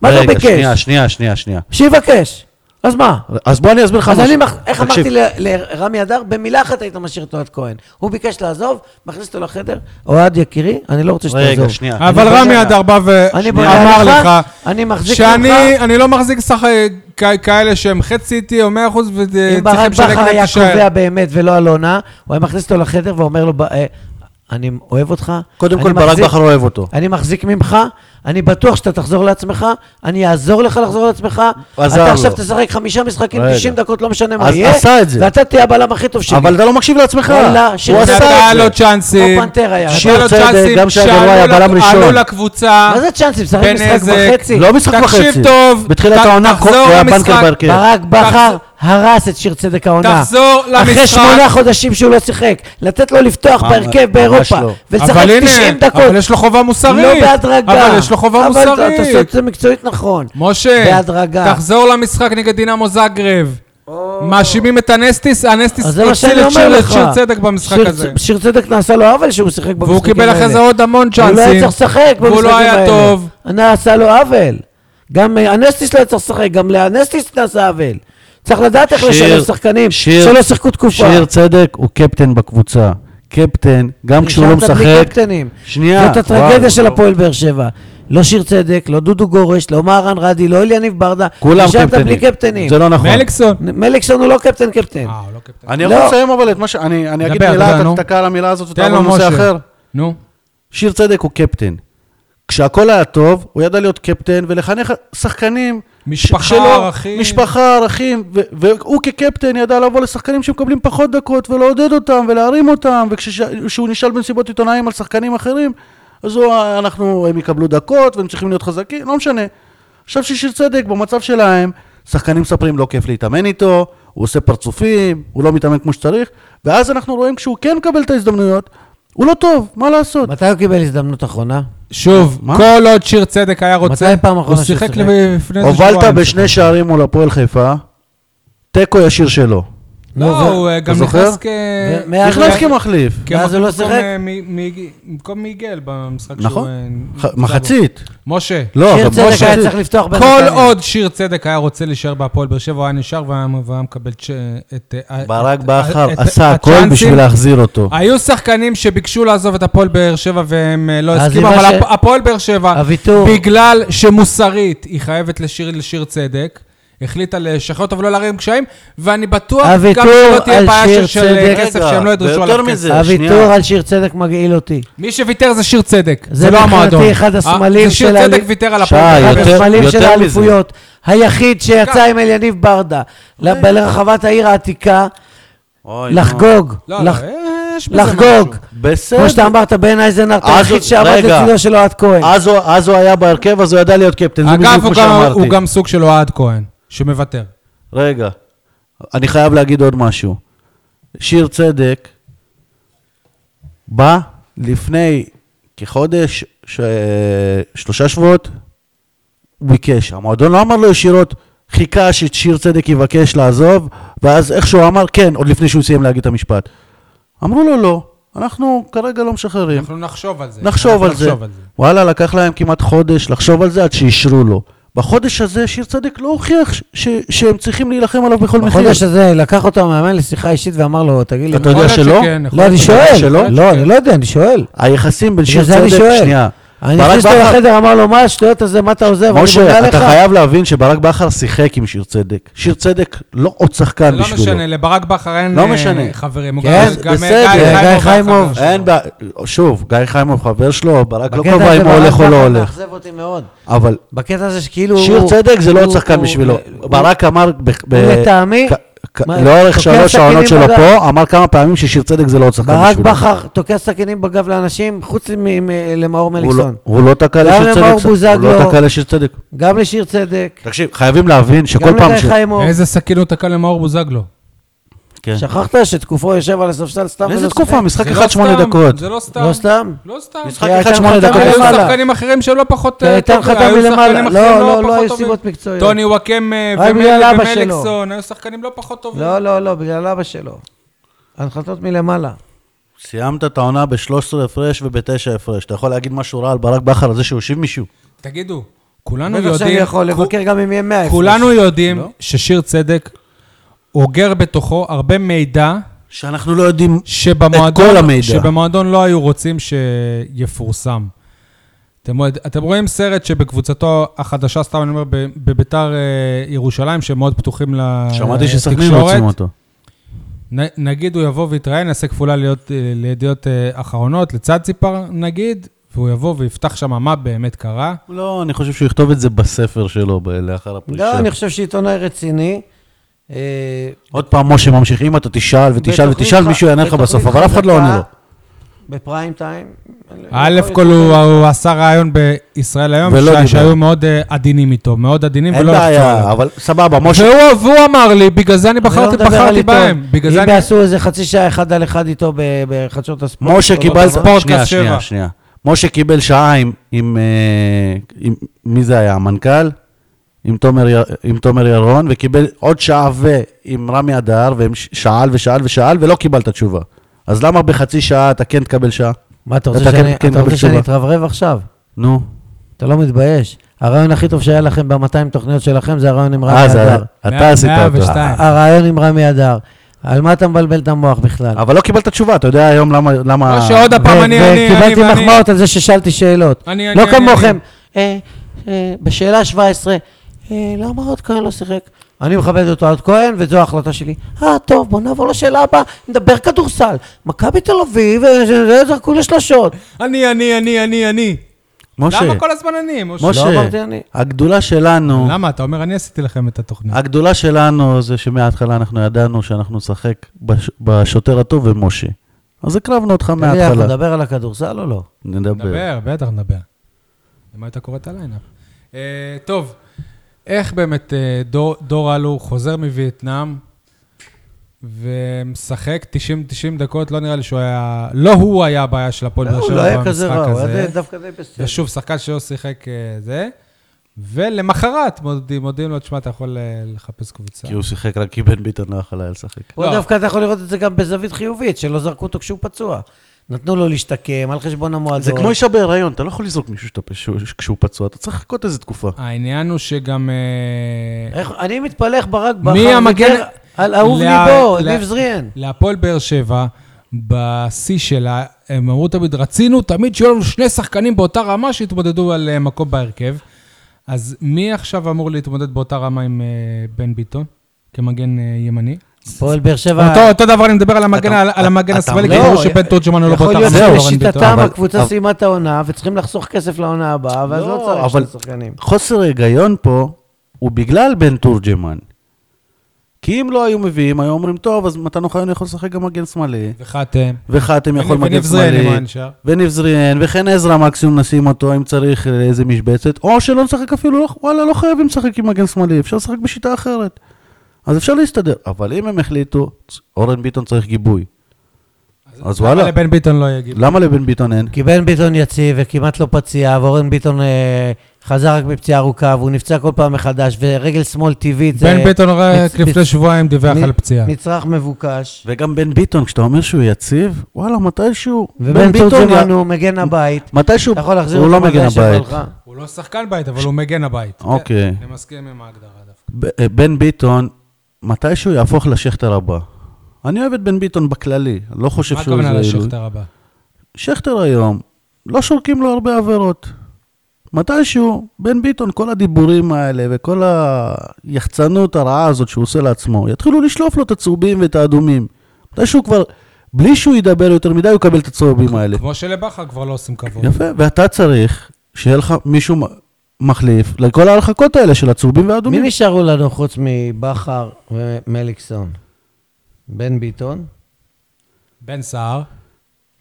S3: מה זה הוא
S2: רגע, שנייה,
S3: ביקש?
S2: שנייה, שנייה, שנייה.
S3: שיבקש. אז מה?
S2: אז בוא אני אסביר לך
S3: אז
S2: משהו.
S3: אני, מח- איך
S2: תקשיב,
S3: אמרתי ל- לרמי אדר? במילה אחת היית משאיר את אוהד כהן. הוא ביקש לעזוב, מכניס אותו לחדר, אוהד יקירי, אני לא רוצה שתעזוב.
S2: רגע, שנייה.
S1: אבל
S3: אני
S1: רמי
S3: בונה-
S1: אדר בא
S3: אני בונה
S1: ואמר
S3: לך,
S1: לך,
S3: אני מחזיק
S1: שאני
S3: ממך.
S1: אני לא מחזיק סך כ- כאלה שהם חצי איתי או 100 אחוז
S3: אם
S1: וצריכים
S3: ברק
S1: לשלם
S3: בכר
S1: כדי
S3: היה
S1: להישאר.
S3: קובע באמת ולא אלונה, הוא היה מכניס אותו לחדר ואומר לו, "ב- אה, אני אוהב אותך.
S2: קודם
S3: אני
S2: כל, ברק
S3: מחזיק-
S2: בכר לא אוהב אותו.
S3: אני מחזיק ממך, אני בטוח שאתה תחזור לעצמך, אני אעזור לך לחזור לעצמך.
S2: עזר
S3: אתה
S2: לו.
S3: עכשיו תשחק חמישה משחקים,
S2: רגע.
S3: 90 דקות, לא משנה מה
S2: אז
S3: יהיה.
S2: עשה את זה.
S3: ואתה תהיה הבלם הכי טוב שלי.
S2: אבל אתה לא מקשיב לעצמך.
S3: וואלה, שיר
S2: הוא
S3: צדק. לא
S2: עשה
S1: נתן
S2: את
S1: לו
S2: זה.
S1: צ'אנסים,
S3: כמו פנתר היה.
S1: נתן לו
S2: שיר צדק,
S1: צ'אנסים,
S2: גם שהגרוע
S1: שעלו
S2: היה
S1: לק-
S2: בלם ראשון.
S1: עלו לקבוצה,
S3: מה זה צ'אנסים? שחק
S1: בן
S3: משחק
S1: נזק.
S3: וחצי.
S2: לא משחק וחצי.
S1: תקשיב טוב,
S2: בתחילת
S1: ת-
S2: העונה
S1: תחזור
S2: הוא היה
S1: למשחק.
S2: בנקר בהרכב.
S3: ברק בכר
S1: תחזור-
S3: הרס את שיר צדק העונה.
S1: תחזור
S3: אחרי
S1: למשחק.
S3: שמונה חודשים שהוא לא שיחק, לתת לו לפתוח
S2: ממש-
S3: בהרכב
S2: ממש
S3: באירופה,
S2: לא.
S3: ולשחק
S1: אבל
S3: 90
S1: הנה,
S3: דקות.
S1: אבל יש לו חובה מוסרית.
S3: לא בהדרגה.
S1: אבל יש לו חובה
S3: אבל אתה עושה את
S1: מוסרית.
S3: זה מקצועית נכון.
S1: משה,
S3: בהדרגה.
S1: תחזור למשחק נגד דינמו זגרב. מאשימים את הנסטיס, הנסטיס
S3: אז זה מה
S1: הציל
S3: שאני
S1: את
S3: אומר
S1: שיר-
S3: לך.
S1: את שיר צדק במשחק
S3: שיר-
S1: הזה.
S3: שיר צדק נעשה לו עוול שהוא שיחק במשחקים האלה.
S1: והוא קיבל אחרי זה עוד המון
S3: הוא
S1: צ'אנסים.
S3: לא היה צריך לשחק במשחקים האלה.
S1: והוא לא היה טוב.
S3: נעשה לו עוול. גם אה, הנסטיס לא היה צריך לשחק, גם לאנסטיס נעשה עוול. צריך לדעת איך
S2: שיר-
S3: לשלב שחקנים
S2: שיר-
S3: שלא שיחקו תקופה.
S2: שיר צדק הוא קפטן בקבוצה. קפטן, גם כשהוא לא
S3: נשארת בלי
S2: משחק...
S3: קפטנים.
S2: שנייה.
S3: זאת
S2: וואו.
S3: הטרגדיה של הפועל באר שבע. לא שיר צדק, לא דודו גורש, לא מהרן רדי, לא אלי יניב ברדה.
S5: כולם
S3: נשארת
S5: קפטנים.
S3: בלי קפטנים.
S5: זה לא נכון.
S1: מליקסון.
S3: מליקסון הוא לא קפטן קפטן.
S1: אה, הוא לא קפטן.
S2: אני
S3: לא.
S2: יכול לסיים אבל את מה ש... אני אני אגיד
S1: דבר, דבר,
S2: מילה,
S1: נו.
S2: אתה תתקע על המילה הזאת
S1: תן
S2: ותעבור
S1: לו
S2: לנושא
S1: משה.
S2: אחר.
S1: נו.
S2: שיר צדק הוא קפטן. כשהכול היה טוב, הוא ידע להיות קפטן ולחנך שחקנים.
S1: משפחה,
S2: שלו-
S1: ערכים.
S2: משפחה, ערכים. ו- והוא כקפטן ידע לבוא לשחקנים שמקבלים פחות דקות ולעודד אותם ולהרים אותם, וכשהוא נשאל במסיבות עיתונאים על שחקנים אחרים, אז הוא, אנחנו, הם יקבלו דקות והם צריכים להיות חזקים, לא משנה. עכשיו ששיר צדק, במצב שלהם, שחקנים מספרים לא כיף להתאמן איתו, הוא עושה פרצופים, הוא לא מתאמן כמו שצריך, ואז אנחנו רואים כשהוא כן מקבל את ההזדמנויות, הוא לא טוב, מה לעשות?
S3: מתי הוא קיבל הזדמנות אחרונה?
S1: שוב,
S2: מה?
S1: כל עוד שיר צדק היה רוצה,
S3: מתי פעם אחרונה
S1: הוא
S3: שהוא
S1: שיחק
S3: שיחק?
S1: לפני איזה שבועיים.
S2: הובלת בשני שערים מול הפועל חיפה, תיקו ישיר שלו.
S1: לא,
S3: נו, ו-
S1: הוא אה, גם
S2: אתה זוכר?
S1: נכנס כ...
S3: ו- מאה-
S2: נכנס כמחליף.
S3: ואז הוא לא
S1: במקום,
S3: שיחק?
S1: אה, מ- מ- במקום מיגל במשחק שהוא...
S2: נכון.
S1: אה,
S2: ח-
S1: נמצא בו.
S2: מחצית.
S1: משה,
S2: לא,
S3: שיר
S2: גם
S3: כן, צדק היה
S2: משה.
S3: צריך לפתוח
S1: כל עוד שיר צדק היה רוצה להישאר בהפועל באר שבע, הוא היה נשאר והיה והיה מקבל צ'- את... אה,
S5: ברק
S1: את-
S5: בכר
S1: את-
S5: עשה הכל
S1: הצ'אנסים.
S5: בשביל להחזיר אותו.
S1: היו שחקנים שביקשו לעזוב את הפועל באר שבע והם אה, לא
S3: אז
S1: הסכימו,
S3: אם
S1: אבל
S3: מה ש-
S1: הפ- הפועל באר שבע,
S3: הוויתור.
S1: בגלל שמוסרית היא חייבת לשיר לשיר צדק, החליטה לשחרר אותו ולא להרים קשיים, ואני בטוח גם
S3: הוויתור
S1: שלא תהיה
S3: על
S1: בעיה
S3: שיר
S1: של- של אה,
S3: צדק.
S1: כסף
S5: רגע,
S1: שהם לא ידרשו
S5: ויותר
S1: עליו כסף.
S5: מזה,
S3: הוויתור
S5: שנייה.
S3: על שיר צדק מגעיל אותי.
S1: מי שוויתר זה שיר צדק,
S3: זה
S1: זה לא
S3: מבחינתי
S1: המועדון.
S3: אחד הסמלים
S1: אה, זה
S3: של
S1: שיר
S3: ה-
S1: צדק ויתר על
S5: שי,
S1: הפועל. באר
S3: אחד
S1: שבע.
S5: יותר-
S3: הסמלים של
S5: מזה.
S3: האליפויות. היחיד שיצא
S1: כן.
S3: עם אליניב ברדה ל- לרחבת העיר העתיקה,
S5: אוי, נו.
S3: לחגוג.
S1: לא,
S3: לח-
S1: לא, יש בזה
S3: לחגוג.
S5: בסדר.
S3: כמו שאתה אמרת, בן אייזנארט,
S5: אז
S3: היחיד
S5: הוא-
S3: שעמד
S5: רגע.
S3: לצידו של אוהד כהן.
S5: אז הוא- אז הוא היה בהרכב, אז הוא ידע להיות קפטן, זה בדיוק
S1: אגב,
S5: כמו
S1: הוא גם-
S5: שאמרתי.
S1: הוא גם סוג של אוהד כהן, שמוותר.
S5: רגע,
S2: אני חייב להגיד עוד משהו. שיר צדק בא לפני כחודש, ש... שלושה שבועות, הוא ביקש. המועדון לא אמר לו ישירות, חיכה ששיר צדק יבקש לעזוב, ואז איכשהו אמר כן, עוד לפני שהוא סיים להגיד את המשפט. אמרו לו לא, אנחנו כרגע לא משחררים.
S1: אנחנו נחשוב על זה.
S2: נחשוב
S1: אנחנו
S2: על זה. וואלה, לקח להם כמעט חודש לחשוב על זה עד שאישרו לו. בחודש הזה שיר צדק לא הוכיח ש- ש- שהם צריכים להילחם עליו בכל מחיר.
S3: בחודש הזה לקח אותו המאמן לשיחה אישית ואמר לו, תגיד לי,
S2: אתה יודע
S1: יכול להיות
S2: שלא?
S1: שכן, יכול
S3: לא,
S1: להיות
S3: אני
S1: שכן. יכול
S3: שואל.
S1: להיות
S3: לא,
S1: שכן.
S3: אני לא יודע, אני שואל.
S2: היחסים בין שיר
S3: בגלל זה אני
S2: צדק,
S3: שואל.
S2: שנייה.
S3: אני
S2: ברק
S3: נכנס אותו
S2: בכר-
S3: לחדר, אמר לו, מה השטויות הזה, מה אתה עוזב? אני מודה
S2: משה,
S3: לך.
S2: אתה חייב להבין שברק בכר שיחק עם שיר צדק. שיר צדק לא עוד
S1: זה
S2: שחקן
S1: לא
S2: בשבילו.
S1: משנה, לברק בכר אין
S2: לא
S1: אה,
S2: משנה.
S1: חברים. הוא
S3: כן,
S1: גם- גם
S2: בסדר.
S1: גיא
S3: גיא
S1: היה
S3: חיימוב.
S1: חבר
S2: אין בעיה, שוב, גיא חיימוב חבר שלו, ברק לא
S3: בקטע
S2: קובע
S3: הזה
S2: אם הוא
S3: ברק
S2: הולך או
S3: בכר
S2: לא הולך.
S3: מאכזב אותי מאוד.
S2: אבל
S3: בקטע הזה שכאילו...
S2: שיר
S3: הוא-
S2: צדק זה לא עוד
S3: הוא-
S2: שחקן
S3: הוא-
S2: בשבילו.
S3: הוא-
S2: ברק אמר... ב- ב-
S3: הוא לטעמי-
S2: כ- כ-
S3: מה,
S2: לאורך
S3: תוקע
S2: שלוש
S3: סכינים
S2: העונות שלו
S3: בגב.
S2: פה, אמר כמה פעמים ששיר צדק זה לא עוד שחקן
S3: ברק
S2: בשבילו.
S3: בכר תוקע סכינים בגב לאנשים, חוץ מ- מ- למאור
S2: הוא לא-
S3: מליקסון.
S2: הוא לא תקע
S3: גם
S2: לשיר
S3: למאור
S2: צדק. הוא
S3: בוזגלו.
S2: לא תקע לשיר צדק.
S3: גם לשיר צדק,
S2: תקשיב, חייבים להבין שכל
S3: גם
S2: פעם
S3: לגיא
S2: ש...
S3: חיימוב.
S1: שלו. איזה סכין הוא תקע למאור בוזגלו.
S2: כן.
S3: שכחת שתקופו יושב על הספסל סתם?
S2: איזה
S3: ולא
S2: תקופה?
S3: שיחק?
S2: משחק
S1: זה לא
S2: אחד שמונה
S1: סתם,
S2: דקות.
S1: זה לא סתם.
S3: לא סתם.
S1: לא סתם.
S2: משחק
S3: כי
S2: אחד
S3: היה
S2: שמונה
S3: שם
S2: דקות.
S1: היו
S3: חתם למעלה.
S1: שחקנים אחרים שהם לא פחות... אה,
S3: איתן
S1: טובים,
S3: חתם
S1: היו
S3: מלמעלה.
S1: שחקנים
S3: לא,
S1: אחרים
S3: לא, לא
S1: פחות
S3: היו
S1: טובים.
S3: סיבות מקצועיות.
S1: טוני וואקמה
S3: רק בגלל אבא שלו.
S1: ומליקסון, היו שחקנים לא פחות טובים.
S3: לא, לא, לא, בגלל אבא שלו. הנחתות מלמעלה.
S2: סיימת את העונה ב-13 הפרש וב-9 הפרש. אתה יכול להגיד משהו רע על ברק בכר על זה שהוא הושיב מישהו?
S1: תגידו, כולנו
S3: בטח שאני
S1: יודעים...
S3: יכול
S1: כו-
S3: לבקר גם אם יהיה 100
S1: כולנו
S3: לא?
S1: יודעים ששיר צדק אוגר בתוכו הרבה מידע
S2: שאנחנו לא יודעים...
S1: שבמועדון,
S2: את כל המידע.
S1: שבמועדון לא היו רוצים שיפורסם. אתם, אתם רואים סרט שבקבוצתו החדשה, סתם אני אומר, ב- בביתר אה, ירושלים, שהם מאוד פתוחים לתקשורת.
S5: שמעתי שסכנין רוצים אותו.
S1: נ, נגיד הוא יבוא ויתראיין, יעשה כפולה להיות, אה, לידיעות אה, אחרונות, לצד ציפר נגיד, והוא יבוא ויפתח שם מה באמת קרה.
S5: לא, אני חושב שהוא יכתוב את זה בספר שלו ב- לאחר הפרישה.
S3: לא, אני חושב שעיתונאי רציני. אה,
S2: עוד פעם, משה ממשיך, אם אתה תשאל ותשאל
S3: בתוכנית
S2: ותשאל,
S3: ח-
S2: מישהו יענה לך
S3: בתוכנית
S2: בסוף, אבל אף אחד לא
S3: חזקה,
S2: עונה לו.
S3: בפריים טיים. לא
S1: א' כל הוא, הוא עשה רעיון בישראל היום,
S2: ולא
S1: ש-
S2: דיבר.
S1: שהיו מאוד אה, עדינים איתו, מאוד עדינים
S2: אין
S1: ולא לחצו
S2: בעיה,
S1: עליו. לא
S2: אבל סבבה, משה...
S1: והוא והוא אמר לי, בגלל זה אני
S3: אני לא
S1: בחרתי
S3: מדבר על
S1: בחרתי
S3: עיתון.
S1: בהם. בגלל זה
S3: אם
S1: אני...
S3: יעשו איזה חצי שעה אחד על אחד איתו ב- בחדשות הספורט.
S2: משה
S3: לא
S2: קיבל...
S3: בטוח.
S1: פודקאסט
S2: שנייה,
S1: שבע.
S2: שנייה, שנייה. משה קיבל שעה עם- עם... אה, עם- מי זה היה? המנכ"ל? עם תומר י- עם תומר ירון, וקיבל עוד שעה ו... עם רמי אדר, והם ש- שאל ושאל ושאל, ולא קיבלת תשובה. אז למה בחצי שעה אתה כן תקבל שעה?
S3: מה, אתה רוצה
S2: אתה
S3: שאני-
S2: כן- כן
S3: אתה רוצה
S2: תקבל
S3: שאני
S2: תשובה.
S3: אתרברב עכשיו?
S2: נו.
S3: אתה לא מתבייש. הרעיון הכי טוב שהיה לכם ב-200 תוכניות שלכם זה הרעיון עם רמי
S2: אה, זה-
S3: אדר.
S1: מאה-
S2: אתה עשית אותו.
S1: 102.
S3: הרעיון עם רמי אדר. על מה אתה מבלבל את המוח בכלל?
S2: אבל לא קיבלת תשובה, אתה יודע היום למה... למה...
S1: משה, עוד הפעם
S3: ו-
S1: אני, אני, אני,
S3: וקיבלתי
S1: ואני-
S3: מחמאות על זה ששאלתי שאלות.
S1: אני, אני,
S3: לא
S1: אני,
S3: כמוכם, אה, אה, בשאלה 17, אה, למה עוד כהן לא שיחק? אני מכבד אותו עד כהן, וזו ההחלטה שלי. אה, טוב, בוא נעבור לשאלה הבאה, נדבר כדורסל. מכבי תל אביב, אה, זה- זרקו לשלשות.
S1: אני, אני, אני, אני, אני.
S2: משה,
S1: למה כל הזמן אני? משה?
S3: לא
S2: משה,
S3: אמרתי אני.
S2: הגדולה שלנו,
S1: למה? אתה אומר, אני עשיתי לכם את התוכנית.
S2: הגדולה שלנו זה שמההתחלה אנחנו ידענו שאנחנו נשחק בש- בשוטר הטוב ומשה. אז הקרבנו אותך
S3: תגיד, אנחנו
S2: מההתחלה.
S3: נדבר על הכדורסל או לא?
S2: נדבר.
S1: נדבר, בטח נדבר. למה הייתה קוראת הליינאפ? אה, טוב, איך באמת אה, דור- דור אלו חוזר מווייטנאם ומשחק 90-90 דקות, לא נראה לי שהוא היה... לא הוא היה הבעיה של הפועל באר
S3: הוא
S1: שבע
S3: לא
S1: במשחק הזה.
S3: היה כזה רע, הוא היה דווקא די בסדר.
S1: כן. ושוב, שחקן שלא שיחק אה, זה. ולמחרת מודיעים, מודיעים לו, תשמע, אתה יכול אה, לחפש קבוצה.
S2: כי הוא שיחק רק כי בן ביטון לא יכול היה לשחק.
S3: פה
S1: לא.
S3: דווקא אתה יכול לראות את זה גם בזווית חיובית, שלא זרקו אותו כשהוא פצוע. נתנו לו להשתקם על חשבון המועדון.
S2: זה כמו אישה בהיריון, אתה לא יכול לזרוק מישהו שאתה- שהוא- כשהוא פצוע, אתה צריך לחכות איזה תקופה.
S1: העניין הוא שגם... אה,
S3: איך- אני מתפלא איך ברק
S1: מי
S3: בכר
S1: המגן-
S3: ויתר אה, על אהוב
S1: לה-
S3: ליבו,
S1: לה-
S3: ניב זריאן.
S1: להפועל באר שבע, בשיא שלה, הם אמרו תמיד, רצינו תמיד שיהיו לנו שני שחקנים באותה רמה שיתמודדו על אה, מקום בהרכב. אז מי עכשיו אמור להתמודד באותה רמה עם אה, בן ביטון, כמגן אה, ימני?
S3: פועל באר שבע...
S1: אותו, אותו דבר אני מדבר על המגן, על, על המגן השמאלי, כי
S3: לא,
S1: אמרו שבן תורג'מן הוא לא
S3: יכול
S1: באותה
S3: להיות
S1: רמה. עם אורן ביטון.
S3: שלשיטתם
S2: אבל-
S3: הקבוצה
S2: אבל-
S3: סיימה את העונה, וצריכים לחסוך כסף לעונה הבאה, ואז
S2: לא,
S3: לא צריך
S2: אבל-
S3: שני שחקנים.
S2: חוסר ההיגיון פה הוא בגלל בן תורג'מן. כי אם לא היו מביאים, היו אומרים, טוב, אז מתן אוחיון יכול לשחק גם מגן שמאלי,
S1: וחתם.
S2: וחתם יכול
S1: וניב
S2: מגן
S1: זריהן
S2: שמאלי,
S1: למען שער.
S2: וניב זריאן, וחן עזרא מקסימום נשים אותו, אם צריך איזה משבצת, או שלא נשחק אפילו, לא, וואלה, לא חייבים לשחק עם מגן שמאלי, אפשר לשחק בשיטה אחרת. אז אפשר להסתדר, אבל אם הם החליטו, אורן ביטון צריך גיבוי. אז
S1: למה
S2: וואלה,
S1: לבן ביטון לא יגיב?
S2: למה לבן ביטון אין?
S3: כי בן ביטון יציב וכמעט לא פציע, ואורן ביטון אה, חזר רק מפציעה ארוכה, והוא נפצע כל פעם מחדש, ורגל שמאל טבעית זה
S1: בן ביטון רק
S3: מצ-
S1: לפני שבועיים דיווח
S3: מצ-
S1: על פציעה.
S3: מצרך מבוקש.
S2: וגם בן ביטון, כשאתה אומר שהוא יציב, וואלה, מתישהו...
S3: ובן
S2: י-
S3: תורג'מן הוא מגן הבית.
S2: מתישהו,
S3: אתה יכול להחזיר
S2: הוא
S3: אותו
S2: לא מגן
S3: מתי שבא
S2: הבית.
S3: לך.
S1: הוא לא שחקן בית, אבל הוא מגן הבית. כן,
S2: אוקיי.
S1: אני מסכים עם ההגדרה דווקא.
S2: ב- בן ביטון, מתישהו יהפוך לשכטר הבא. אני אוהב את בן ביטון בכללי, לא חושב
S1: מה
S2: שהוא
S1: הכוונה
S2: איזה עילוי.
S1: לשכתר הבא?
S2: שכטר היום, לא שורקים לו הרבה עבירות. מתישהו, בן ביטון, כל הדיבורים האלה וכל היחצנות הרעה הזאת שהוא עושה לעצמו, יתחילו לשלוף לו את הצהובים ואת האדומים. מתישהו כבר, בלי שהוא ידבר יותר מדי, הוא יקבל את הצהובים האלה.
S1: כמו שלבכר כבר לא עושים כבוד.
S2: יפה, ואתה צריך שיהיה לך מישהו מ- מחליף לכל ההרחקות האלה של הצהובים והאדומים.
S3: מי נשארו לנו חוץ מבכר ומליקסון? בן ביטון,
S1: בן סער,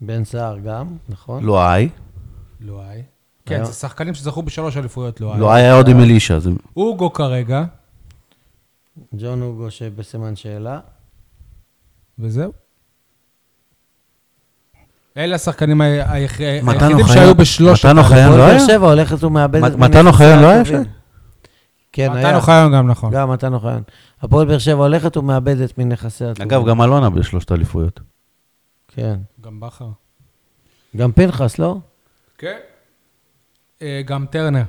S3: בן סער גם, נכון?
S2: לואי,
S1: לואי. כן,
S3: היה.
S1: זה שחקנים שזכו בשלוש אליפויות לואי.
S2: לואי לא היה עוד עם אלישע, זה
S1: אוגו כרגע,
S3: ג'ון הוגו שבסימן שאלה.
S1: וזהו. אלה השחקנים ה- ה-
S2: מתן
S1: היחידים
S2: אוחיון-
S1: שהיו בשלוש...
S2: מתן אוחיון
S3: הפועל
S2: לא היה?
S3: באר שבע הולכת ומאבדת...
S2: מת-
S3: מנכסיה
S2: מתן אוחיון לא היה
S3: הטובים.
S2: שם?
S3: כן, היה.
S1: מתן אוחיון גם נכון.
S3: גם מתן אוחיון. הפועל באר שבע הולכת ומאבדת מנכסיה הטובים.
S2: אגב, גם אלונה בשלושת אליפויות.
S3: כן.
S1: גם בכר.
S3: גם פנחס, לא?
S1: כן. אה, גם טרנר,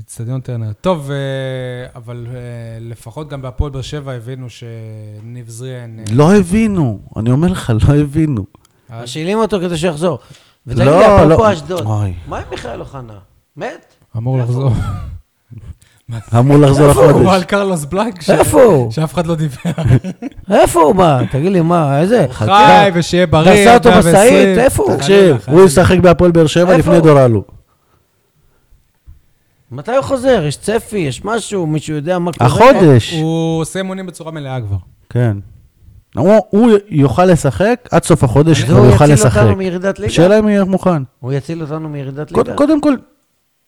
S1: אצטדיון טרנר. טוב, אה, אבל אה, לפחות גם בהפועל באר שבע הבינו שניב זריאן... אה,
S2: לא הבינו, אני אומר לך, לא הבינו.
S1: אז-
S3: משאילים אותו כדי שיחזור. ותגיד
S2: לא,
S3: לי, אפרופו
S2: לא.
S3: אשדוד,
S2: אוי.
S3: מה עם מיכאל אוחנה? מת?
S1: אמור לחזור.
S2: אמור לחזור
S1: הוא על
S2: החודש.
S1: קרלוס בלנק, ש-
S3: איפה הוא?
S1: שאף אחד לא דיבר.
S3: איפה הוא? מה? תגיד לי, מה? איזה? כן.
S1: חי, ושיהיה בריא.
S3: תעשה אותו
S1: 120.
S3: משאית, איפה הוא?
S2: תקשיב, הוא ישחק בהפועל באר שבע
S3: איפה
S2: לפני
S3: הוא?
S2: דורלו.
S3: מתי הוא חוזר? יש צפי? יש משהו? מישהו יודע מה קורה?
S2: החודש,
S1: הוא עושה אימונים בצורה מלאה כבר.
S2: כן. הוא- הוא יוכל לשחק, עד סוף החודש
S3: אז
S2: הוא
S3: הוא
S2: יוכל
S3: יציל
S2: לשחק.
S3: אותנו מירידת ליגה?
S2: השאלה אם הוא יהיה מוכן.
S3: הוא יציל אותנו מירידת
S2: קוד-
S3: ליגה?
S2: קודם כל,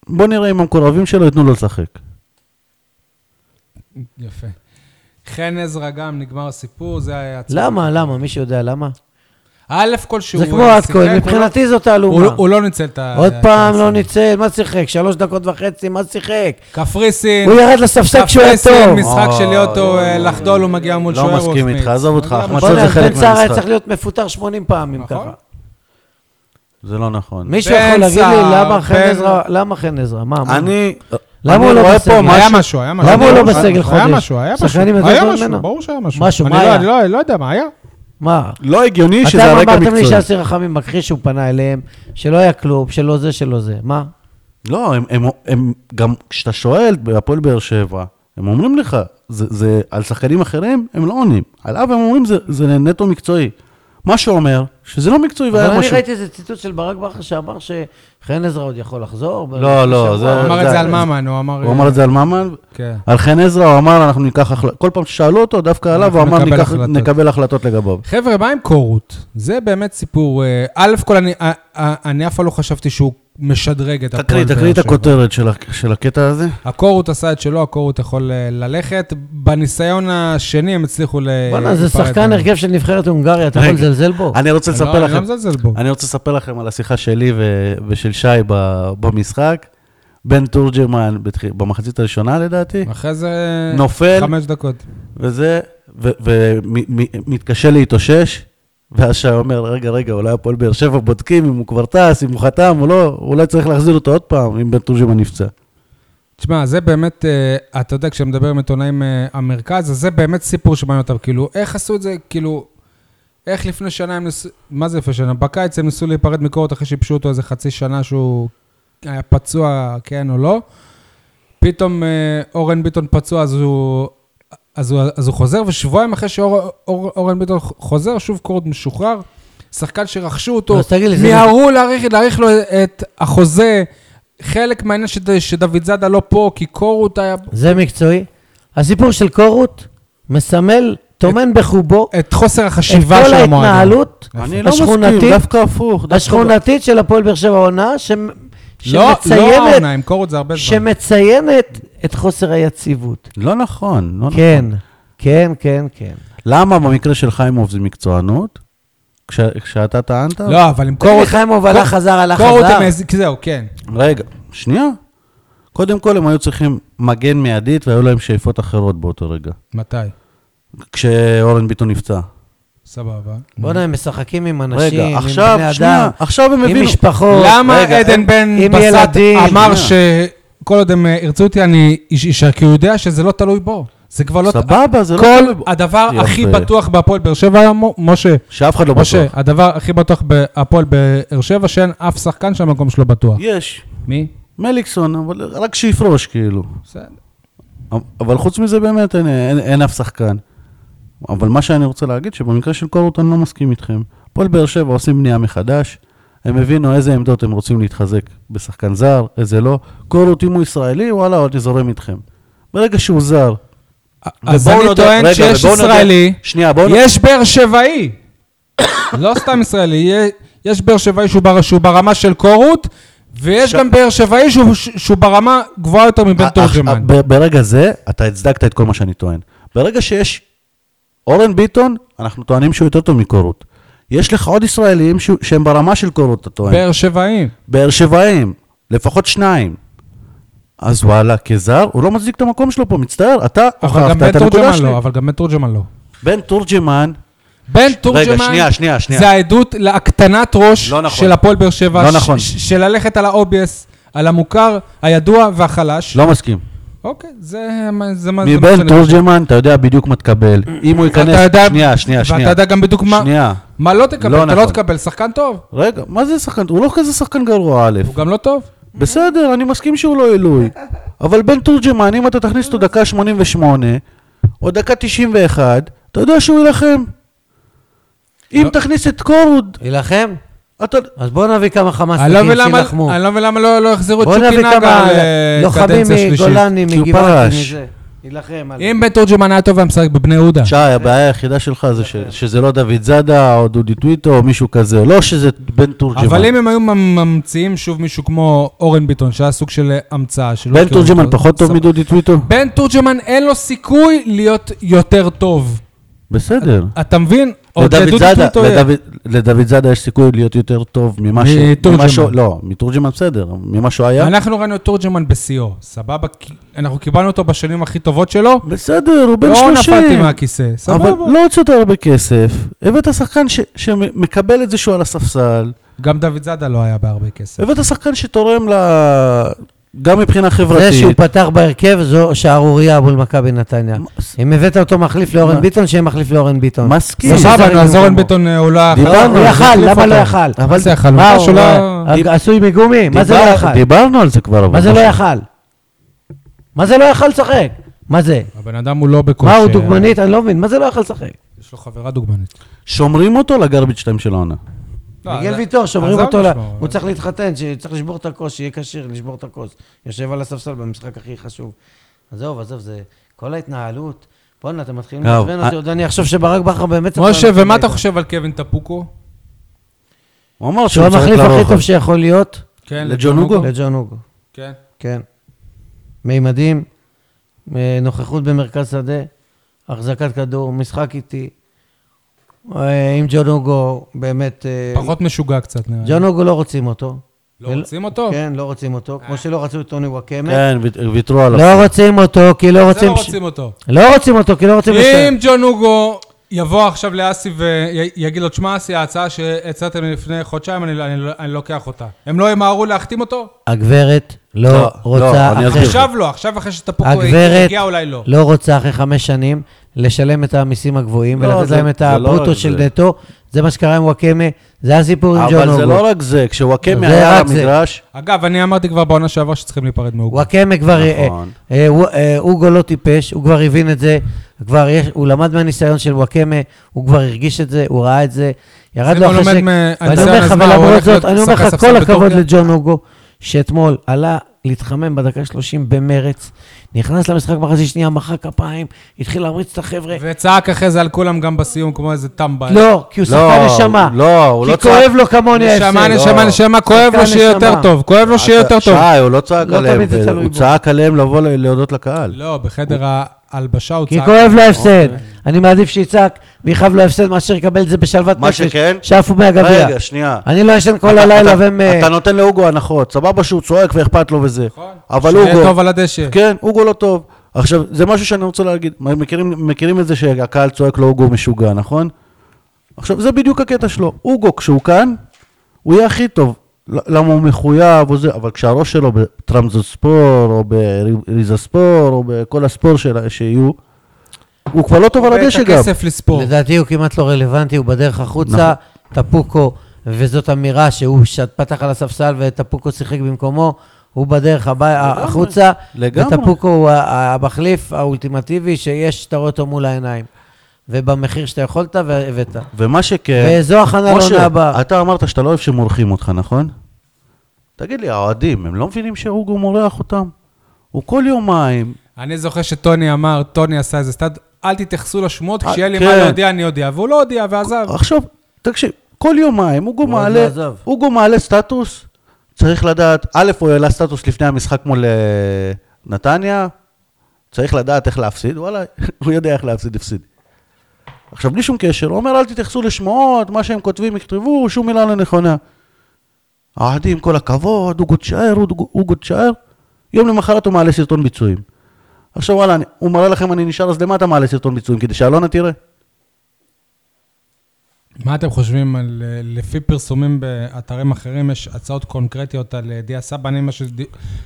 S2: בוא נראה אם המקורבים שלו ייתנו לו לשחק.
S1: יפה. חן עזרא גם, נגמר הסיפור, זה היה... עצוב.
S3: למה? למה? מישהו יודע למה?
S1: א' כל שהוא...
S3: לא. זה כמו עד
S1: שיחק,
S3: כהן,
S1: הוא
S3: מבחינתי זאת
S1: לא- הוא
S3: תעלומה.
S1: לא- הוא לא אה, ניצל את ה...
S3: עוד
S1: את
S3: פעם לא
S1: הסיבוב.
S3: ניצל, מה שיחק? שלוש דקות וחצי, מה שיחק?
S1: קפריסין,
S3: הוא ירד לספסק כשהוא היה
S1: קפריסין,
S3: טוב.
S1: כן. משחק של
S2: אוי,
S1: יוטו,
S2: אוי,
S1: אה, לחדול, הוא מגיע מול
S2: לא
S1: שוער. הוא
S2: מסכים
S1: החמיץ.
S2: איתך, עזוב אותך,
S1: לא יודע,
S2: אחמד.
S1: אבל-
S2: מצב זה
S3: בוא'נה,
S2: חלק
S3: בן סער היה
S2: מהמשחק.
S3: צריך להיות מפוטר 80 פעמים
S1: נכון.
S3: ככה.
S2: זה לא נכון.
S3: מישהו
S1: בן
S3: יכול להגיד לי
S1: סער,
S3: למה חן
S1: בן-
S3: עזרא, למה חן עזרא? מה, מה?
S2: אני,
S3: למה
S2: אני
S3: הוא לא
S2: רואה
S3: בסגל?
S2: פה
S1: היה
S2: משהו-
S1: משהו, היה משהו.
S3: למה הוא לא
S1: היה
S3: בסגל
S1: משהו,
S3: חודש?
S1: היה משהו, היה משהו.
S3: שחקנים יותר
S1: היה
S3: טובים
S1: משהו,
S3: ממנו?
S1: ברור שהיה משהו.
S3: משהו,
S1: אני
S3: מה
S1: לא-
S3: היה?
S1: אני לא- אני לא יודע מה היה.
S3: מה?
S2: לא הגיוני שזה
S3: אתם
S2: הרקע
S3: אמרתם לי
S2: המקצועי.
S3: שאסיר רחמים מכחיש שהוא פנה אליהם, שלא היה כלום, שלא זה, שלא זה. מה?
S2: לא, הם, הם, הם גם
S4: כשאתה שואל בהפועל באר שבע,
S2: הם אומרים לך, זה, זה על שחקנים אחרים, הם לא עונים. עליו הם אומרים, זה, זה נטו מקצועי. מה שאומר, שזה לא מקצועי
S3: אבל
S2: והיה
S3: אני
S2: משהו.
S3: ראיתי איזה ציטוט של ברק בכר שאמר שחן עזרא עוד יכול לחזור. ב-
S2: לא, לא,
S3: בשבוע.
S1: הוא
S2: זה-
S1: אמר את זה על
S2: זה-
S1: ממן, הוא אמר...
S2: הוא אמר את זה על ממן,
S1: כן.
S2: על חן עזרא, הוא אמר, אנחנו ניקח החלטות, כל פעם ששאלו אותו, דווקא עליו, הוא
S1: אנחנו
S2: אמר,
S1: נקבל
S2: "ניקח-
S1: החלטות."
S2: נקבל החלטות לגביו.
S1: חבר'ה, מה עם קורות? זה באמת סיפור... אה, א' כל, אני, אה, אה, אני אף פעם לא חשבתי שהוא משדרג את
S2: תקריא,
S1: הפועל באר
S2: תקריא את
S1: שבע.
S2: הכותרת של ה- של הקטע הזה.
S1: הקורות עשה את שלו, הקורות יכול אה, ללכת. בניסיון השני הם הצליחו ל...
S3: בואנה, זה
S1: להיפרד
S3: שחקן
S1: ממנו.
S3: הרכב של נבחרת הונגריה, אתה יכול
S2: רגע.
S3: לזלזל בו?
S2: אני רוצה
S1: לא,
S2: לספר
S1: אני לא
S2: לכם,
S1: מזלזל בו.
S2: אני רוצה לספר לכם על השיחה שלי ו- ושל שי ב- במשחק. בן תורג'רמן, בתח- במחצית הראשונה לדעתי,
S1: אחרי זה...
S2: נופל,
S1: חמש דקות.
S2: וזה, ומתקשה להתאושש, ואז שי אומר, רגע, רגע, אולי הפועל באר שבע בודקים אם הוא כבר טס, אם הוא חתם או לא, אולי צריך להחזיר אותו עוד פעם, אם בן תורג'רמן נפצע.
S1: תשמע, זה באמת, אה, אתה יודע, כשאתה מדבר עם עיתונאים אה, המרכז, אז זה באמת סיפור שמעניין אותם. כאילו, איך עשו את זה, כאילו, איך לפני שנה הם ניסו, מה זה לפני שנה? בקיץ הם ניסו להיפרד מקורות אחרי שיבשו אותו איזה חצי שנה שהוא היה פצוע, כן או לא. פתאום אה, אורן ביטון פצוע, אז הוא, אז הוא, אז הוא חוזר, ושבועיים אחרי שאורן אור, אורן ביטון חוזר, שוב קורות משוחרר. שחקן שרכשו אותו,
S3: אז תגיד לי, זה-
S1: מיהרו להאריך, להאריך לו את החוזה. חלק מהעניין שד, שדוד זאדה לא פה, כי קורות היה...
S3: זה מקצועי. הסיפור של קורות מסמל, טומן בחובו
S1: את חוסר
S3: את
S1: החשיבה
S3: כל
S1: של המועדון.
S3: ההתנהלות
S2: אני לא
S3: השכונתית-
S2: מסכים, דווקא הפוך. דווקא- לא.
S3: השכונתית של הפועל באר שבע עונה, ש-
S1: לא, לא
S3: שמציינת,
S1: העונה, עם קורות זה הרבה זמן.
S3: שמציינת את חוסר היציבות.
S2: לא נכון, לא נכון.
S3: כן, כן, כן, כן.
S2: למה במקרה של חיימוב זה מקצוענות? כש- כשאתה טענת?
S1: לא, אבל עם
S3: קורות...
S1: קורות...
S3: חיימוב הלך,
S1: קור-
S3: חזר, הלך,
S1: קורות
S3: חזר.
S1: הם... איזה- זהו, כן.
S2: רגע, שנייה. קודם כל הם היו צריכים מגן מיידית והיו להם שאיפות אחרות באותו רגע.
S1: מתי?
S2: כשאורן ביטון נפצע.
S1: סבבה.
S3: בוא'נה, הם משחקים עם אנשים,
S2: רגע,
S3: עם
S2: עכשיו,
S3: בני
S2: שנייה,
S3: אדם,
S2: עכשיו הם
S3: עם
S2: הבינו.
S3: משפחות.
S1: למה
S2: רגע,
S1: עדן
S2: הם-
S1: בן
S3: עם
S1: בסט
S3: ילדים. אה.
S1: אמר
S2: שנייה.
S1: שכל עוד הם אה, ירצו אותי, אני אשאר, כי הוא יודע שזה לא תלוי בו. זה כבר לא...
S2: סבבה, זה לא...
S1: כל
S2: תלוי-
S1: הדבר
S2: יפה.
S1: הכי בטוח בהפועל באר שבע היום, מו- משה,
S2: שאף אחד לא
S1: משה,
S2: בטוח.
S1: הדבר הכי בטוח בהפועל באר שבע, שאין אף שחקן שהמקום שלו בטוח.
S2: יש,
S1: מי?
S2: מליקסון, אבל רק שיפרוש כאילו.
S1: בסדר.
S2: אבל חוץ מזה באמת אין, אין, אין אף שחקן. אבל מה שאני רוצה להגיד, שבמקרה של קורות אני לא מסכים איתכם. הפועל באר שבע עושים בנייה מחדש, הם הבינו איזה עמדות הם רוצים להתחזק בשחקן זר, איזה לא. קורות, אם הוא ישראלי, וואלה, אני זורם איתכם. ברגע שהוא זר...
S1: אז
S2: ובואו
S1: אני
S2: נודה-
S1: טוען
S2: רגע,
S1: שיש
S2: ובואו נודה-
S1: ישראלי,
S2: שנייה, בואו נ...
S1: יש באר שבעי. <coughs> לא סתם ישראלי, יה- יש באר שבעי שהוא בר- שהוא ברמה של קורות, ויש
S2: ש- אה,
S1: גם באר שבעי שהוא- שהוא ברמה גבוהה יותר מבן
S2: אך-
S1: תורג'מן.
S2: אך- ב- ברגע זה, אתה הצדקת את כל מה שאני טוען. ברגע שיש אורן ביטון, אנחנו טוענים שהוא יותר טוב מקורות. יש לך עוד ישראלים שהוא- שהם ברמה של קורות, אתה טוען.
S1: באר שבעים.
S2: באר שבעים, לפחות שניים. אז וואלה, כזר, הוא לא מצדיק את המקום שלו פה, מצטער, אתה
S1: אבל גם
S2: הוכחת
S1: בן
S2: את הנקודה
S1: תורג'מן
S2: שלי.
S1: לא, אבל גם בן תורג'מן לא.
S2: בן תורג'מן,
S1: בן תורג'מן...
S2: שנייה, שנייה, שנייה.
S1: זה העדות להקטנת ראש
S2: לא נכון.
S1: של הפועל באר שבע.
S2: לא
S1: ש-
S2: נכון.
S1: ש- של ללכת על האובייס, על המוכר, הידוע והחלש.
S2: לא מסכים.
S1: אוקיי, זה מה זה מה- זה מה
S2: מבן
S1: שאני-
S2: תורג'מן, אתה יודע בדיוק מה תקבל. אם הוא ייכנס...
S1: ואתה יודע-
S2: שנייה, שנייה,
S1: ואתה
S2: שנייה.
S1: יודע גם בדיוק מה-
S2: שנייה.
S1: מה לא תקבל?
S2: לא
S1: אתה לא
S2: נכון.
S1: תקבל שחקן טוב,
S2: רגע, מה זה שחקן? הוא לא כזה שחקן גרוע, א'.
S1: הוא גם לא טוב.
S2: בסדר, אני מסכים שהוא לא עילוי. אבל בן תורג'מן, אם אתה תכניס אותו דקה 88, או דקה 91, אתה יודע שהוא יילחם. אם
S1: לא.
S2: תכניס את קורוד,
S3: יילחם?
S2: אתה...
S3: אז בוא נביא כמה
S1: אני לא
S3: חמאסניקים
S1: מבין למה-
S3: שילחמו.
S1: אני לא מבין למה לא לא החזירו את
S3: בוא
S1: שוקי
S3: נביא
S1: נגה
S3: כמה לוחמים
S1: לקדנציה אה, שלישית.
S3: מגולני,
S2: כי הוא
S3: מגבעתי,
S2: פרש.
S3: מזה. יילחם. על-
S1: אם בן תורג'מן היה טוב והיה משחק בבני יהודה.
S2: שי, הבעיה היחידה שלך זה ש-
S1: אה.
S2: שזה לא דוד זאדה, או דודי טוויטו, או מישהו כזה, לא שזה בן תורג'מן.
S1: אבל אם הם היו ממ- ממציאים שוב מישהו כמו אורן ביטון, שהיה סוג של אה, המצאה שלא...
S2: בן
S1: הכירו
S2: תורג'מן
S1: אותו,
S2: פחות טוב
S1: אוקיי, סבבה.
S2: מדודי טוויטו?
S1: בן תורג'מן אין לו סיכוי להיות יותר טוב.
S2: בסדר.
S1: אתה מבין? עוד
S2: לדוד
S1: לדודו
S2: זאדה,
S1: טוויטו יש.
S2: לדוד- לדוד זאדה יש סיכוי להיות יותר טוב ממה ש...
S1: מתורג'מן.
S2: ממה שהוא- לא, מתורג'מן בסדר, ממה שהוא היה.
S1: אנחנו ראינו את תורג'מן בשיאו, סבבה? כי אנחנו קיבלנו אותו בשנים הכי טובות שלו,
S2: בסדר, הוא בן
S1: לא
S2: 30.
S1: נפלתי מהכיסא,
S2: אבל
S1: סבבה?
S2: לא הוצאת הרבה כסף, הבאת שחקן ש- שמקבל את זה שהוא על הספסל,
S1: גם דוד זאדה לא היה בהרבה כסף.
S2: הבאת שחקן שתורם ל... גם מבחינה
S3: זה שהוא
S2: חברתית,
S3: פתח בהרכב זו שערורייה מול מכבי נתניה.
S2: מה-
S3: אם הבאת אותו מחליף לאורן
S2: מה?
S3: ביטון, שיהיה מחליף לאורן ביטון.
S2: מסכים.
S3: כן, זה נכון.
S1: לא, סבבה,
S3: שזה ריבוי
S1: נו, אז אורן
S3: מקומות.
S1: ביטון אה, עולה...
S3: לא,
S2: דיברנו,
S3: הוא
S2: אז
S3: יכל,
S2: החליף
S3: למה
S2: אותו.
S3: לא יכל?
S1: אבל זה
S3: מה
S1: החלוקה
S3: הוא,
S1: שלו...
S3: אה,
S2: דיב-
S3: עשוי מגומי, מה זה לא
S2: דיבר-
S3: יכל?
S2: דיברנו על זה כבר, אבל...
S3: מה זה לא
S2: משהו-
S3: יכל? מה זה לא יכל לשחק? מה זה?
S1: הבן אדם הוא לא בכושר.
S3: מה הוא דוגמנית? אני לא מבין, מה זה לא יכל לשחק?
S1: יש לו חברה דוגמנית.
S2: שומרים אותו לגרביץ' 2 של העונה.
S1: לא,
S3: מיגל ויטור, שומרים
S1: עזוב
S3: אותו, ל-
S1: לשמור, אה.
S3: הוא
S1: אבל-
S3: צריך להתחתן, שצריך לשבור את הכוס, שיהיה כשיר, לשבור את הכוס. יושב על הספסל במשחק הכי חשוב. עזוב, עזוב, זה כל ההתנהלות. בואנה, אתם מתחילים
S2: טוב,
S3: לעצבן אותי,
S2: אה-
S3: עוד אני אחשוב שברק בכר באמת... צריך
S1: משה,
S3: לעלות
S1: ומה
S3: הביתה.
S1: אתה חושב על קווין טפוקו?
S2: הוא אמר
S3: שהוא
S2: שהוא צריך
S3: המחליף הכי
S2: לרוחב.
S3: טוב שיכול להיות
S1: כן,
S2: לג'ון הוגו?
S3: לג'ון הוגו.
S1: כן.
S3: כן. מימדים, אה, נוכחות במרכז שדה, החזקת כדור, משחק איטי. אה, עם ג'ון הוגו, באמת... אה,
S1: פחות משוגע קצת, נראה לי.
S3: ג'ון הוגו לא רוצים אותו.
S1: לא רוצים אותו? אה.
S3: כן, לא רוצים אותו, כמו שלא רצו את טוני וואקמה.
S2: כן, וית- ויתרו עליו.
S3: לא רוצים אותו, כי לא
S1: זה
S3: רוצים...
S1: לא
S3: ש-
S1: רוצים אותו.
S3: לא רוצים אותו, כי לא רוצים...
S1: אם
S3: לשלם.
S1: ג'ון הוגו יבוא עכשיו לאסי ויגיד לו, תשמע, אסי, ההצעה שהצעתם לי לפני חודשיים, אני- אני לא- אני לוקח אותה. הם לא ימהרו להחתים אותו?
S3: הגברת
S2: לא,
S3: לא רוצה
S2: לא, אני
S3: אחרי...
S2: אסביר.
S1: עכשיו לא, עכשיו אחרי שטפוקו
S3: הגברת
S1: הגיע, אולי לא.
S3: אה, לא רוצה אחרי חמש שנים לשלם את המיסים הגבוהים
S2: לא,
S3: ולתת
S2: זה-
S3: להם את
S2: זה לא
S3: הברוטו
S2: רק
S3: של
S2: זה.
S3: נטו. זה מה שקרה עם וואקמה, זה הסיפור עם ג'ון
S2: אבל זה לא
S3: הוגו.
S2: רק זה, כשוואקמה
S3: זה
S2: היה על
S3: רק זה.
S2: המגרש,
S1: אגב, אני אמרתי כבר בעונה שעברה שצריכים להיפרד מהוגו.
S3: וואקמה כבר... אה,
S2: נכון.
S3: אה, הוא- אה, הוגו לא טיפש, הוא כבר הבין את זה, כבר יש, הוא למד מהניסיון של וואקמה, הוא כבר הרגיש את זה, הוא ראה את זה, ירד
S1: אם
S3: לו
S1: הוא לומד
S3: החשק. ואני
S1: מהניסיון,
S3: אומר לך,
S1: אז מה, הוא
S3: ולמרות
S1: הולך
S3: זאת,
S1: להיות
S3: אני אומר לך,
S1: שחקן
S3: כל
S1: ספסל
S3: הכבוד
S1: בטורקיה?
S3: לג'ון הוגו, שאתמול עלה להתחמם בדקה 30 במרץ, נכנס למשחק מחצית שנייה, מחא כפיים, התחיל להמריץ את החבר'ה.
S1: וצעק אחרי זה על כולם גם בסיום, כמו איזה טמבל.
S3: אה. לא, כי הוא שחקן
S2: לא,
S3: נשמה.
S2: לא, הוא לא
S3: כי כואב
S2: צעק.
S3: לו כמוני
S1: נשמה,
S3: ההפסד.
S1: נשמה,
S2: לא.
S1: נשמה, כואב לו
S3: שחקן
S1: שיהיה יותר
S3: נשמה.
S1: טוב. כואב לו שיהיה יותר טוב.
S2: שי, הוא לא צעק
S3: לא
S2: עליהם,
S3: תמיד זה תלוי
S2: הוא
S3: בו.
S2: צעק עליהם לבוא ל- להודות לקהל.
S1: לא, בחדר ההלבשה הוא
S3: כי
S1: צעק.
S3: כואב לו ההפסד. אני מעדיף שיצעק ויכאב לו הפסד מאשר יקבל את זה בשלוות
S2: מה
S3: נפש.
S2: שכן-
S3: שעפו מהגביע.
S2: רגע, שנייה.
S3: אני לא ישן כל
S2: אתה-
S3: הלילה
S2: אתה-
S3: והם... אה,
S2: אתה נותן להוגו הנחות, סבבה שהוא צועק ואכפת לו וזה.
S1: נכון.
S2: אבל
S1: שיהיה טוב
S2: הוגו,
S1: על הדשא.
S2: כן, הוגו לא טוב. עכשיו, זה משהו שאני רוצה להגיד, מה, מכירים, מכירים את זה שהקהל צועק לו הוגו משוגע, נכון? עכשיו, זה בדיוק הקטע שלו. הוגו, כשהוא כאן, הוא יהיה הכי טוב. ל- למה הוא מחויב או זה, אבל כשהראש שלו בטרמזוספור, או בריזספור, או בכל הספור שלה, שיהיו, הוא כבר לא טוב על הדשא
S1: את
S2: גם.
S1: הכסף לספורט.
S3: לדעתי הוא כמעט לא רלוונטי, הוא בדרך החוצה,
S2: נכון.
S3: טפוקו, וזאת אמירה שהוא ש- פתח על הספסל וטפוקו שיחק במקומו, הוא בדרך הבא, החוצה,
S2: לגמרי.
S3: וטפוקו הוא ה- המחליף האולטימטיבי שיש, שאתה רואה אותו מול העיניים. ובמחיר שאתה יכולת והבאת.
S2: ומה שכן...
S3: וזו הכנה לעונה
S2: משה,
S3: הבאה.
S2: אתה אמרת שאתה לא אוהב שמורחים אותך, נכון? תגיד לי, האוהדים, הם לא מבינים שהוגו מורח אותם? הוא כל יומיים,
S1: אני זוכר שטוני אמר, טוני עשה איזה סטאד, אל תתייחסו לשמועות,
S2: אה,
S1: כשיהיה לי
S2: כן.
S1: מה להודיע, אני אודיע. והוא לא הודיע ועזב.
S2: עכשיו, תקשיב, כל יומיים הוגו
S3: הוא עוד
S2: מעלה,
S3: לא עזב.
S2: הוגו מעלה סטטוס, צריך לדעת, א', הוא העלה סטטוס לפני המשחק מול אה, נתניה, צריך לדעת איך להפסיד, וואלה, <laughs> הוא יודע איך להפסיד, הפסיד. עכשיו, בלי שום קשר, הוא אומר, אל תתייחסו לשמועות, מה שהם כותבים יכתבו, שום מילה לא נכונה. האוהדים, כל הכבוד, הוגו תשאר, הוגו הוגו תשאר. יום למחרת הוא מעלה סרטון ביצועים. עכשיו וואלה, אני- הוא מראה לכם אני נשאר, אז למה אתה מעלה סרטון ביצועים? כדי שאלונה תראה?
S1: מה אתם חושבים על, אה, לפי פרסומים באתרים אחרים, יש הצעות קונקרטיות על אה, דיה סבא? אני, מה, ש...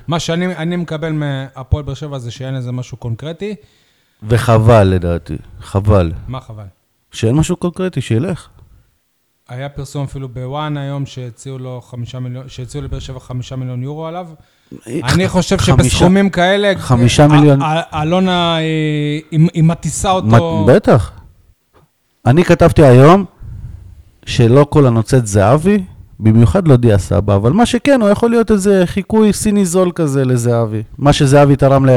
S1: מה שאני אני מקבל מהפועל באר שבע זה שאין לזה משהו קונקרטי.
S2: וחבל לדעתי, חבל.
S1: מה חבל?
S2: שאין משהו קונקרטי, שילך.
S1: היה פרסום אפילו בוואן היום שהציעו לו חמישה מיליון, שהציעו לבאר שבע חמישה מיליון יורו עליו. אני חושב
S2: אה, חמישה-
S1: שבסכומים כאלה...
S2: חמישה
S1: אה,
S2: מיליון.
S1: אה, אה, אלונה, אה, היא- היא מטיסה אותו...
S2: מה- בטח. אני כתבתי היום שלא כל הנוצאת זהבי, במיוחד לא דיה סבא, אבל מה שכן, הוא יכול להיות איזה חיקוי סיני זול כזה לזהבי. מה שזהבי תרם ל...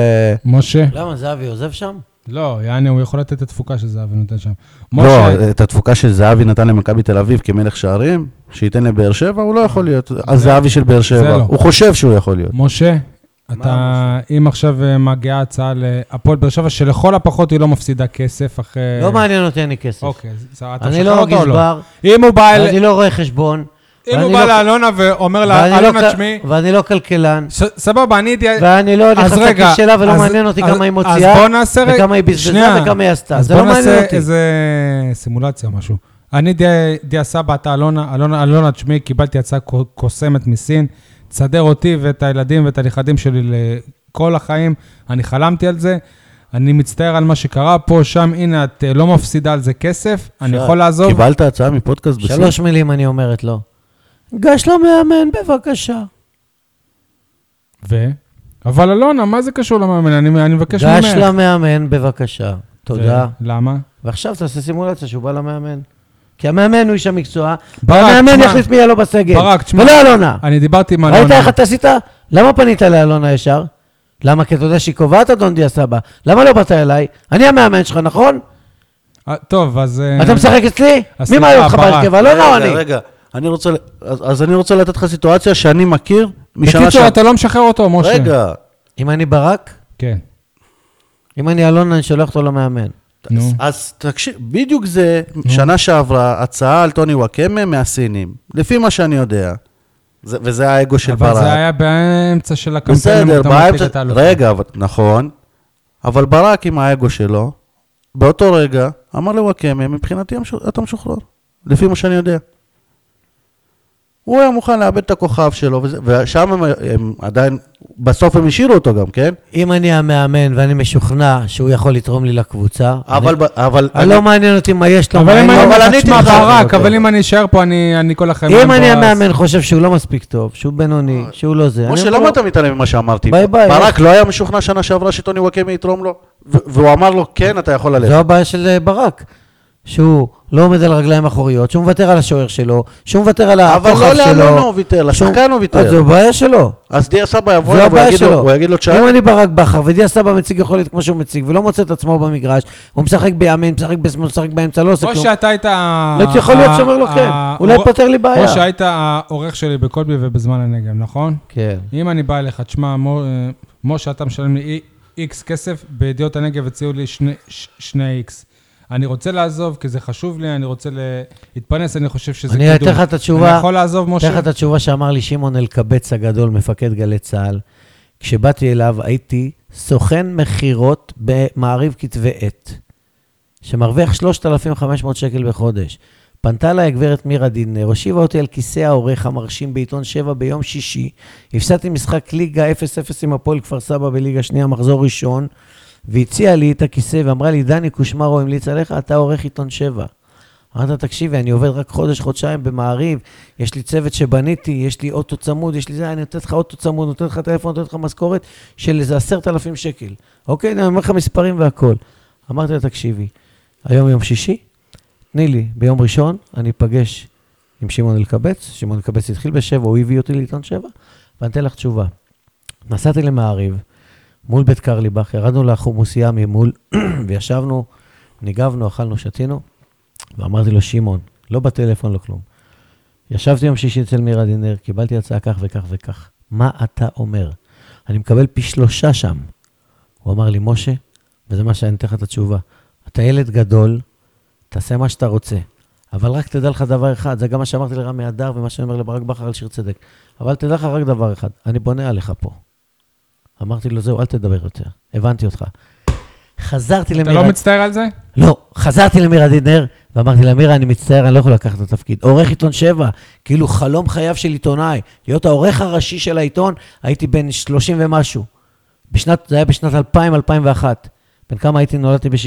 S1: משה?
S3: למה, זהבי עוזב שם?
S1: לא, יעני, הוא יכול לתת את התפוקה שזהבי נותן שם.
S3: אה,
S2: לא, את התפוקה שזהבי נתן למכבי תל אביב כמלך שערים, שייתן לבאר שבע, הוא לא יכול להיות. הזהבי של באר שבע,
S1: לא.
S2: הוא חושב שהוא יכול להיות.
S1: משה, אתה, אם עכשיו אה, מגיעה הצעה להפועל באר שבע, שלכל הפחות היא לא מפסידה כסף אחרי...
S3: לא מעניין אותי, אין לי כסף.
S1: אוקיי, אז אתה
S3: אני
S1: משחרר
S3: לא
S1: אותו או
S3: גזבר,
S1: אם הוא בא אל-
S3: ואני לא רואה חשבון.
S1: אם
S3: ואני
S1: הוא בא
S3: לא-
S1: לאלונה ואומר לה,
S3: ואני לא
S1: אלונה,
S3: כל-
S1: תשמעי,
S3: ואני לא כלכלן,
S1: ס- סבבה, אני הייתי...
S3: ואני לא נכנס
S1: אז רגע,
S3: לכיס שלה ולא
S1: אז-
S3: מעניין אותי
S1: אז-
S3: כמה היא
S1: אז בוא
S3: מוציאה,
S1: נעשה רגע...
S3: וכמה היא בזבזה
S1: שנייה.
S3: וכמה היא עשתה.
S1: אז
S3: זה
S1: בוא
S3: לא מעניין
S1: נעשה
S3: אותי.
S1: איזה סימולציה או משהו. אני דיה- דיה סבא, אתה אלונה, אלונה, אלונה, תשמעי, קיבלתי הצעה קו- קוסמת מסין, תסדר אותי ואת הילדים ואת הנכדים שלי לכל החיים. אני חלמתי על זה. אני מצטער על מה שקרה פה, שם, הנה, את אה, לא מפסידה על זה כסף, אני
S2: אפשר.
S1: יכול לעזוב.
S2: קיבלת הצעה מפודקאסט בסוף?
S3: שלוש מילים אני אומרת לו. גש למאמן בבקשה.
S1: ו? אבל אלונה, מה זה קשור למאמן? אני, אני מבקש ממך.
S3: גש למאמן בבקשה. תודה.
S1: ו- למה?
S3: ועכשיו תעשה סימולציה שהוא בא למאמן. כי המאמן הוא איש המקצוע,
S1: ברק,
S3: והמאמן
S1: תשמע-
S3: יחליט מי יהיה לו בסגל.
S1: ברק, תשמע.
S3: ולא אלונה.
S1: אני דיברתי עם אלונה.
S3: ראית איך אתה עשית? למה פנית לאלונה ישר? למה? כי אתה יודע שהיא קובעת, אדון דיה סבא. למה לא באת אליי? אני המאמן שלך, נכון?
S1: אה, טוב, אז... אה,
S3: אתה משחק אצלי?
S1: אז
S3: מי
S1: סליחה,
S3: מעלה אותך
S1: ברק.
S3: בהרכב, אלונה או
S2: רגע,
S3: לא, אני?
S2: רגע.
S4: אני רוצה, אז, אז אני רוצה לתת לך סיטואציה שאני מכיר משנה
S1: בקיצור, אתה לא משחרר אותו, משה.
S2: רגע,
S3: אם אני ברק,
S1: כן.
S3: אם אני אלונה, אני שולח אותו למאמן.
S1: נו.
S4: אז תקשיב, בדיוק זה, שנה שעברה, הצעה על טוני וואקמה מהסינים, לפי מה שאני יודע. זה, וזה האגו של ברק.
S1: אבל זה היה באמצע של הקמפיין.
S4: בסדר,
S1: אתה מפיל
S4: באמצע...
S1: את האלופה.
S4: רגע, אבל- נכון, אבל ברק עם האגו שלו, באותו רגע, אמר לוואקמה, מבחינתי המש- אתה משוחרר, לפי מה שאני יודע. הוא היה מוכן לאבד את הכוכב שלו, וזה- ושם הם, הם עדיין, בסוף הם השאירו אותו גם, כן?
S3: אם אני המאמן ואני משוכנע שהוא יכול לתרום לי לקבוצה,
S4: אבל... ב- אבל
S3: אני- לא מעניין אותי מה יש לו,
S1: אבל
S3: מה
S1: אם
S3: אין לו.
S4: אבל
S1: אני...
S4: עניתי
S1: תשמע,
S4: לך.
S1: ברק, אבל אם אני אשאר פה, אני אני כל החיים...
S3: אוקיי.
S1: לא
S3: אם
S1: אני
S3: אני
S1: בועז.
S3: המאמן חושב שהוא לא מספיק טוב, שהוא בינוני, שהוא לא זה, אני
S4: משה,
S3: אומר לו,
S4: למה אתה מתעלם ממה שאמרתי?
S3: ביי ביי.
S4: ברק לא היה משוכנע שנה שעברה שטוני וואקמה יתרום לו, ו- והוא אמר לו, כן, אתה יכול ללכת.
S3: זו הבעיה של אה, ברק, שהוא לא עומד על רגליים אחוריות, שהוא מוותר על השוער שלו, שהוא מוותר על הכוכב
S4: אבל
S3: שלו.
S4: לא לאלונה הוא ויתר,
S3: שהוא-
S4: לשחקן הוא
S3: אז
S4: ויתר.
S3: זו בעיה שלו.
S4: אז דיה סבא יבוא
S3: זו
S4: אליו, הוא
S3: הבעיה
S4: יגיד לו-
S3: שלו.
S4: הוא יגיד לו, תשאר
S3: אם אני ברק בכר ודיה סבא מציג יכולת כמו שהוא מציג, ולא מוצא את עצמו במגרש, הוא משחק בימין, משחק בשמאל, משחק באמצע, לא עושה
S1: או
S3: כלום.
S1: שאתה היית...
S3: לא, יכול להיות שאומר לו
S1: ה-
S3: כן,
S1: ה-
S3: אולי
S1: אור-
S3: פותר לי בעיה.
S1: או שהיית העורך שלי בקולבי ובזמן הנגב, נכון?
S3: כן.
S1: אם אני בא אליך, תשמע, מו- אה, משה, אתה משלם לי איקס כסף, בידיעות הנגב הציעו לי שני- ש- שני איקס. אני רוצה לעזוב, כי זה חשוב לי, אני רוצה ל- להתפרנס, אני חושב שזה
S3: אני אתן לך את התשובה.
S1: אני יכול לעזוב,
S3: אתן לך
S1: משה?
S3: את התשובה שאמר לי שמעון אלקבץ הגדול, מפקד גלי צה"ל. כשבאתי אליו הייתי סוכן מכירות במעריב כתבי עת, שמרוויח 3,500 שקל בחודש. פנתה אליי הגברת מירה דינר, הושיבה אותי על כיסא העורך המרשים בעיתון 7 ביום שישי. הפסדתי משחק ליגה 0-0 עם הפועל כפר סבא בליגה שנייה, מחזור ראשון, והציעה לי את הכיסא ואמרה לי, דני קושמרו המליץ עליך, אתה עורך עיתון 7. אמרת, תקשיבי, אני עובד רק חודש, חודשיים במעריב, יש לי צוות שבניתי, יש לי אוטו צמוד, יש לי זה, אני נותנת לך אוטו צמוד, נותנת לך טלפון, נותנת לך משכורת של איזה עשרת אלפים שקל. אוקיי, אני אומר לך מספרים והכול. אמרתי לה, תקשיבי, היום יום שישי, תני לי, ביום ראשון אני אפגש עם שמעון אלקבץ, שמעון אלקבץ התחיל בשבע, הוא הביא אותי לעיתון שבע, ואני אתן לך תשובה. נסעתי למעריב, מול בית קרליבך, ירדנו לחומוסייה ממול, <clears throat> וישבנו, ניגבנו, אכלנו, שתינו. ואמרתי לו, שמעון, לא בטלפון, לא כלום. ישבתי יום שישי אצל מירה דינר, קיבלתי הצעה כך וכך וכך. מה אתה אומר? אני מקבל פי שלושה שם. הוא אמר לי, משה, וזה מה שאני אתן לך את התשובה, אתה ילד גדול, תעשה מה שאתה רוצה. אבל רק תדע לך דבר אחד, זה גם מה שאמרתי לרמי אדר ומה שאני אומר לברק בכר על שיר צדק. אבל תדע לך רק דבר אחד, אני בונה עליך פה. אמרתי לו, זהו, אל תדבר יותר, הבנתי אותך. חזרתי
S1: אתה
S3: למירה...
S1: לא מצטער על זה?
S3: לא, חזרתי למירה דינר, ואמרתי לה, מירה, אני מצטער, אני לא יכול לקחת את התפקיד. עורך עיתון שבע, כאילו חלום חייו של עיתונאי, להיות העורך הראשי של העיתון, הייתי בן 30 ומשהו. בשנת, זה היה בשנת 2000-2001. בן כמה הייתי? נולדתי ב-66.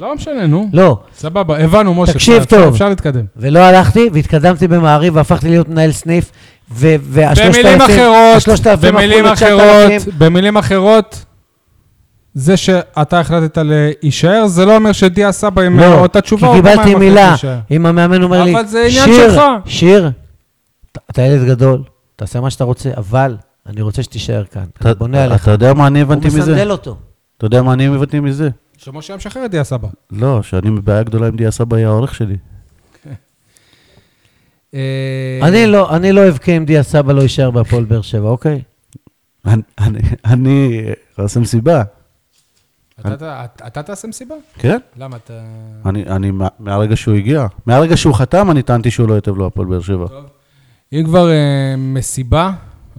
S1: לא משנה, נו.
S3: לא,
S1: סבבה, הבנו, משה.
S3: תקשיב
S1: אפשר-
S3: טוב.
S1: אפשר להתקדם.
S3: ולא הלכתי, והתקדמתי במעריב, והפכתי להיות מנהל סניף, ו- והשלושת
S1: במילים
S3: אלפים-
S1: אחרות,
S3: השלושת אלפים הפכו
S1: במילים
S3: לתשעת אלפים.
S1: אחרות, במילים אחרות, זה שאתה החלטת להישאר, זה לא אומר שדיה סבא עם
S3: לא,
S1: אה, אותה תשובה.
S3: כי
S1: הוא גם היה
S3: קיבלתי
S1: מחליט
S3: מילה,
S1: להישאר.
S3: אם המאמן אומר לי,
S1: אבל זה עניין
S3: שיר,
S1: שלך."
S3: שיר, "ת- אתה ילד גדול, תעשה מה שאתה רוצה, אבל אני רוצה שתישאר כאן, אני
S2: אתה-
S3: בונה עליך.
S2: אתה יודע מה אני
S3: הוא
S2: הבנתי מזה?
S3: מסנדל אותו.
S2: אתה יודע מה אני הבנתי מזה?
S1: שמשה היה משחרר את דיה סבא.
S2: לא, שאני בבעיה גדולה עם דיה סבא היה העורך שלי.
S1: אה,
S3: אני לא- אני לא אבכה אם דיה סבא לא יישאר בהפועל באר שבע, אוקיי?
S2: אני- אני- אני אה, עושה מסיבה,
S1: אתה- אתה- אתה תעשה מסיבה?
S2: כן?
S1: למה אתה...
S2: אני, אני מה- מהרגע שהוא הגיע, מהרגע שהוא חתם, אני טענתי שהוא לא יטב לו הפועל באר שבע.
S1: אם כבר אה, מסיבה,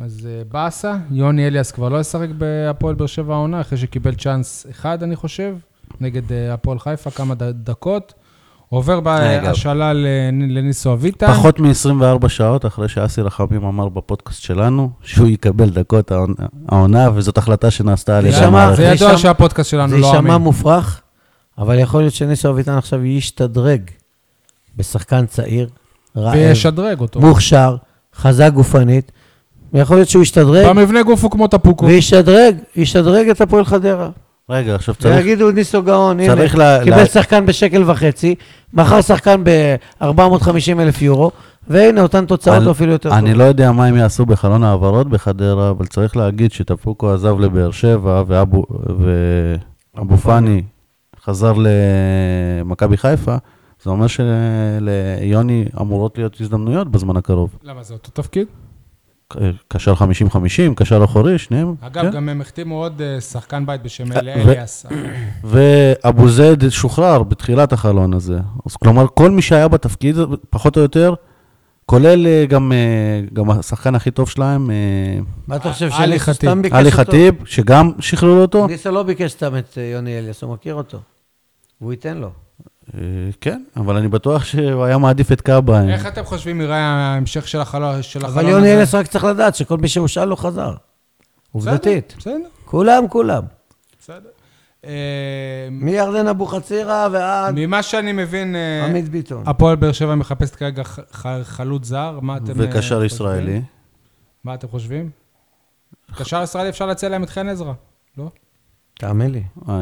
S1: אז אה, באסה, יוני אליאס כבר לא ישחק בהפועל באר שבע העונה, אחרי שקיבל צ'אנס אחד, אני חושב, נגד אה, הפועל חיפה, כמה ד- דקות. עובר
S3: רגע.
S1: בהשאלה לנ- לניסו אביטן.
S2: פחות מ-24 שעות אחרי שאסי רחמים אמר בפודקאסט שלנו שהוא יקבל דקות העונה- העונה, וזאת החלטה שנעשתה על ידי
S3: יישמע-
S1: זה
S2: המערכת.
S3: זה
S1: ידוע
S3: יישמע-
S1: שהפודקאסט
S3: זה
S1: שלנו לא אמין.
S3: יישמע מופרך, אבל יכול להיות שניסו אביטן עכשיו ישתדרג בשחקן צעיר, רעב,
S1: וישדרג אותו.
S3: מוכשר, חזק גופנית, ויכול להיות שהוא ישתדרג,
S1: במבנה גוף הוא כמו תפוקו.
S3: וישדרג, ישדרג את הפועל חדרה.
S2: רגע, עכשיו צריך...
S3: ויגידו, ניסו גאון, הנה,
S2: צריך ל-
S3: קיבל
S2: ל-
S3: שחקן בשקל וחצי, מכר שחקן ב-450 אלף יורו, והנה, אותן תוצאות
S2: אני-
S3: אפילו יותר
S2: אני לא יודע מה הם יעשו בחלון ההעברות בחדרה, אבל צריך להגיד שטפוקו עזב לבאר שבע, ואבו- ואבו פאני חזר למכבי חיפה, זה אומר שליוני אמורות להיות הזדמנויות בזמן הקרוב.
S1: למה, זה אותו תפקיד?
S2: ק- קשר 50-50, קשר אחורי, שניהם.
S1: אגב,
S2: כן.
S1: גם הם החתימו עוד אה, שחקן בית בשם אלי-
S2: ו-
S1: אליאס.
S2: ואבו זייד שוחרר בתחילת החלון הזה. אז כלומר, כל מי שהיה בתפקיד, פחות או יותר, כולל אה, גם, אה, גם השחקן הכי טוב שלהם, אה,
S3: מה אתה חושב
S1: עלי
S3: שניסו
S1: חטיב.
S3: סתם ביקש
S2: עלי
S3: אותו?
S2: חטיב, שגם שחררו אותו.
S3: ניסו לא ביקש סתם את אה, יוני אליאס, הוא מכיר אותו. והוא ייתן לו.
S2: אה, כן, אבל אני בטוח שהוא היה מעדיף את קאבה.
S1: איך אתם חושבים יראה ההמשך של החלון של החלון
S3: אבל
S1: הזה?
S3: יוני אליאס רק צריך לדעת שכל מי שהושאל לו חזר.
S1: בסדר,
S3: עובדתית.
S1: בסדר,
S3: כולם, כולם.
S1: בסדר. אה,
S3: מירדן אבוחצירא ועד
S1: ממה שאני מבין, אה,
S3: עמית ביטון.
S1: הפועל באר שבע מחפשת כרגע ח- ח- חלוץ זר, מה אתם... אה,
S2: וקשר
S1: חושבים?
S2: ישראלי.
S1: מה אתם חושבים? קשר ישראלי אפשר להציע להם את חן עזרא, לא?
S3: תאמין לי.
S2: אה,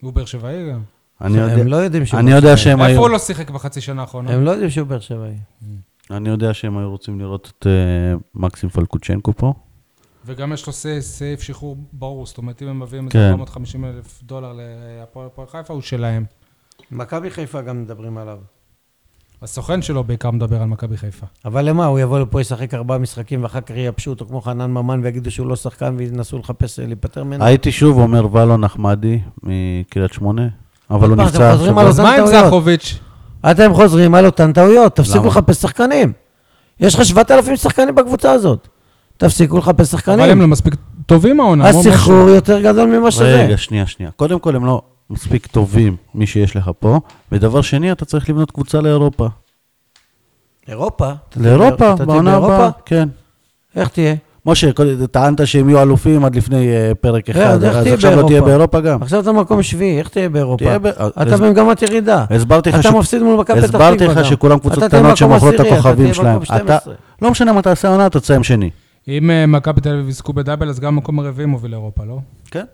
S1: הוא באר שבעי גם.
S2: אני
S3: הם לא
S2: יודע-
S3: יודעים שהוא
S2: אני
S3: באר
S2: יודע
S3: שבעי.
S2: שהם
S1: איפה
S2: היו...
S1: הוא לא שיחק בחצי שנה האחרונה?
S3: הם לא יודעים שהוא באר שבעי.
S1: לא-
S2: אני יודע שהם היו רוצים לראות את אה, מקסים פלקוצ'נקו פה.
S1: וגם יש לו סע- סעיף שחרור ברור, זאת אומרת, אם הם מביאים איזה
S2: כן.
S1: 450 אלף דולר להפועל הפועל חיפה, הוא שלהם.
S3: מכבי חיפה גם מדברים עליו.
S1: הסוכן שלו בעיקר מדבר על מכבי חיפה.
S3: אבל למה, הוא יבוא לפה, ישחק ארבעה משחקים, ואחר כך ייבשו אותו כמו חנן ממן ויגידו שהוא לא שחקן וינסו לחפש, אה, להיפטר ממנו?
S2: הייתי שוב אומר ולו נחמדי מקריית שמונה, אבל הוא
S3: פעם, אתם
S2: נפצע
S3: חוזרים
S2: השבוע.
S3: על
S1: אז
S3: אותן
S1: מה עם
S3: טעויות.
S1: זכוביץ'?
S3: אתם חוזרים על אותן טעויות, תפסיקו
S2: אה, למה?
S3: לחפש שחקנים. יש לך 7,000 שחקנים בקבוצה הזאת. תפסיקו לחפש
S1: אבל הם
S3: שחקנים.
S1: לא מספיק טובים העונה. מו-
S3: הסחרור יותר גדול ממה שזה.
S2: רגע, שנייה, שנייה. קודם כל, הם לא מספיק טובים, מי שיש לך פה, ודבר שני, אתה צריך לבנות קבוצה לאירופה.
S3: אירופה? אתה
S2: לאירופה,
S3: אתה תהיה
S2: בעונה
S3: באירופה?
S2: הבאה, כן.
S3: איך תהיה?
S2: משה, כל- טענת שהם יהיו אלופים עד לפני אה, פרק
S3: אה,
S2: אחד,
S3: אז איך
S2: אז
S3: תהיה
S2: עכשיו לא תהיה
S3: באירופה?
S2: באירופה גם.
S3: עכשיו אתה במקום שביעי, איך תהיה באירופה?
S2: תהיה ב- אה,
S3: אתה
S2: אז-
S3: במגמת ירידה.
S2: הסברתי לך
S3: אתה
S2: ש-
S3: מפסיד מול מכבי פתח תקווה.
S2: הסברתי
S3: גם.
S2: לך שכולם קבוצות
S3: אתה תהיה
S2: קטנות
S3: במקום
S2: שמוכרות את
S3: עשירי, אתה
S2: הכוכבים
S3: תהיה
S2: שלהם.
S3: במקום
S2: אתה,
S3: 12.
S2: לא משנה מה תעשה העונה, אתה תסיים שני.
S1: אם אה, מכבי תל אביב יזכו בדאבל, אז גם מקום הרביעי מוביל לאירופה, לא?
S2: כן.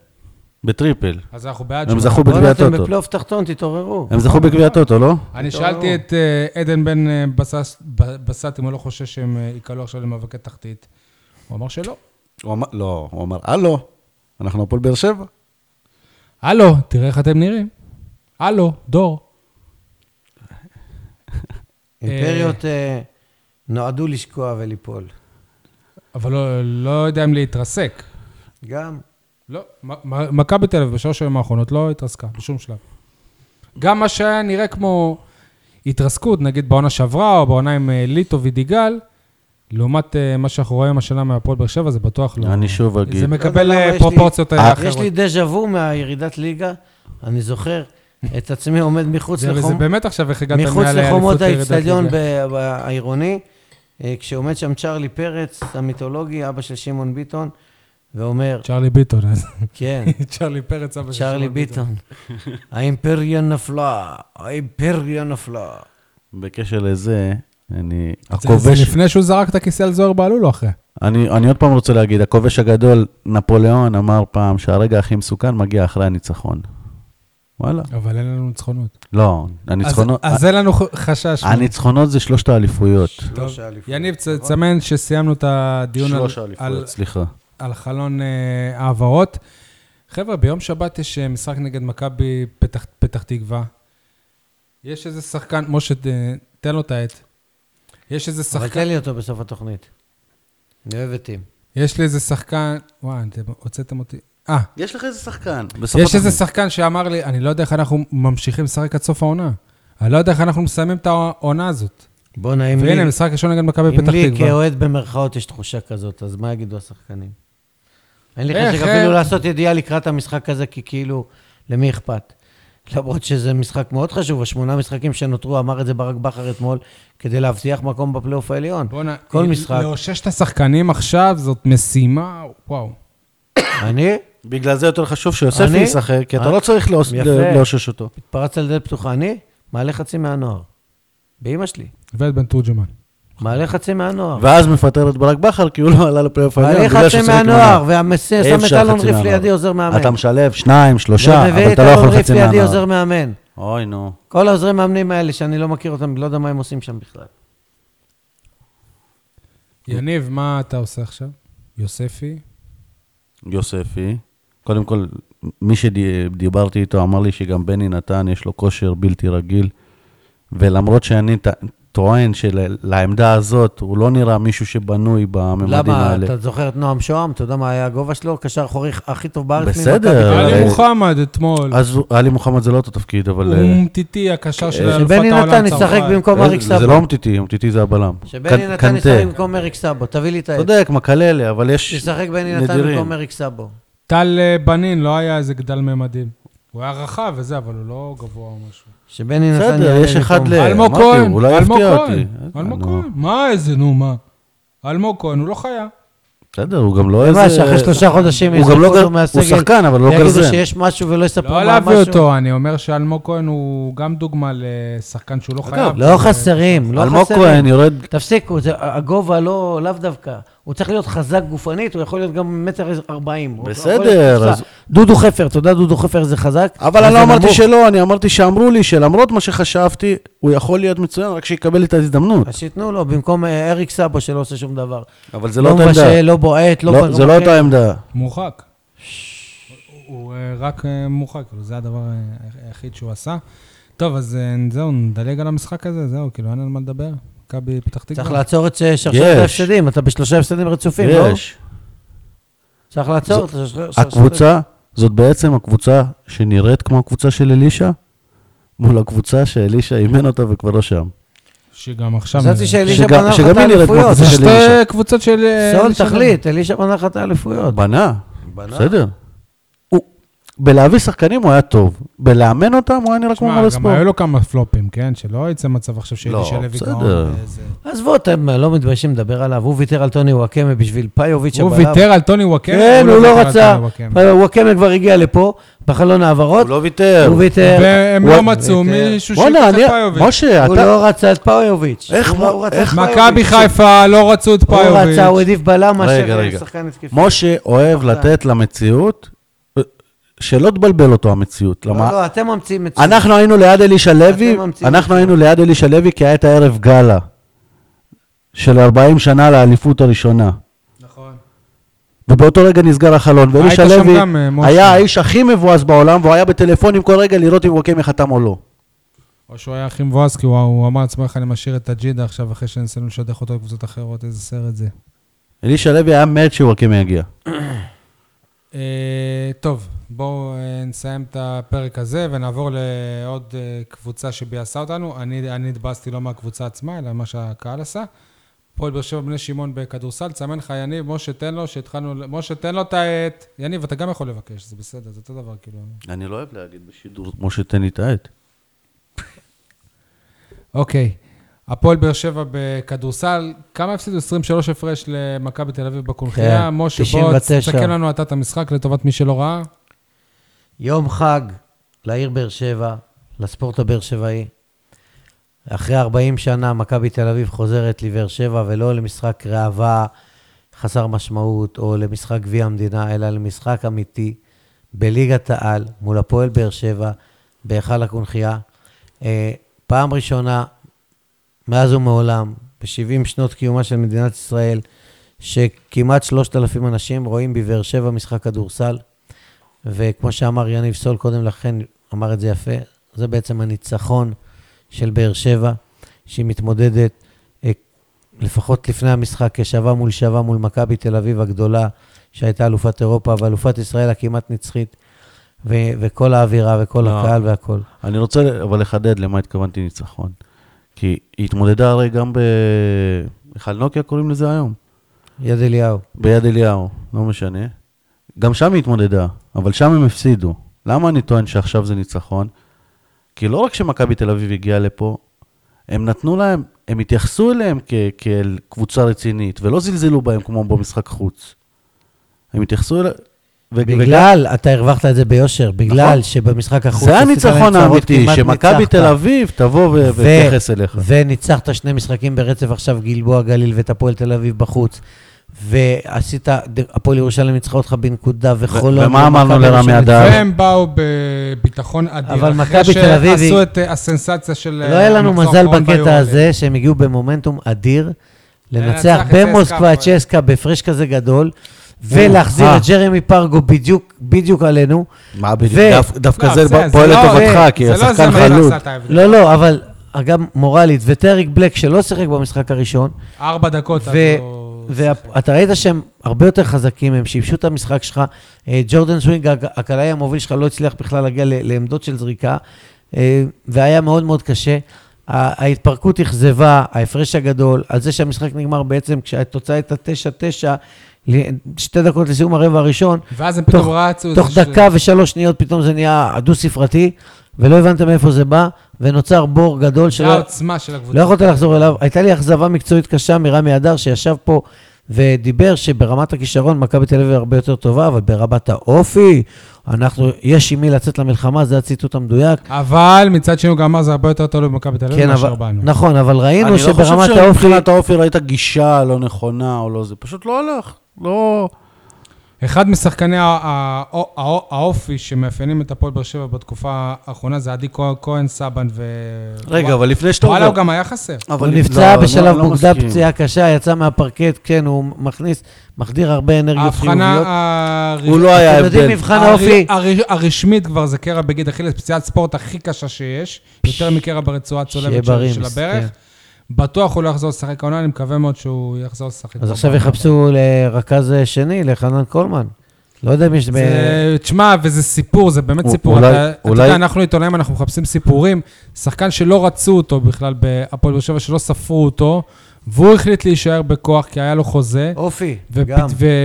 S2: בטריפל.
S1: אז אנחנו בעד
S2: הם
S1: שהוא-
S2: זכו
S3: בואנה,
S2: בגביע
S3: אתם
S2: הטוטו.
S3: בפלייאוף תחתון, תתעוררו.
S2: הם זכו בגביע הטוטו, לא?
S1: אני
S3: טוב, לא.
S1: שאלתי את אה, עדן בן אה, בסס- ב- בסט אם הוא לא חושש שהם אה, ייקלעו עכשיו למאבקי תחתית. הוא אמר שלא.
S2: הוא אמר, לא, הוא אמר, הלו, אנחנו הפועל באר שבע.
S1: הלו, תראה איך אתם נראים. הלו, דור.
S3: אימפריות אה, נועדו לשקוע וליפול.
S1: אבל לא- לא יודע אם להתרסק.
S3: גם.
S1: לא, מ- מ- מכבי תל אביב בשלוש שנים האחרונות לא התרסקה בשום שלב. גם מה שהיה נראה כמו התרסקות, נגיד בעונה שעברה או בעונה עם אה, ליטו ודיגל, לעומת אה, מה שאנחנו רואים השנה מהפועל באר שבע, זה בטוח לא.
S2: אני שוב אגיד.
S1: זה מקבל
S3: לא יודע
S1: אה,
S3: למה יש לי-
S1: פרופורציות אה,
S3: יש
S1: אחרות.
S3: לי דז'ה וו מהירידת ליגה, אני זוכר את עצמי עומד מחוץ
S1: זה זה
S3: לחום.
S1: באמת עכשיו איך הגעת
S3: מחוץ
S1: מעל לאליפות
S3: לחומות
S1: ירידת
S3: האיצטדיון
S1: ליגה.
S3: ב- העירוני, אה, כשעומד שם צ'רלי פרץ, המיתולוגי, אבא של שמעון ביטון, ואומר,
S1: צ'רלי ביטון, אז. <laughs>
S3: כן,
S1: צ'רלי פרץ, אבא של
S3: צ'רלי
S1: שמעון
S3: ביטון, האימפריה נפלה, האימפריה נפלה.
S2: בקשר לזה, אני...
S1: זה- זה
S2: הכובש...
S1: לפני שהוא זרק את הכיסא על זוהר בהלול או אחרי?
S2: אני אני עוד פעם רוצה להגיד, הכובש הגדול, נפוליאון, אמר פעם שהרגע הכי מסוכן מגיע אחרי הניצחון. וואלה.
S1: אבל אין לנו ניצחונות.
S2: לא, הניצחונות...
S1: אז אז אין לנו ח- חשש.
S2: הניצחונות זה שלושת האליפויות.
S1: טוב,
S3: שלוש האליפויות.
S1: יניב, צ- צמן שסיימנו את הדיון על-
S2: שלוש
S1: על-
S2: האליפויות, סליחה.
S1: על חלון אה, העברות. חבר'ה, ביום שבת יש אה, משחק נגד מכבי פתח- פתח תקווה. יש איזה שחקן, משה, ת- תן לו את העט. יש איזה
S3: אבל תן
S1: שחקן,
S3: לי אותו בסוף התוכנית. אני אוהב את טים.
S1: יש לי איזה שחקן, וואי, אתם הוצאתם אותי. אה,
S2: יש לך איזה שחקן.
S1: יש איזה שחקן שאמר לי, אני לא יודע איך אנחנו ממשיכים לשחק עד סוף העונה. אני לא יודע איך אנחנו מסיימים את העונה הזאת.
S3: בוא נעים לי.
S1: והנה, משחק ראשון נגד מכבי
S3: אם
S1: פתח
S3: לי
S1: תקווה.
S3: כאוהד במרכאות יש תחושה כזאת, אז מה יגידו השחקנים? אין לי
S1: איך,
S3: חשק
S1: איך? אה?
S3: אפילו לעשות ידיעה לקראת המשחק הזה, כי כאילו, למי אכפת? למרות שזה משחק מאוד חשוב, השמונה משחקים שנותרו, אמר את זה ברק בכר אתמול, כדי להבטיח מקום בפלייאוף העליון.
S1: בואנה,
S3: כל
S1: אה,
S3: משחק.
S1: לאושש את השחקנים עכשיו, זאת משימה, וואו.
S3: אני?
S4: בגלל זה יותר חשוב שיוספי
S3: אני?
S4: ישחק, כי אתה
S3: אה?
S4: לא צריך לאוס-
S3: יפה.
S4: ל- לאושש אותו.
S3: התפרצת לדלת פתוחה. אני? מעלה חצי מהנוער. באימא שלי.
S1: ואת בן תורג'מן.
S3: מעלה חצי מהנוער.
S4: ואז מפטר את ברק בכר, כי הוא לא עלה לפלייאוף העליון.
S3: מעלה
S4: בגלל
S3: אה. חצי
S4: שהוא שיחק
S3: מהנוער,
S4: עם
S3: והמסיר,
S4: אי
S3: שם את
S4: אפשר
S3: אלון
S4: חצי
S3: ריף
S4: מהנוער.
S3: לידי עוזר מאמן.
S4: אתה משלב שניים, שלושה,
S3: ומביא
S4: אבל
S3: את
S4: אתה לא יכול
S3: אלון ריף
S4: חצי
S3: לידי
S4: מהנוער.
S3: עוזר מאמן.
S2: אוי, נו.
S3: כל העוזרי מאמנים האלה שאני לא מכיר אותם, לא יודע מה הם עושים שם בכלל.
S1: יניב, מה אתה עושה עכשיו? יוספי?
S2: יוספי, קודם כל, מי שדיברתי איתו אמר לי שגם בני נתן, יש לו כושר בלתי רגיל, ולמרות שאני ט- טוען שלעמדה הזאת, הוא לא נראה מישהו שבנוי בממדים
S3: למה,
S2: האלה.
S3: אתה זוכר את נועם שוהם? אתה יודע מה היה הגובה שלו? קשר אחורי הכי טוב בארץ.
S2: בסדר,
S3: ממכבי חיפה.
S2: אבל-
S1: עלי מוחמד אתמול.
S2: אז הוא- עלי מוחמד זה לא אותו תפקיד, אבל... אה,
S1: אומטיטי, הקשר של אלופת
S3: שבני
S1: העולם
S3: נתן ישחק במקום אריק
S2: זה לא
S3: סאבו.
S2: אומטיטי, אומטיטי זה הבלם.
S3: שבני
S2: קנ-
S3: נתן
S2: קנטה.
S3: ישחק במקום אריק סאבו, תביא לי את העד.
S2: צודק, מקללה, אבל יש...
S3: ישחק בני נתן
S2: נדירים.
S3: במקום אריק סאבו.
S1: טל אה, בנין, לא היה איזה גדל ממדים. הוא היה רחב וזה, אבל הוא לא גבוה או משהו.
S3: שבני נתן...
S2: בסדר,
S3: יעלה
S2: יש אחד
S3: במקום-
S2: ל- אה,
S1: אלמוג
S2: אמרתי,
S1: כהן,
S2: הוא לא יפתיע
S1: אלמוג
S2: אותי.
S1: כהן,
S2: אה,
S1: אלמוג
S2: נו.
S1: כהן. מה איזה, נו, מה? אלמוג כהן, הוא לא חיה.
S2: בסדר, הוא גם לא איזה...
S3: מה, שאחרי שלושה חודשים
S2: הוא גם
S3: יזרקו
S2: לא...
S3: אותו
S2: גר-
S3: מהסגל,
S2: הוא שחקן, אבל לא
S3: יגידו
S2: גרזן.
S3: שיש משהו ולא יספרו
S1: לא
S3: מה
S1: להביא
S3: משהו.
S1: אותו, אני אומר שאלמוג כהן הוא גם דוגמה לשחקן שהוא לא חייב.
S3: לא חסרים, לא
S2: אלמוג
S3: חסרים.
S2: כהן יורד...
S3: תפסיקו, זה- הגובה לא, לאו דווקא. הוא צריך להיות חזק גופנית, הוא יכול להיות גם מטר ארבעים. הוא
S2: בסדר,
S3: יכול להיות
S2: אז-
S3: קופסה. דודו חפר, אתה יודע דודו חפר זה חזק?
S4: אבל אני
S3: זה
S4: לא אמרתי
S3: נמוך.
S4: שלא, אני אמרתי שאמרו לי שלמרות מה שחשבתי, הוא יכול להיות מצוין, רק שיקבל את ההזדמנות.
S3: אז שייתנו לו, במקום אה, אריק סאבו שלא עושה שום דבר.
S2: אבל זה לא אותה
S3: מבשל,
S2: עמדה.
S3: לא בועט, לא...
S2: לא- זה לא
S3: מכה.
S2: אותה עמדה.
S1: מורחק. הוא- הוא אה, רק אה, מורחק, כאילו, זה הדבר אה, היחיד שהוא עשה. טוב, אז אה, זהו, נדלג על המשחק הזה, זהו, כאילו, אין על מה לדבר. מכבי פתח תקווה.
S3: צריך לעצור את ש- שרשרת
S2: יש.
S3: ההפסדים, אתה בשלושה הפסדים רצופים, לא?
S2: יש.
S3: צריך לעצור את השרשרת.
S4: לא?
S2: הקבוצה, זאת בעצם הקבוצה שנראית כמו הקבוצה של אלישע, מול הקבוצה שאלישע אימן אותה וכבר לא שם.
S1: שגם עכשיו... כן.
S3: חשבתי שאלישע
S2: שגם-
S3: בנה לך
S2: שגם
S3: את
S2: היא נראית כמו
S3: האליפויות.
S1: זה
S2: של
S1: שתי
S2: אלישע.
S1: קבוצות של... אה,
S3: סול,
S1: אלישע.
S3: תחליט, אלישע בנה לך את האליפויות.
S2: בנה, בסדר. הוא- בלהביא שחקנים הוא היה טוב, בלאמן אותם הוא היה נראה כמו
S1: תשמע, גם
S2: מול
S1: היו
S2: הספורט.
S1: לו כמה פלופים, כן? שלא יצא מצב עכשיו
S2: לא,
S1: שאלישע לוי אה,
S2: בסדר.
S1: גאון. וזה.
S3: עזבו, אתם לא מתביישים לדבר עליו. הוא ויתר על טוני וואקמה בשביל פאיוביץ'
S1: הוא
S3: הבלם.
S1: ויתר על טוני וואקמה?
S3: כן, הוא לא
S1: ויתר על
S3: רצה.
S1: טוני וואקמה?
S3: וואקמה כבר הגיע לפה, בחלון ההעברות.
S2: הוא לא ויתר.
S3: הוא ויתר.
S1: והם
S2: הוא-
S1: לא מצאו
S3: ויתר.
S1: מישהו
S4: בואנה,
S1: שיקח את
S4: אני...
S1: פאיוביץ'.
S4: משה,
S3: הוא
S4: אתה...
S3: לא רצה את פאיוביץ'.
S4: איך
S3: הוא
S4: מו-
S3: לא רצה את
S4: איך
S3: פאיוביץ'.
S1: מכבי חיפה לא רצו את
S3: הוא
S1: פאיוביץ'.
S3: רצה, הוא העדיף בלם
S2: רגע,
S3: מאשר
S2: רגע.
S3: שחקן התקפי.
S2: משה אוהב
S3: אוקיי.
S2: לתת למציאות, אה, שלא תבלבל אותו המציאות.
S3: לא,
S2: למה-
S3: לא, אתם ממציאים את זה.
S2: אנחנו היינו ליד אלישע לוי,
S3: ממציאים
S2: אנחנו
S3: את
S2: היינו ליד אלישע לוי כי היה את הערב גאלה של 40 שנה לאליפות הראשונה.
S1: נכון.
S2: ובאותו רגע נסגר החלון, ואלישע
S1: היית שם
S2: לוי
S1: גם, אה, משה.
S2: היה האיש הכי מבואס בעולם, והוא היה בטלפונים כל רגע לראות אם וואקמה חתם או לא.
S1: או שהוא היה הכי מבואס, כי הוא, הוא אמר לעצמו איך אני משאיר את הג'ידה עכשיו, אחרי שניסינו לשדך אותו לקבוצות אחרות, איזה סרט זה.
S2: אלישע לוי היה מת שוואקמה יגיע.
S1: אה, טוב, בואו אה, נסיים את הפרק הזה ונעבור לעוד אה, קבוצה שביאסה אותנו. אני, אני התבאסתי לא מהקבוצה עצמה, אלא מה שהקהל עשה. פועל באר שבע בני שמעון בכדורסל, תסמן לך יניב, משה תן לו, שהתחלנו, ל- משה תן לו את ה... את- יניב, אתה גם יכול לבקש, זה בסדר, זה אותו דבר, כאילו.
S2: אני לא אוהב להגיד בשידור, משה תן לי את העט.
S1: אוקיי. הפועל באר שבע בכדורסל, כמה הפסידו? 23 הפרש למכבי תל אביב בקונחייה.
S3: כן,
S1: משה, בוא
S3: 99.
S1: תסכם לנו אתה את המשחק לטובת מי שלא ראה.
S3: יום חג לעיר באר שבע, לספורט הבאר שבעי. אחרי 40 שנה מכבי תל אביב חוזרת לבאר שבע, ולא למשחק ראווה חסר משמעות, או למשחק גביע המדינה, אלא למשחק אמיתי בליגת העל מול הפועל באר שבע, בהיכל הקונכייה. אה, פעם ראשונה מאז ומעולם, ב-70 שנות קיומה של מדינת ישראל, שכמעט 3,000 אנשים רואים בבאר שבע משחק כדורסל. וכמו שאמר יניב סול קודם לכן, אמר את זה יפה, זה בעצם הניצחון של באר שבע, שהיא מתמודדת, אה, לפחות לפני המשחק, כשווה מול שווה מול מכבי תל אביב הגדולה, שהייתה אלופת אירופה, ואלופת ישראל הכמעט נצחית, ו- וכל האווירה וכל
S2: לא.
S3: הקהל והכול.
S2: אני רוצה ל- אבל לחדד למה התכוונתי ניצחון. כי היא התמודדה הרי גם ב... בכלל נוקיה קוראים לזה היום.
S3: יד אליהו.
S2: ביד אליהו, לא משנה. גם שם היא התמודדה, אבל שם הם הפסידו. למה אני טוען שעכשיו זה ניצחון? כי לא רק שמכבי תל אביב הגיעה לפה, הם נתנו להם, הם התייחסו אליהם כ- כאל קבוצה רצינית, ולא זלזלו בהם כמו במשחק חוץ. הם התייחסו אליהם...
S3: בגלל, אתה הרווחת את זה ביושר, בגלל
S2: נכון.
S3: שבמשחק החוץ...
S2: זה
S3: עשית להם
S2: הניצחון
S3: צרות,
S2: האמיתי,
S3: כמעט
S2: שמכבי
S3: ניצחת.
S2: תל אביב תבוא ו-
S3: ו-
S2: ותתייחס אליך.
S3: וניצחת שני משחקים ברצף עכשיו, גלבוע גליל ואת הפועל תל אביב בחוץ. ועשית, הפועל ירושלים ניצחה אותך בנקודה וחולון.
S2: ומה אמרנו
S3: ומכבי
S2: לרמי
S3: ראשון
S2: אדר?
S3: ניצחה.
S1: והם באו בביטחון אדיר.
S3: אבל
S1: אחרי
S3: מכבי תל אביב
S1: שעשו
S3: היא-
S1: את אה, הסנסציה של...
S3: לא
S1: אה,
S3: היה לנו
S1: המחזור
S3: מזל
S1: האחרון
S3: בקטע
S1: ביורוליג.
S3: הזה שהם הגיעו במומנטום אדיר, לנצח
S1: לנצח את אה.
S3: במוסקבה את
S1: צסקה.
S3: צ'סקה בהפרש כזה גדול, ולהחזיר
S2: אה.
S3: את ג'רמי פרגו בדיוק, בדיוק עלינו.
S2: מה בדיוק?
S3: ו-
S2: דווקא- דווקא
S1: לא,
S2: זה
S1: זה-
S2: ב- פועל
S1: זה לא-
S2: לטובתך, כי
S1: זה לא
S2: השחקן
S1: זה מה
S2: חלוץ.
S1: שעשה את ההבדל.
S3: לא, לא, אבל גם מורלית וטריק בלק שלא שיחק במשחק הראשון,
S1: ארבע דקות.
S3: ו-
S1: עד שהוא-
S3: ואתה ראית שהם הרבה יותר חזקים, הם שיבשו את המשחק שלך. אה, ג'ורדן סווינג, הק- הקלעי המוביל שלך, לא הצליח בכלל להגיע ל- לעמדות של זריקה, אה, והיה מאוד מאוד קשה. ה- ההתפרקות אכזבה, ההפרש הגדול, על זה שהמשחק נגמר בעצם, כשהתוצאה הייתה 9-9, ל- שתי דקות לסיום הרבע הראשון,
S1: ואז הם פתאום
S3: תוך-
S1: רצו.
S3: תוך
S1: זה ש-
S3: דקה ושלוש שניות פתאום זה נהיה דו-ספרתי, ולא הבנתם מאיפה זה בא, ונוצר בור גדול
S1: זה
S3: שלא...
S1: העוצמה של
S3: לא
S1: הקבוצה.
S3: יכולת לחזור אליו. הייתה לי אכזבה מקצועית קשה מרמי אדר, שישב פה ודיבר שברמת הכישרון מכבי תל אביב הרבה יותר טובה, אבל ברמת האופי, אנחנו, יש עם מי לצאת למלחמה, זה הציטוט המדויק.
S1: אבל מצד שני הוא גם אמר זה הרבה יותר תלוי במכבי תל אביב
S3: כן,
S1: מאשר
S3: אבל,
S1: בנו.
S3: נכון, אבל ראינו
S4: אני לא חושב
S3: שברמת האופי...
S4: שמבחינת האופיר הייתה גישה לא נכונה או לא זה, פשוט לא הלך. לא...
S1: אחד משחקני הא- הא- הא- האופי שמאפיינים את הפועל באר שבע בתקופה האחרונה זה עדי כהן- כהן סבן ו...
S4: רגע, אבל לפני שאתה...
S1: וואלה, הוא גם היה חסר.
S3: הוא
S4: אבל-
S3: נפצע
S4: לא,
S3: בשלב
S4: לא- לא
S3: מוקדם
S4: מסכים.
S3: פציעה קשה, יצא מהפרקט, כן, הוא מכניס, מחדיר הרבה אנרגיות
S1: ההבחנה
S3: חיוביות.
S1: הר-
S4: הוא לא היה
S3: אתם יודעים
S4: הבדל.
S3: מבחן
S1: הר-
S3: האופי,
S1: הר- הרשמית כבר זה קרע בגיד אכילס, פציעת ספורט הכי קשה שיש, יותר מקרע ברצועה
S3: שיהיה כן.
S1: הצולבת
S3: בריא,
S1: של- של
S3: מסכן.
S1: הברך. בטוח הוא לא יחזור לשחק העונה, אני מקווה מאוד שהוא יחזור לשחק.
S3: אז
S1: פה.
S3: עכשיו יחפשו לרכז שני, לחנן קולמן. לא יודע אם יש... ב-
S1: זה- תשמע, וזה סיפור, זה באמת
S2: א-
S1: סיפור.
S2: אולי-
S1: אתה אתה
S2: אולי-
S1: יודע, אנחנו עיתונאים, אנחנו מחפשים סיפורים. שחקן שלא רצו אותו בכלל בהפועל באר שבע, שלא ספרו אותו, והוא החליט להישאר בכוח כי היה לו חוזה,
S3: אופי,
S1: ופ-
S3: גם.
S1: ו-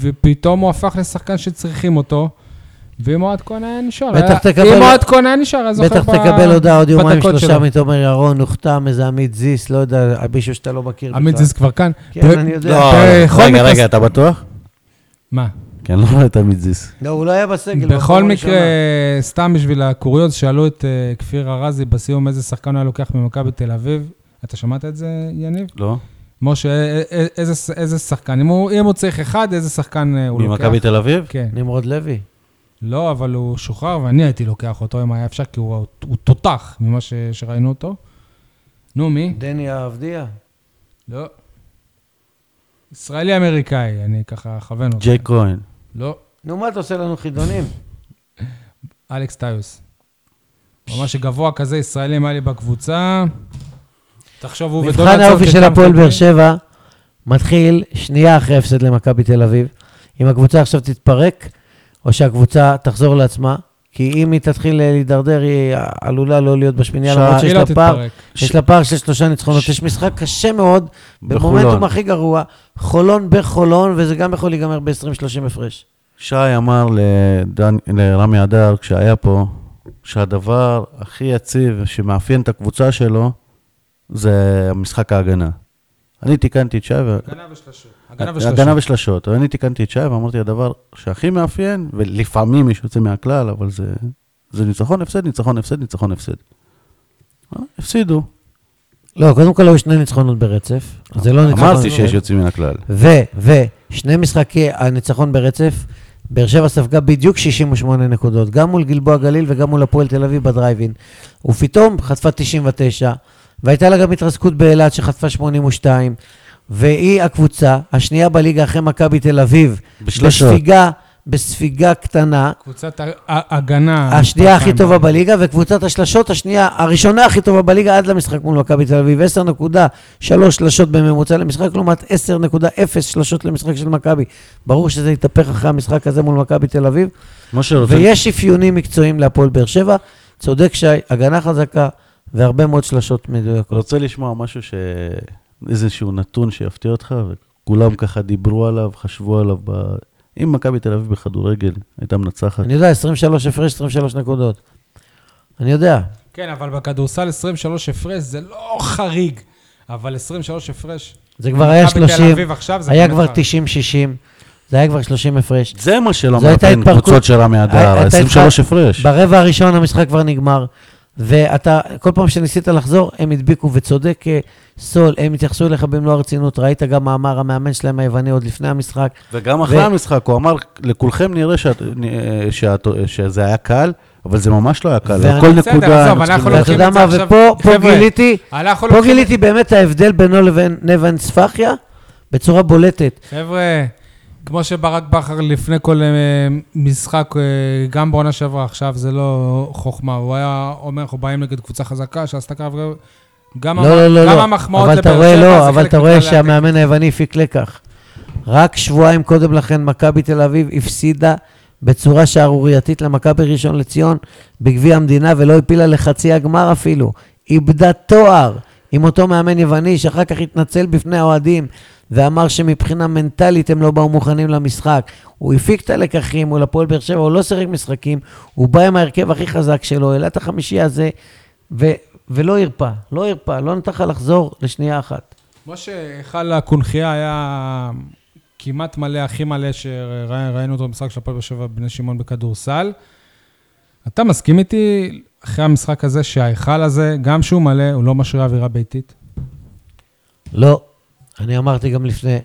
S1: ופתאום הוא הפך לשחקן שצריכים אותו. ואם אוהד כהן היה נשאר,
S3: בטח
S1: היה-
S3: תקבל-
S1: אם אוהד כהן היה נשאר, אז זוכר
S3: בטח תקבל הודעה עוד יומיים
S1: בדקות
S3: שלושה
S1: שלו.
S3: מתומר ירון, הוחתם איזה עמית זיס, לא יודע, מישהו שאתה לא מכיר בכלל.
S1: עמית זיס אה, כבר כאן.
S3: כן, אני יודע.
S2: לא,
S1: בכל
S2: רגע,
S1: מקרה-
S2: רגע, אתה בטוח?
S1: מה?
S2: כן, לא רואה את המתזיס.
S3: לא, הוא לא היה בסגל.
S1: בכל
S3: במקום
S1: מקרה,
S3: הראשונה.
S1: סתם בשביל הקוריוז, שאלו את אה, כפיר ארזי בסיום איזה שחקן הוא היה לוקח ממכבי תל אביב. אתה שמעת את זה, יניב?
S2: לא?
S1: משה, אה, אה, איזה- איזה שחקן? אם הוא אם הוא צריך אחד, איזה שחקן אה, הוא לוקח?
S2: ממכבי תל אביב?
S1: כן.
S3: נמרוד לוי.
S1: לא, אבל הוא שוחרר, ואני הייתי לוקח אותו אם היה אפשר, כי הוא הוא תותח ממה ש- שראינו אותו. נו, מי?
S3: דני העבדיה.
S1: לא. ישראלי-אמריקאי, אני ככה אכוון אותו.
S2: ג'ק כהן.
S1: לא.
S3: נו, מה אתה עושה לנו חידונים?
S1: אלכס טיוס. ממש גבוה כזה, ישראלים היה לי בקבוצה. תחשוב, הוא
S3: מבחן האופי של
S1: שכאן
S3: הפועל
S1: חלקים.
S3: באר שבע מתחיל שנייה אחרי הפסד למכבי תל אביב. אם הקבוצה עכשיו תתפרק, או שהקבוצה תחזור לעצמה, כי אם היא תתחיל אה, להידרדר, היא עלולה לא להיות בשמיניה,
S2: שעה-
S3: למרות שיש
S1: היא לא
S3: לה פער.
S1: תתפרק.
S3: יש לה פער של שלושה ניצחונות, יש משחק קשה מאוד, במומנטום
S2: בחולון.
S3: הכי גרוע, חולון בחולון, וזה גם יכול להיגמר ב-20-30 הפרש.
S2: שי אמר לדן, לרמי אדר, כשהיה פה, שהדבר הכי יציב שמאפיין את הקבוצה שלו, זה משחק ההגנה. אני תיקנתי את שי, ו-
S1: הגנה ושלשות.
S2: הגנה ושלשות. אני תיקנתי את שי ואמרתי, הדבר שהכי מאפיין, ולפעמים מישהו יוצא מהכלל, אבל זה, זה ניצחון, הפסד, ניצחון, הפסד, ניצחון, הפסד. אה, הפסידו.
S3: לא, קודם כל היו שני ניצחונות ברצף, זה לא ניצחון.
S2: אמרתי שיש יוצאים מן הכלל.
S3: ו, ו, שני משחקי הניצחון ברצף, באר שבע ספגה בדיוק 68 נקודות, גם מול גלבוע גליל וגם מול הפועל תל אביב בדרייבין. ופתאום חטפה 99, והייתה לה גם התרסקות באילת שחטפה 82, והיא הקבוצה השנייה בליגה אחרי מכבי תל אביב.
S2: בשלשות.
S3: בספיגה, בספיגה קטנה,
S1: קבוצת ה- ה- הגנה.
S3: השנייה הכי
S1: פעמיים.
S3: טובה בליגה, וקבוצת השלשות השנייה, הראשונה הכי טובה בליגה עד למשחק מול מכבי תל אביב. 10.3 שלשות בממוצע למשחק, לעומת 10.0 שלשות למשחק של מכבי. ברור שזה יתהפך אחרי המשחק הזה מול מכבי תל אביב.
S2: משה רוצה...
S3: ויש אפיונים מקצועיים להפועל באר שבע. צודק שי, הגנה חזקה והרבה מאוד שלשות מדויקות.
S2: רוצה לשמוע משהו ש... איזשהו נתון שיפתיע אותך, וכולם ככה דיברו עליו, חשבו עליו ב... אם מכבי תל אביב בכדורגל הייתה מנצחת,
S3: אני יודע, 23 הפרש, 23 נקודות. אני יודע.
S1: כן, אבל בכדורסל 23 הפרש זה לא חריג, אבל 23 הפרש...
S3: זה כבר היה
S1: מכבי תל
S3: 30,
S1: אביב עכשיו זה לא נכון.
S3: היה
S1: באמת
S3: כבר
S1: חריג.
S3: 90-60, זה היה כבר 30 הפרש.
S2: זה מה שלא
S3: זו הייתה
S2: מאפיין
S3: התפרקות-
S2: קבוצות של רמי
S3: הי-
S2: אדר,
S3: הייתה
S2: 23
S3: התפרק-
S2: הפרש.
S3: ברבע הראשון המשחק כבר נגמר, ואתה, כל פעם שניסית לחזור, הם הדביקו, וצודק אה, סול, הם התייחסו אליך במלוא הרצינות, ראית גם מה אמר המאמן שלהם היווני עוד לפני המשחק.
S2: וגם אחרי
S3: ו-
S2: המשחק, הוא אמר, לכולכם נראה שאת- נ- שאת- שזה היה קל, אבל זה ממש לא היה קל.
S3: ואני-
S2: על כל
S1: בסדר, עזוב,
S2: נקודה... הם
S1: אנחנו
S2: צריכים
S1: לא
S2: לדעת.
S3: ואתה
S1: לוקחים
S3: יודע
S1: את זה
S3: מה,
S1: עכשיו-
S3: ופה פה
S1: חבר'ה,
S3: גיליתי,
S1: אנחנו
S3: פה
S1: לוקחים את-
S3: גיליתי באמת ההבדל בינו לבין נבן ספחיה בצורה בולטת.
S1: חבר'ה, כמו שברק בכר לפני כל אה, משחק, אה, גם בעונה שעברה, עכשיו זה לא חוכמה. הוא היה אומר, אנחנו באים נגד קבוצה חזקה שעשתה קרב... גב- גם,
S3: לא, לא, לא,
S1: גם
S3: לא.
S1: המחמאות
S3: אבל אתה
S1: לבאר
S3: רואה,
S1: שבע
S3: לא,
S1: זה
S3: אבל
S1: חלק
S3: אתה רואה
S1: מכלל הטקס.
S3: שהמאמן היווני הפיק לקח. רק שבועיים קודם לכן מכבי תל אביב הפסידה בצורה שערורייתית למכבי ראשון לציון בגביע המדינה ולא הפילה לחצי הגמר אפילו. איבדה תואר עם אותו מאמן יווני שאחר כך התנצל בפני האוהדים ואמר שמבחינה מנטלית הם לא באו מוכנים למשחק. הוא הפיק את הלקחים מול הפועל באר שבע, הוא לא שיחק משחקים, הוא בא עם ההרכב הכי חזק שלו, העלה את החמישייה הזה ו- ולא הרפה, לא הרפה, לא נתן לך לחזור לשנייה אחת.
S1: משה, היכל הקונכייה היה כמעט מלא, הכי מלא שראינו אותו במשחק של הפועל באר שבע בני שמעון בכדורסל. אתה מסכים איתי אחרי המשחק הזה שההיכל הזה, גם שהוא מלא, הוא לא משרה אווירה ביתית?
S3: לא, אני אמרתי גם לפני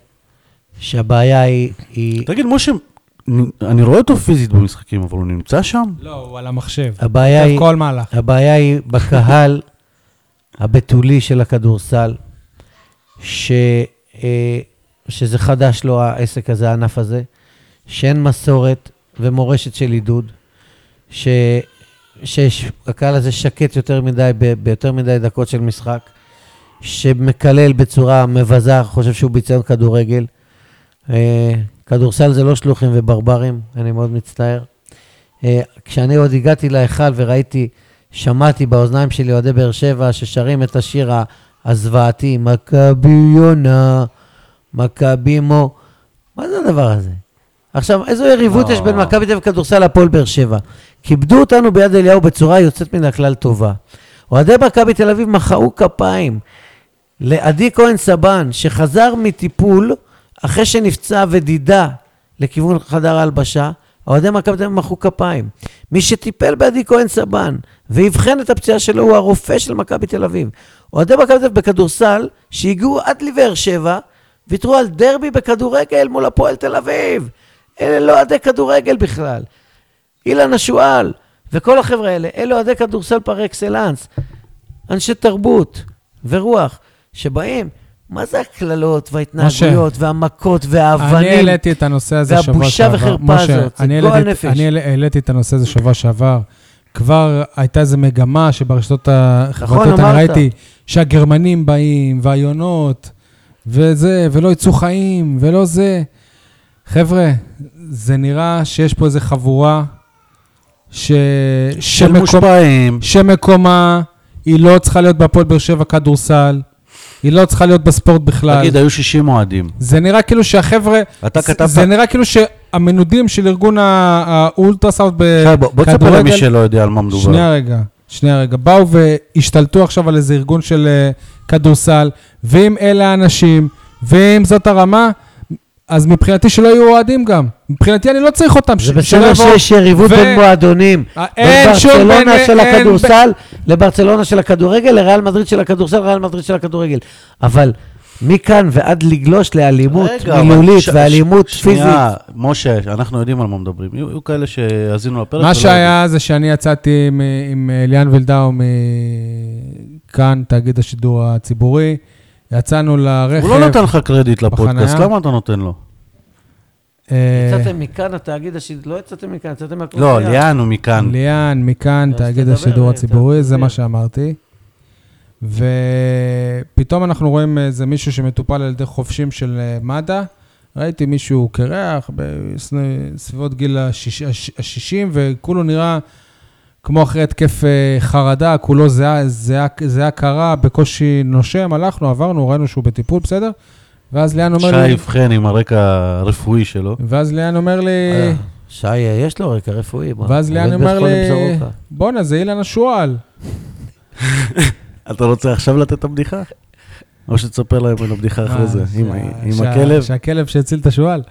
S3: שהבעיה היא... היא
S2: תגיד, משה, נ- אני רואה אותו פיזית במשחקים, אבל הוא נמצא שם?
S1: לא, הוא על המחשב.
S3: הבעיה היא...
S1: כל מהלך.
S3: הבעיה היא בקהל הבתולי של הכדורסל, ש, אה, שזה חדש לו העסק הזה, הענף הזה, שאין מסורת ומורשת של עידוד, ש- שהקהל הזה שקט יותר מדי, ב- ביותר מדי דקות של משחק, שמקלל בצורה מבזה, חושב שהוא ביצעון כדורגל. אה, כדורסל זה לא שלוחים וברברים, אני מאוד מצטער. אה, כשאני עוד הגעתי להיכל וראיתי, שמעתי באוזניים שלי אוהדי באר שבע ששרים את השיר ה- הזוועתי, מכבי יונה, מכבי מו. מה זה הדבר הזה? עכשיו, איזו יריבות
S2: לא.
S3: יש בין מכבי תל אביב כדורסל להפועל באר שבע? כיבדו אותנו ביד אליהו בצורה יוצאת מן הכלל טובה. אוהדי מכבי תל אביב מחאו כפיים לעדי כהן סבן, שחזר מטיפול אחרי שנפצע ודידה לכיוון חדר ההלבשה, אוהדי מכבי תל אביב מחאו כפיים. מי שטיפל בעדי כהן סבן ואבחן את הפציעה שלו הוא הרופא של מכבי תל אביב. אוהדי מכבי תל אביב בכדורסל, שהגיעו עד לבאר שבע, ויתרו על דרבי בכדורגל מול הפועל תל אביב. אלה לא אוהדי כדורגל בכלל. אילן השועל וכל החבר'ה האלה, אלה אוהדי כדורסל פר אקסלנס, אנשי תרבות ורוח, שבאים, מה זה הקללות וההתנהגויות והמכות
S1: אני
S3: והאבנים?
S1: העליתי את הנושא הזה
S3: זה
S1: שבוע שעבר.
S3: הבושה וחרפה
S1: משה,
S3: הזאת, זה
S1: אני
S3: גועל
S1: העליתי-
S3: נפש.
S1: אני העל- העליתי את הנושא הזה שבוע שעבר. כבר הייתה איזו מגמה שברשתות החברתיות אני
S3: נכון, אמרת.
S1: ראיתי שהגרמנים באים, והיונות, וזה, ולא יצאו חיים, ולא זה. חבר'ה, זה נראה שיש פה איזו חבורה ש...
S2: של
S1: שמקום-
S2: מושפעים.
S1: שמקומה, היא לא צריכה להיות בהפועל באר שבע כדורסל, היא לא צריכה להיות בספורט בכלל.
S2: תגיד, היו 60 אוהדים.
S1: זה נראה כאילו שהחבר'ה...
S2: אתה
S1: זה-
S2: כתבת-
S1: זה נראה כאילו שהמנודים של ארגון ה- האולטרסאונד
S2: שי, אה, בוא בוא תספר למי שלא יודע על מה מדובר.
S1: שנייה רגע, שנייה רגע. באו והשתלטו עכשיו על איזה ארגון של אה, כדורסל, ואם אלה האנשים, ואם זאת הרמה, אז מבחינתי שלא יהיו אוהדים גם. מבחינתי אני לא צריך אותם. ש-
S3: זה
S1: שלא
S3: בסדר
S1: יבואו.
S3: שיש יריבות
S1: ו-
S3: בין מועדונים.
S1: אה,
S3: בין
S1: אין שום-
S3: ברצלונה
S1: אין-
S3: של
S1: אין-
S3: הכדורסל לברצלונה של הכדורגל, לריאל מדריד של הכדורסל, ריאל מדריד של הכדורגל. אבל מכאן ועד לגלוש לאלימות
S2: רגע, אבל
S3: מילולית
S2: ש-
S3: ואלימות
S2: ש-
S3: פיזית.
S2: שנייה, משה, אנחנו יודעים על מה מדברים. יהיו יהיו כאלה שהאזינו לפרק.
S1: מה
S2: ולא יודעים.
S1: שהיה זה שאני יצאתי עם, עם אה, ליאן וילדאו מכאן, תאגיד השידור הציבורי, יצאנו לרכב.
S2: הוא לא נתן לך קרדיט לפודקאסט,
S1: בחנייה.
S2: למה אתה נותן לו?
S1: אה,
S3: יצאתם מכאן, התאגיד השידור, לא יצאתם מכאן, יצאתם מהקורסיה.
S2: לא, ליאן הוא מכאן.
S1: ליאן, מכאן,
S3: אז
S1: תאגיד
S3: תדבר,
S1: השידור
S3: אה,
S1: הציבורי, זה
S3: תסביר.
S1: מה שאמרתי. ופתאום אנחנו רואים איזה מישהו שמטופל על ידי חובשים של אה, מד"א. ראיתי מישהו קרח בסביבות גיל ה-60, וכולו נראה כמו אחרי התקף אה, חרדה, כולו זיעה- זיעה זיעה קרה, בקושי נושם, הלכנו, עברנו, ראינו שהוא בטיפול, בסדר? ואז ליאן אומר
S2: שי
S1: לי...
S2: אבחן עם הרקע הרפואי שלו.
S1: ואז ליאן אומר לי...
S3: אה, שי, יש לו רקע רפואי. מה,
S1: ואז
S3: הוא
S1: ליאן
S3: עובד בבית
S1: אומר לי,
S3: חולים סורוקה.
S1: בואנה, זה אילן השועל.
S2: אתה רוצה עכשיו לתת את הבדיחה? או שתספר להם על הבדיחה אחרי
S1: אה,
S2: זה,
S1: שה-
S2: עם ה- עם
S1: שה-
S2: הכלב.
S1: שהכלב שהציל את השועל.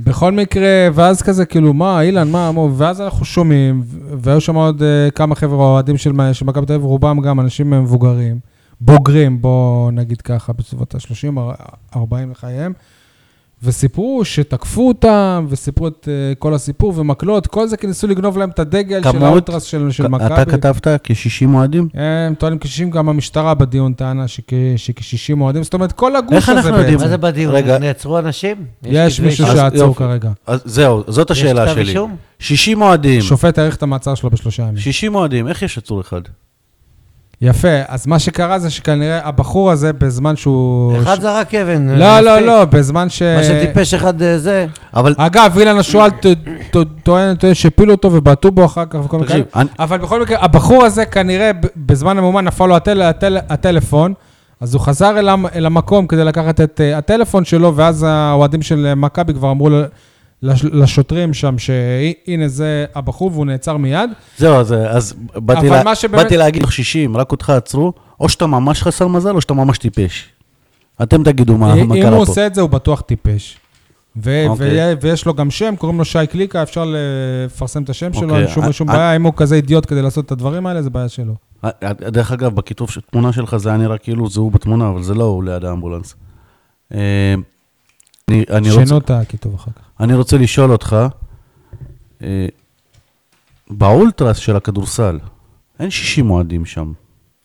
S1: בכל מקרה, ואז כזה, כאילו, מה, אילן, מה, מה, ואז אנחנו שומעים, ו- והיו שם עוד אה, כמה חבר'ה, אוהדים של מה- של מכבי תל אביב, רובם גם אנשים מבוגרים, בוגרים, בוא נגיד ככה, בסביבות ה-30-40 לחייהם, וסיפרו שתקפו אותם, וסיפרו את אה, כל הסיפור, ומקלות, כל זה כי ניסו לגנוב להם את הדגל של
S2: כמות?
S1: האולטרס של של מכבי. אה,
S2: אתה כתבת כ-60 אוהדים?
S1: הם טוענים כ-60, גם המשטרה בדיון טענה שכ- שכ-60 אוהדים, זאת אומרת, כל הגוש הזה
S2: איך
S1: בעצם.
S2: אנחנו יודעים?
S3: מה זה בדיון?
S2: רגע.
S3: נעצרו אנשים?
S1: לא יש
S3: כתבי
S1: מישהו
S3: אישום?
S2: אז
S1: שעצור
S2: יופי.
S1: כרגע.
S2: אז זהו, זאת
S3: יש
S2: השאלה
S3: כתב
S2: שלי.
S3: אישום?
S2: 60 אוהדים,
S1: שופט האריך את המעצר שלו בשלושה ימים.
S2: 60 אוהדים, איך יש עצור אחד?
S1: יפה, אז מה שקרה זה שכנראה הבחור הזה, בזמן שהוא...
S3: אחד
S1: ש-
S3: זרק אבן. אה,
S1: לא, לא,
S3: מספיק.
S1: לא, בזמן ש...
S3: מה שטיפש אחד אה, זה,
S2: אבל
S1: אגב, אילן השועל ט- ט- טוען טוען שהפילו אותו ובעטו בו אחר כך וכל מיני כאלה.
S2: תקשיב, אני-
S1: אבל בכל מקרה, הבחור הזה כנראה ב- בזמן המהומה נפל לו הטל- הטל- הטלפון, אז הוא חזר אל המ- אל המקום כדי לקחת את אה, הטלפון שלו, ואז האוהדים של אה, מכבי כבר אמרו ל- לש- לשוטרים שם, שהנה זה הבחור והוא נעצר מיד.
S2: זהו, אז- אז באתי
S1: אבל
S2: לה-
S1: מה שבאמת-
S2: באתי להגיד לך 60, רק אותך עצרו, או שאתה ממש חסר מזל או שאתה ממש טיפש. אתם תגידו מה מה
S1: אה, אם
S2: קרה
S1: הוא
S2: פה.
S1: עושה את זה, הוא בטוח טיפש. ו- ו-
S2: אוקיי.
S1: ויש לו גם שם, קוראים לו שי קליקה, אפשר אה, לפרסם את השם שלו,
S2: אוקיי,
S1: אין שום-
S2: אה,
S1: שום
S2: אה.
S1: בעיה. אם הוא כזה אידיוט כדי לעשות את הדברים האלה, זה בעיה שלו.
S2: דרך אגב, בכיתוב של תמונה שלך זה היה נראה כאילו זה הוא בתמונה, אבל זה לא הוא ליד האמבולנס. אה, אני- אני רוצה-
S1: שינו את הכיתוב אחר כך.
S2: אני רוצה לשאול אותך, אה, באולטרס של הכדורסל, אין 60 אוהדים שם,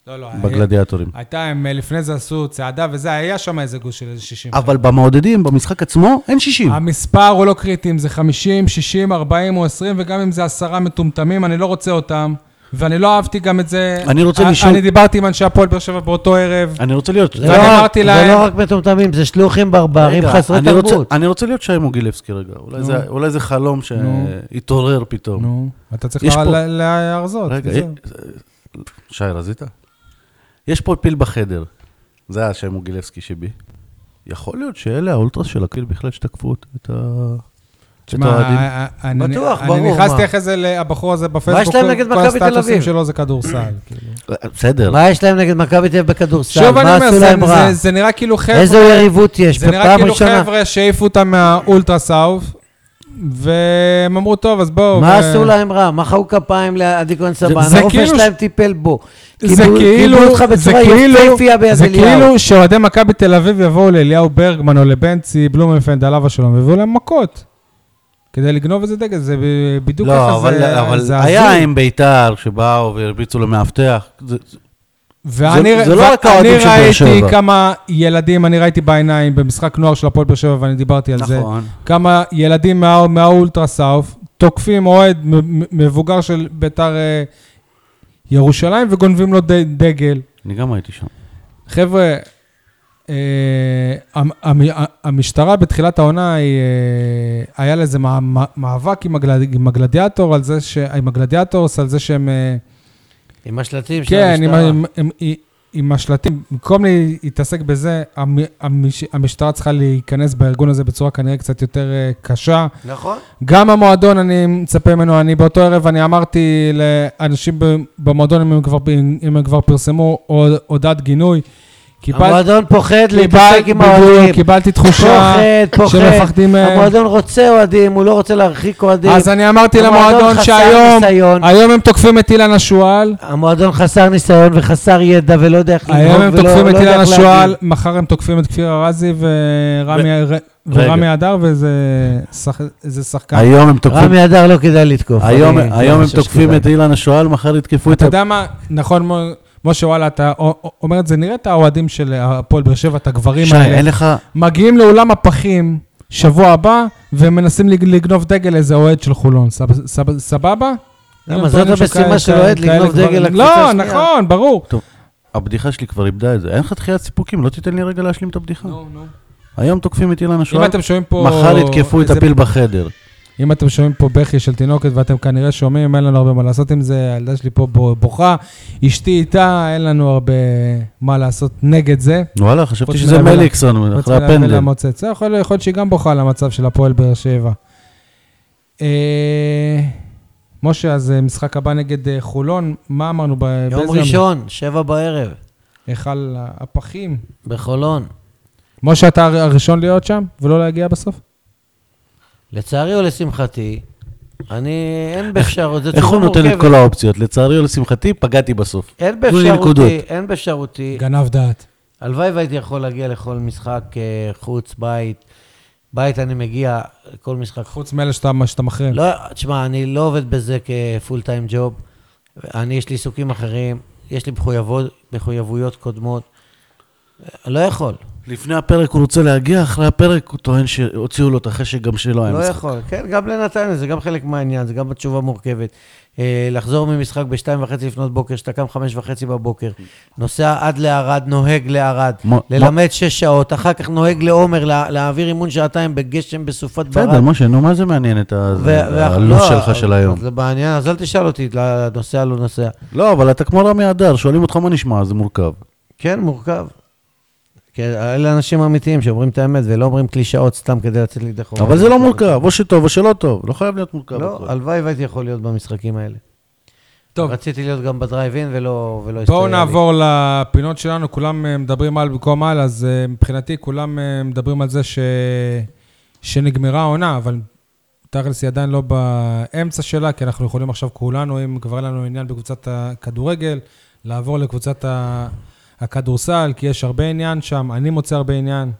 S1: לא, לא,
S2: בגלדיאטורים.
S1: הייתה, הם אה, לפני זה עשו צעדה וזה, היה שם איזה גוש של איזה 60.
S2: אבל במעודדים, במשחק עצמו, אין 60.
S3: אמ-
S1: המספר הוא לא קריטי, אם זה 50, 60, 40 או 20, וגם אם זה עשרה מטומטמים, אני לא רוצה אותם. ואני לא אהבתי גם את זה.
S2: אני רוצה
S1: א-
S2: לשאול-
S1: אני דיברתי עם אנשי הפועל באר שבע באותו ערב.
S2: אני רוצה להיות...
S3: זה
S1: ואני
S3: לא רק-
S1: אמרתי
S3: זה
S1: להם-
S3: לא רק מטומטמים, זה שלוחים ברברים
S2: רגע,
S3: חסרי
S2: אני רוצה-
S3: תרבות.
S2: אני רוצה להיות שי מוגילבסקי רגע, אולי זה- אולי זה חלום שהתעורר פתאום.
S1: נו, אתה צריך
S2: יש
S1: לה-
S2: פה-
S1: לה- להרזות.
S2: רגע,
S1: וזהו.
S2: אה, שי, רזית? יש פה פיל בחדר, זה השם מוגילבסקי שבי. יכול להיות שאלה האולטרס של הקיל בכלל שתקפו את ה... את האוהדים.
S1: תשמע, אה, אני-
S3: בטוח,
S1: אני
S3: ברור,
S1: נכנסתי
S3: מה.
S1: אחרי זה לבחור הזה בפייסבוק,
S3: יש להם נגד מכבי תל
S1: כל הסטטוסים
S3: אביב?
S1: שלו זה
S3: <laughs>
S1: כדורסל. כאילו.
S2: אה, בסדר.
S3: מה יש להם נגד מכבי תל אביב בכדורסל?
S1: שוב אני
S3: מה
S1: אומר,
S3: עשו
S1: זה-
S3: להם רע?
S1: זה- זה נראה כאילו
S3: איזו
S1: חבר'ה,
S3: יריבות יש,
S1: זה נראה
S3: בפעם
S1: כאילו
S3: ראשונה.
S1: חבר'ה שהעיפו אותם מהאולטרסאוב, והם אמרו, טוב, אז בואו.
S3: מה
S1: ו-
S3: עשו להם רע? מחאו כפיים לעדי כהן סבן,
S1: זה
S3: הרופא
S1: כאילו ש-
S3: שלהם טיפל בו.
S1: זה
S3: קיבלו-
S1: כאילו,
S3: קיבלו אותך
S1: זה
S3: בצורה
S1: כאילו,
S3: יפהפייה ביד
S1: זה
S3: אליהו.
S1: כאילו שאוהדי מכבי תל אביב יבואו לאליהו ברגמן או לבנצי בלומנפלד עליו השלום, ויביאו להם מכות. כדי לגנוב איזה דגל, זה ב- בדיוק
S2: לא,
S1: ככה,
S2: אבל,
S1: זה
S2: אבל
S1: זה
S2: היה
S1: הזוי.
S2: עם ביתר שבאו והרביצו למאבטח. זה,
S1: ואני,
S2: זה- זה לא
S1: ואני
S2: רק האוהדים של באר
S1: ראיתי
S2: שבע.
S1: כמה ילדים, אני ראיתי בעיניים במשחק נוער של הפועל באר שבע, ואני דיברתי על כן, זה.
S2: נכון.
S1: כמה ילדים מה, מהאולטרה סאוף תוקפים אוהד מ- מ- מבוגר של ביתר אה, ירושלים וגונבים לו ד, דגל.
S2: אני גם הייתי שם.
S1: חבר'ה, אה, המ- המ- המשטרה בתחילת העונה, היא, אה, היה לה איזה מא- מא- מאבק עם, הגלד, עם הגלדיאטור, על זה ש... עם הגלדיאטורס, על זה שהם... אה,
S3: עם השלטים של
S1: כן, עם, ה-
S3: המשטרה.
S1: עם, עם, עם, עם השלטים, במקום להתעסק בזה, המ, המש, המשטרה צריכה להיכנס בארגון הזה בצורה כנראה קצת יותר אה, קשה.
S3: נכון.
S1: גם המועדון, אני מצפה ממנו, אני באותו ערב, אני אמרתי לאנשים ב- במועדון, אם הם כבר, אם הם כבר פרסמו הוד- הודעת גינוי, קיבל-
S3: המועדון פוחד
S1: קיבל-
S3: להתעסק עם
S1: בדיוק,
S3: האוהדים.
S1: קיבלתי תחושה
S3: פוחד, פוחד.
S1: שמפחדים מהם.
S3: המועדון רוצה אוהדים, הוא לא רוצה להרחיק אוהדים.
S1: אז אני אמרתי
S3: המועדון
S1: למועדון
S3: חסר
S1: שהיום,
S3: ניסיון.
S1: היום הם תוקפים את אילן השועל,
S3: המועדון חסר ניסיון וחסר ידע ולא יודע איך
S1: היום הם
S3: ולא-
S1: תוקפים
S3: לא
S1: את
S3: יודע
S1: אילן
S3: איך
S1: השועל,
S3: להגיב.
S1: מחר הם תוקפים את כפיר ארזי ורמי- ורמי הדר, וזה שח- זה שחקן.
S2: היום הם תוקפים,
S3: רמי אדר לא כדאי לתקוף.
S2: היום,
S3: אני-
S2: היום
S3: לא
S2: הם
S3: חושב
S2: תוקפים
S3: שכדאי.
S2: את אילן השועל, מחר יתקפו את...
S1: אתה
S2: ה-
S1: יודע מה, נכון, מו- משה, וואלה, אתה א- א- אומר את זה, נראה את האוהדים של הפועל באר שבע, את הגברים
S2: שי, אין
S1: האלה,
S2: לך...
S1: מגיעים לאולם הפחים שבוע הבא, ומנסים לג- לגנוב דגל איזה אוהד של חולון, סב- סב- סבבה?
S3: למה,
S1: הם
S3: זאת
S1: טוענים
S3: המשימה
S1: שכאלה-
S3: של אוהד,
S1: כאלה
S3: לגנוב דגל
S1: גברים-
S3: לקבוצה
S1: לא,
S3: השנייה.
S1: נכון, ברור.
S2: הבדיחה שלי כבר איבדה את זה. אין לך דחיית סיפוקים, לא תיתן לי רגע להשלים את הבדיחה. היום תוקפים את אילן
S1: אם
S2: השועל,
S1: אתם שומעים פה...
S2: מחר יתקפו את
S1: איזה
S2: הפיל בחדר.
S1: אם אתם שומעים פה בכי של תינוקת ואתם כנראה שומעים, אין לנו הרבה מה לעשות עם זה, הילדה שלי פה בו- בוכה, אשתי איתה, אין לנו הרבה מה לעשות נגד זה.
S2: וואלה, חשבתי
S1: חוץ
S2: שזה
S1: מלהביא לה-
S2: מליקסון, אחרי הפנדל.
S1: למוצץ. זה יכול יכול להיות שהיא גם בוכה על המצב של הפועל באר שבע. אה, משה, אז אה, משחק הבא נגד אה, חולון, מה אמרנו? ב-
S3: יום
S1: באיזה
S3: ראשון, שבע בערב,
S1: היכל הפחים.
S3: בחולון.
S1: משה, אתה הר- הראשון להיות שם ולא להגיע בסוף?
S3: לצערי או לשמחתי, אני, אין באפשרות, זו
S2: איך הוא
S3: תשובה
S2: נותן את
S3: מורכבת.
S2: כל האופציות? לצערי או לשמחתי, פגעתי בסוף.
S3: אין
S2: תנו לי נקודות.
S3: באפשרותי, אין באפשרותי,
S1: גנב דעת.
S3: הלוואי והייתי יכול להגיע לכל משחק אה, חוץ, בית. בית אני מגיע, כל משחק חוץ.
S1: חוץ מאלה שאתה שאתה
S2: כן.
S1: מחרים.
S3: לא, תשמע, אני לא עובד בזה כפול טיים ג'וב. אני, יש לי עיסוקים אחרים, יש לי מחויבות, מחויבויות קודמות. אה, לא יכול,
S2: לפני הפרק הוא רוצה להגיע, אחרי הפרק הוא טוען שהוציאו לו את החשק גם שלא היה
S3: לא
S2: משחק.
S3: יכול. כן, גם לנתניה, זה גם חלק מהעניין, זה גם התשובה מורכבת. אה, לחזור ממשחק בשתיים וחצי לפנות בוקר, שאתה קם חמש וחצי בבוקר, נוסע עד לערד, נוהג לערד,
S2: מ-
S3: ללמד שש שעות, אחר כך נוהג לעומר, לה- להעביר אימון שעתיים בגשם בסופת ברד.
S2: בסדר, משה, נו, מה זה מעניין את ה- הלו"ז שלך של היום?
S3: לא, זה מעניין, אז אל תשאל אותי, ל- נוסע, לא נוסע.
S2: לא, אבל אתה כמו רמי אדר, שואלים אותך מה נשמע, זה מורכב.
S3: כן, מורכב. כן, אלה אנשים אמיתיים שאומרים את האמת ולא אומרים קלישאות סתם כדי לצאת לידי חובה.
S2: אבל זה לא מורכב, או שטוב או שלא טוב, לא חייב להיות מורכב.
S3: לא,
S2: הכל.
S3: הלוואי והייתי יכול להיות במשחקים האלה.
S1: טוב,
S3: רציתי להיות גם בדרייב אין ולא ולא הסתייע
S1: בואו
S3: לי.
S1: נעבור לפינות שלנו, כולם אה, מדברים על במקום על, אז אה, מבחינתי כולם אה, מדברים על זה ש... שנגמרה העונה, אבל תכלס היא עדיין לא באמצע שלה, כי אנחנו יכולים עכשיו כולנו, אם כבר אין לנו עניין בקבוצת הכדורגל, לעבור לקבוצת ה... הכדורסל, כי יש הרבה עניין שם, אני מוצא הרבה עניין.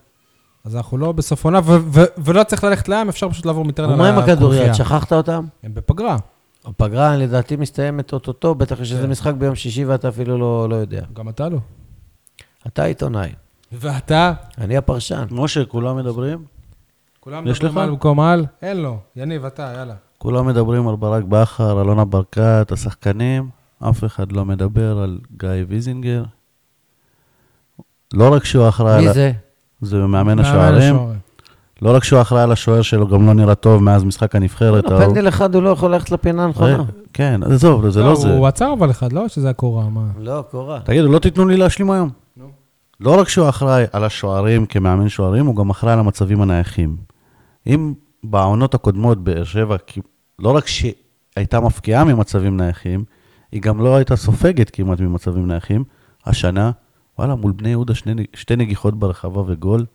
S1: אז אנחנו לא בסוף עונה, ו- ו- ולא צריך ללכת לים, אפשר פשוט לעבור מטרנר
S3: ומה עם הכדוריד? שכחת אותם?
S1: הם בפגרה,
S3: הפגרה לדעתי מסתיימת אוטוטו, בטח יש איזה משחק ביום שישי ואתה אפילו לא לא יודע.
S1: גם אתה לא.
S3: אתה עיתונאי,
S1: ואתה?
S3: אני הפרשן.
S2: משה, כולם מדברים?
S1: כולם
S2: יש
S1: מדברים
S2: לך?
S1: על במקום על? אין לו. יניב, אתה, יאללה.
S2: כולם מדברים על ברק בכר, אלונה ברקת, השחקנים, אף אחד לא מדבר על גיא ויזינגר. לא רק שהוא אחראי... על ה-
S3: מי זה?
S2: זה מאמן
S1: מאמן
S2: השוערים.
S1: השוערים.
S2: לא רק שהוא אחראי על השוער שלו, גם לא נראה טוב מאז משחק הנבחרת. ההוא.
S3: פנדל אחד הוא לא יכול ללכת לפינה הנכונה.
S2: אה, כן, אז עזוב, זה לא זה.
S1: הוא עצר אבל אחד, לא? שזה הקורה, מה?
S3: לא, קורה.
S2: תגידו, לא תיתנו לי להשלים היום.
S1: נו.
S2: לא רק שהוא אחראי על השוערים כמאמן שוערים, הוא גם אחראי על המצבים הנייחים. אם בעונות הקודמות באר שבע, כי- לא רק שהיא הייתה מפקיעה ממצבים נייחים, היא גם לא הייתה סופגת כמעט ממצבים נייחים, השנה, וואלה, מול בני יהודה שני, נג- שתי נגיחות ברחבה וגול,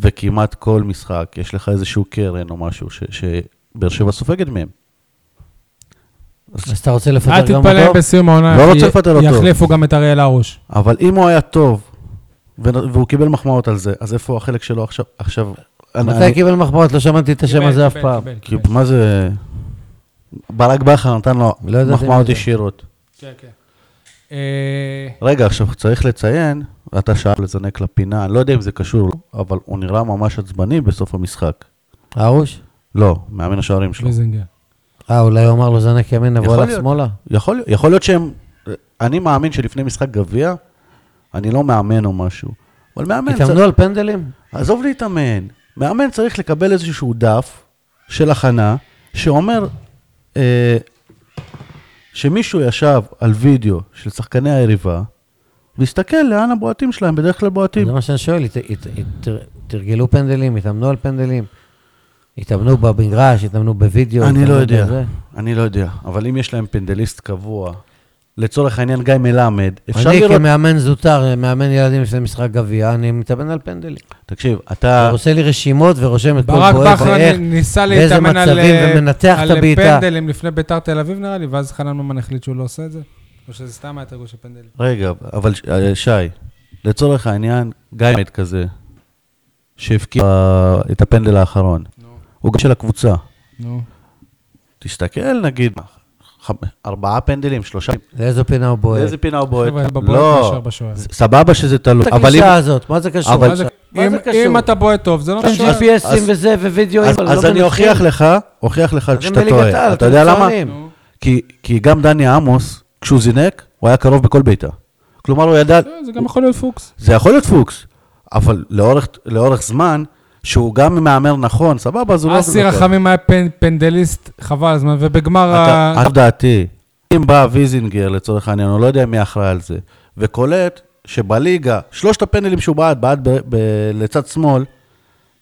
S2: וכמעט כל משחק, יש לך איזשהו קרן או משהו ש- שבאר שבע סופגת מהם.
S3: אז אתה רוצה לפטר
S1: אל
S3: גם
S1: תתפלא אם
S3: אותו?
S1: בסיום העונה,
S2: לא
S1: י-
S2: רוצה לפטר אותו.
S1: יחליפו גם את אריאל הרוש.
S2: אבל אם הוא היה טוב, ו- והוא קיבל מחמאות על זה, אז איפה החלק שלו עכשיו? עכשיו... אני-
S3: מתי
S2: אני-
S3: קיבל מחמאות? לא שמעתי את השם
S1: קיבל,
S3: הזה אף
S1: קיבל,
S3: פעם.
S1: קיבל,
S2: כי
S1: קיבל.
S2: מה זה... ברק בכר נתן לו
S3: לא ידעתי מי
S2: מחמאות
S3: זה.
S2: ישירות.
S1: כן, כן. אה,
S2: רגע, עכשיו צריך לציין, אתה שאל לזנק לפינה, אני לא יודע אם זה קשור, או לא, אבל הוא נראה ממש עצבני בסוף המשחק.
S3: ארוש?
S2: לא, מאמן השוערים שלו.
S1: ויזינגר.
S3: אה, אולי הוא אמר לו זנק ימינה והוא
S2: יכול
S3: הלך
S2: להיות.
S3: שמאלה?
S2: יכול, יכול להיות שהם... אני מאמין שלפני משחק גביע, אני לא מאמן או משהו, אבל מאמן...
S3: התאמנו על פנדלים?
S2: עזוב להתאמן, מאמן צריך לקבל איזשהו דף של הכנה, שאומר אה, שמישהו ישב על וידאו של שחקני היריבה, והסתכל לאן הבועטים שלהם, בדרך כלל בועטים.
S3: זה מה שאני שואל, הת- הת- הת- תרגלו פנדלים, התאמנו על פנדלים, התאמנו במגרש, התאמנו בווידאו.
S2: אני לא
S3: התאמנו
S2: יודע,
S3: בזה.
S2: אני לא יודע, אבל אם יש להם פנדליסט קבוע, לצורך העניין גיא מלמד, אפשר
S3: אני
S2: לראות...
S3: כמאמן זוטר, מאמן ילדים לפני משחק גביע, אני מתאמן על פנדלים.
S2: תקשיב,
S3: הוא
S2: אתה...
S3: עושה לי רשימות ורושם את כל
S1: אה. ברק
S3: פועל
S1: בכר
S3: ואיך.
S1: ניסה
S3: באיזה
S1: להתאמן על
S3: מצבים,
S1: אה,
S3: ומנתח
S1: על
S3: את הבעיטה.
S1: פנדלים לפני ביתר תל אביב נראה לי, ואז חנן ממן החליט שהוא לא עושה את זה. או שזה סתם היה תרגול של פנדלים.
S2: רגע, אבל ש- אה, שי, לצורך העניין, גיא מת כזה, שהבקיע את הפנדל האחרון, הוא גם של הקבוצה.
S1: נו.
S2: תסתכל, נגיד, ח- ארבעה פנדלים, שלושה,
S3: לאיזו פינה הוא בועט?
S2: לאיזה פינה הוא בועט?
S1: חבר'ה, בבועט מאשר
S2: לא,
S1: בשוער.
S2: זה- סבבה שזה תלוי,
S3: את
S2: אבל אם...
S3: הקלישה הזאת, מה זה קשור?
S2: אבל-
S1: מה זה-
S3: מה זה
S1: אם-
S3: קשור?
S1: אם אתה בועט טוב, זה לא
S3: יש
S1: משוער.
S3: GPSים
S2: אז-
S3: וזה, ווידאו, לא
S2: אז- אז אני אוכיח לך, אוכיח לך
S3: אז הם
S2: שאתה
S3: בליגת העל,
S2: טועה. אתה יודע
S3: אתם
S2: למה?
S3: מצוינים.
S1: נו.
S2: כי- כי גם דני עמוס, כשהוא זינק, הוא היה קרוב בכל בעיטה. כלומר, הוא ידע...
S1: אה, זה גם יכול להיות פוקס.
S2: זה יכול להיות פוקס, אבל לאורך, לאורך זמן, שהוא גם מהמר נכון, סבבה, אז הוא לא...
S1: אסי רחמים היה פנ- פנדליסט, חבל על הזמן, ובגמר ה...
S2: אתה, אף דעתי, אם בא ויזינגר לצורך העניין, הוא לא יודע מי אחראי על זה, וקולט שבליגה, שלושת הפנדלים שהוא בעט, בעט ב- ב- לצד שמאל,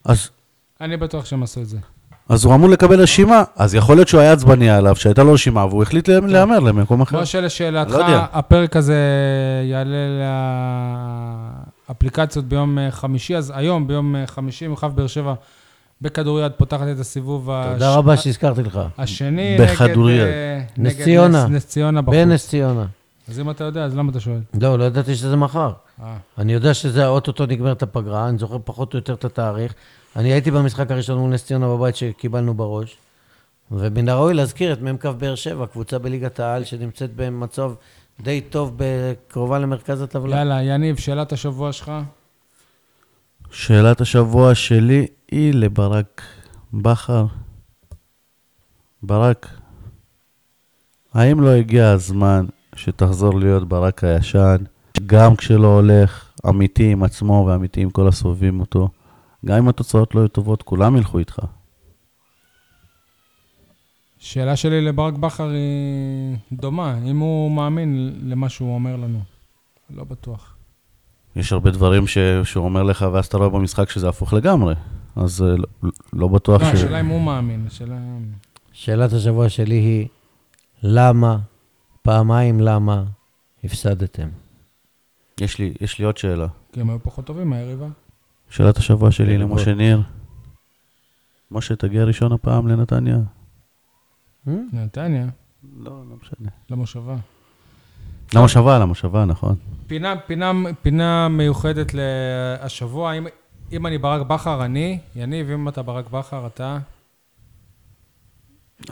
S2: אז
S1: אני בטוח שהם עשו את זה.
S2: אז הוא אמור לקבל רשימה, אז יכול להיות שהוא היה עצבני עליו, שהייתה לו רשימה, והוא החליט
S1: כן.
S2: לה- להמר למקום אחר.
S1: משה, לשאלתך,
S2: לא יודע.
S1: הפרק הזה יעלה לאפליקציות ביום אה, חמישי, אז היום, ביום אה, חמישי, מכבי באר שבע בכדוריד פותחת את הסיבוב הש-
S3: תודה רבה שהזכרתי
S2: אה,
S3: לך.
S1: השני.
S2: בכדוריד.
S1: נגד, אה,
S3: נס
S1: נגד
S3: ציונה.
S1: נס- נס
S2: אה,
S1: ציונה בחוץ.
S3: בנס ציונה.
S1: אז אם אתה יודע, אז למה אתה שואל?
S3: לא, לא ידעתי שזה מחר.
S1: אה,
S3: אני יודע שזה אוטוטו נגמרת הפגרה, אני זוכר פחות או יותר את התאריך. אני הייתי במשחק הראשון מול נס ציונה בבית שקיבלנו בראש, ומן הראוי להזכיר את מ"כ באר שבע, קבוצה בליגת העל שנמצאת במצב די טוב, קרובה למרכז הטבלה.
S1: יאללה, יניב, שאלת השבוע שלך?
S2: שאלת השבוע שלי היא לברק בכר. ברק, האם לא הגיע הזמן שתחזור להיות ברק הישן, גם כשלא הולך, אמיתי עם עצמו ואמיתי עם כל הסובבים אותו? גם אם התוצאות לא היו טובות, כולם ילכו איתך.
S1: שאלה שלי לברק בכר היא דומה, אם הוא מאמין למה שהוא אומר לנו. לא בטוח.
S2: יש הרבה דברים ש... שהוא אומר לך, ואז אתה רואה במשחק שזה הפוך לגמרי. אז אה, לא, לא בטוח
S1: לא,
S2: ש...
S1: השאלה אם הוא מאמין, השאלה...
S3: שאלת השבוע שלי היא, למה, פעמיים למה, הפסדתם?
S2: יש לי, יש לי עוד שאלה.
S1: כי הם היו פחות טובים מהיריבה.
S2: שאלת השבוע שלי
S3: כן,
S2: למשה ניר. משה, תגיע ראשון הפעם לנתניה?
S3: אה?
S1: נתניה,
S2: לא, לא משנה.
S1: למושבה.
S2: למושבה, למושבה, נכון.
S1: פינה, פינה, פינה מיוחדת להשבוע. אם, אם אני ברק בכר, אני. יניב, אם אתה ברק בכר, אתה...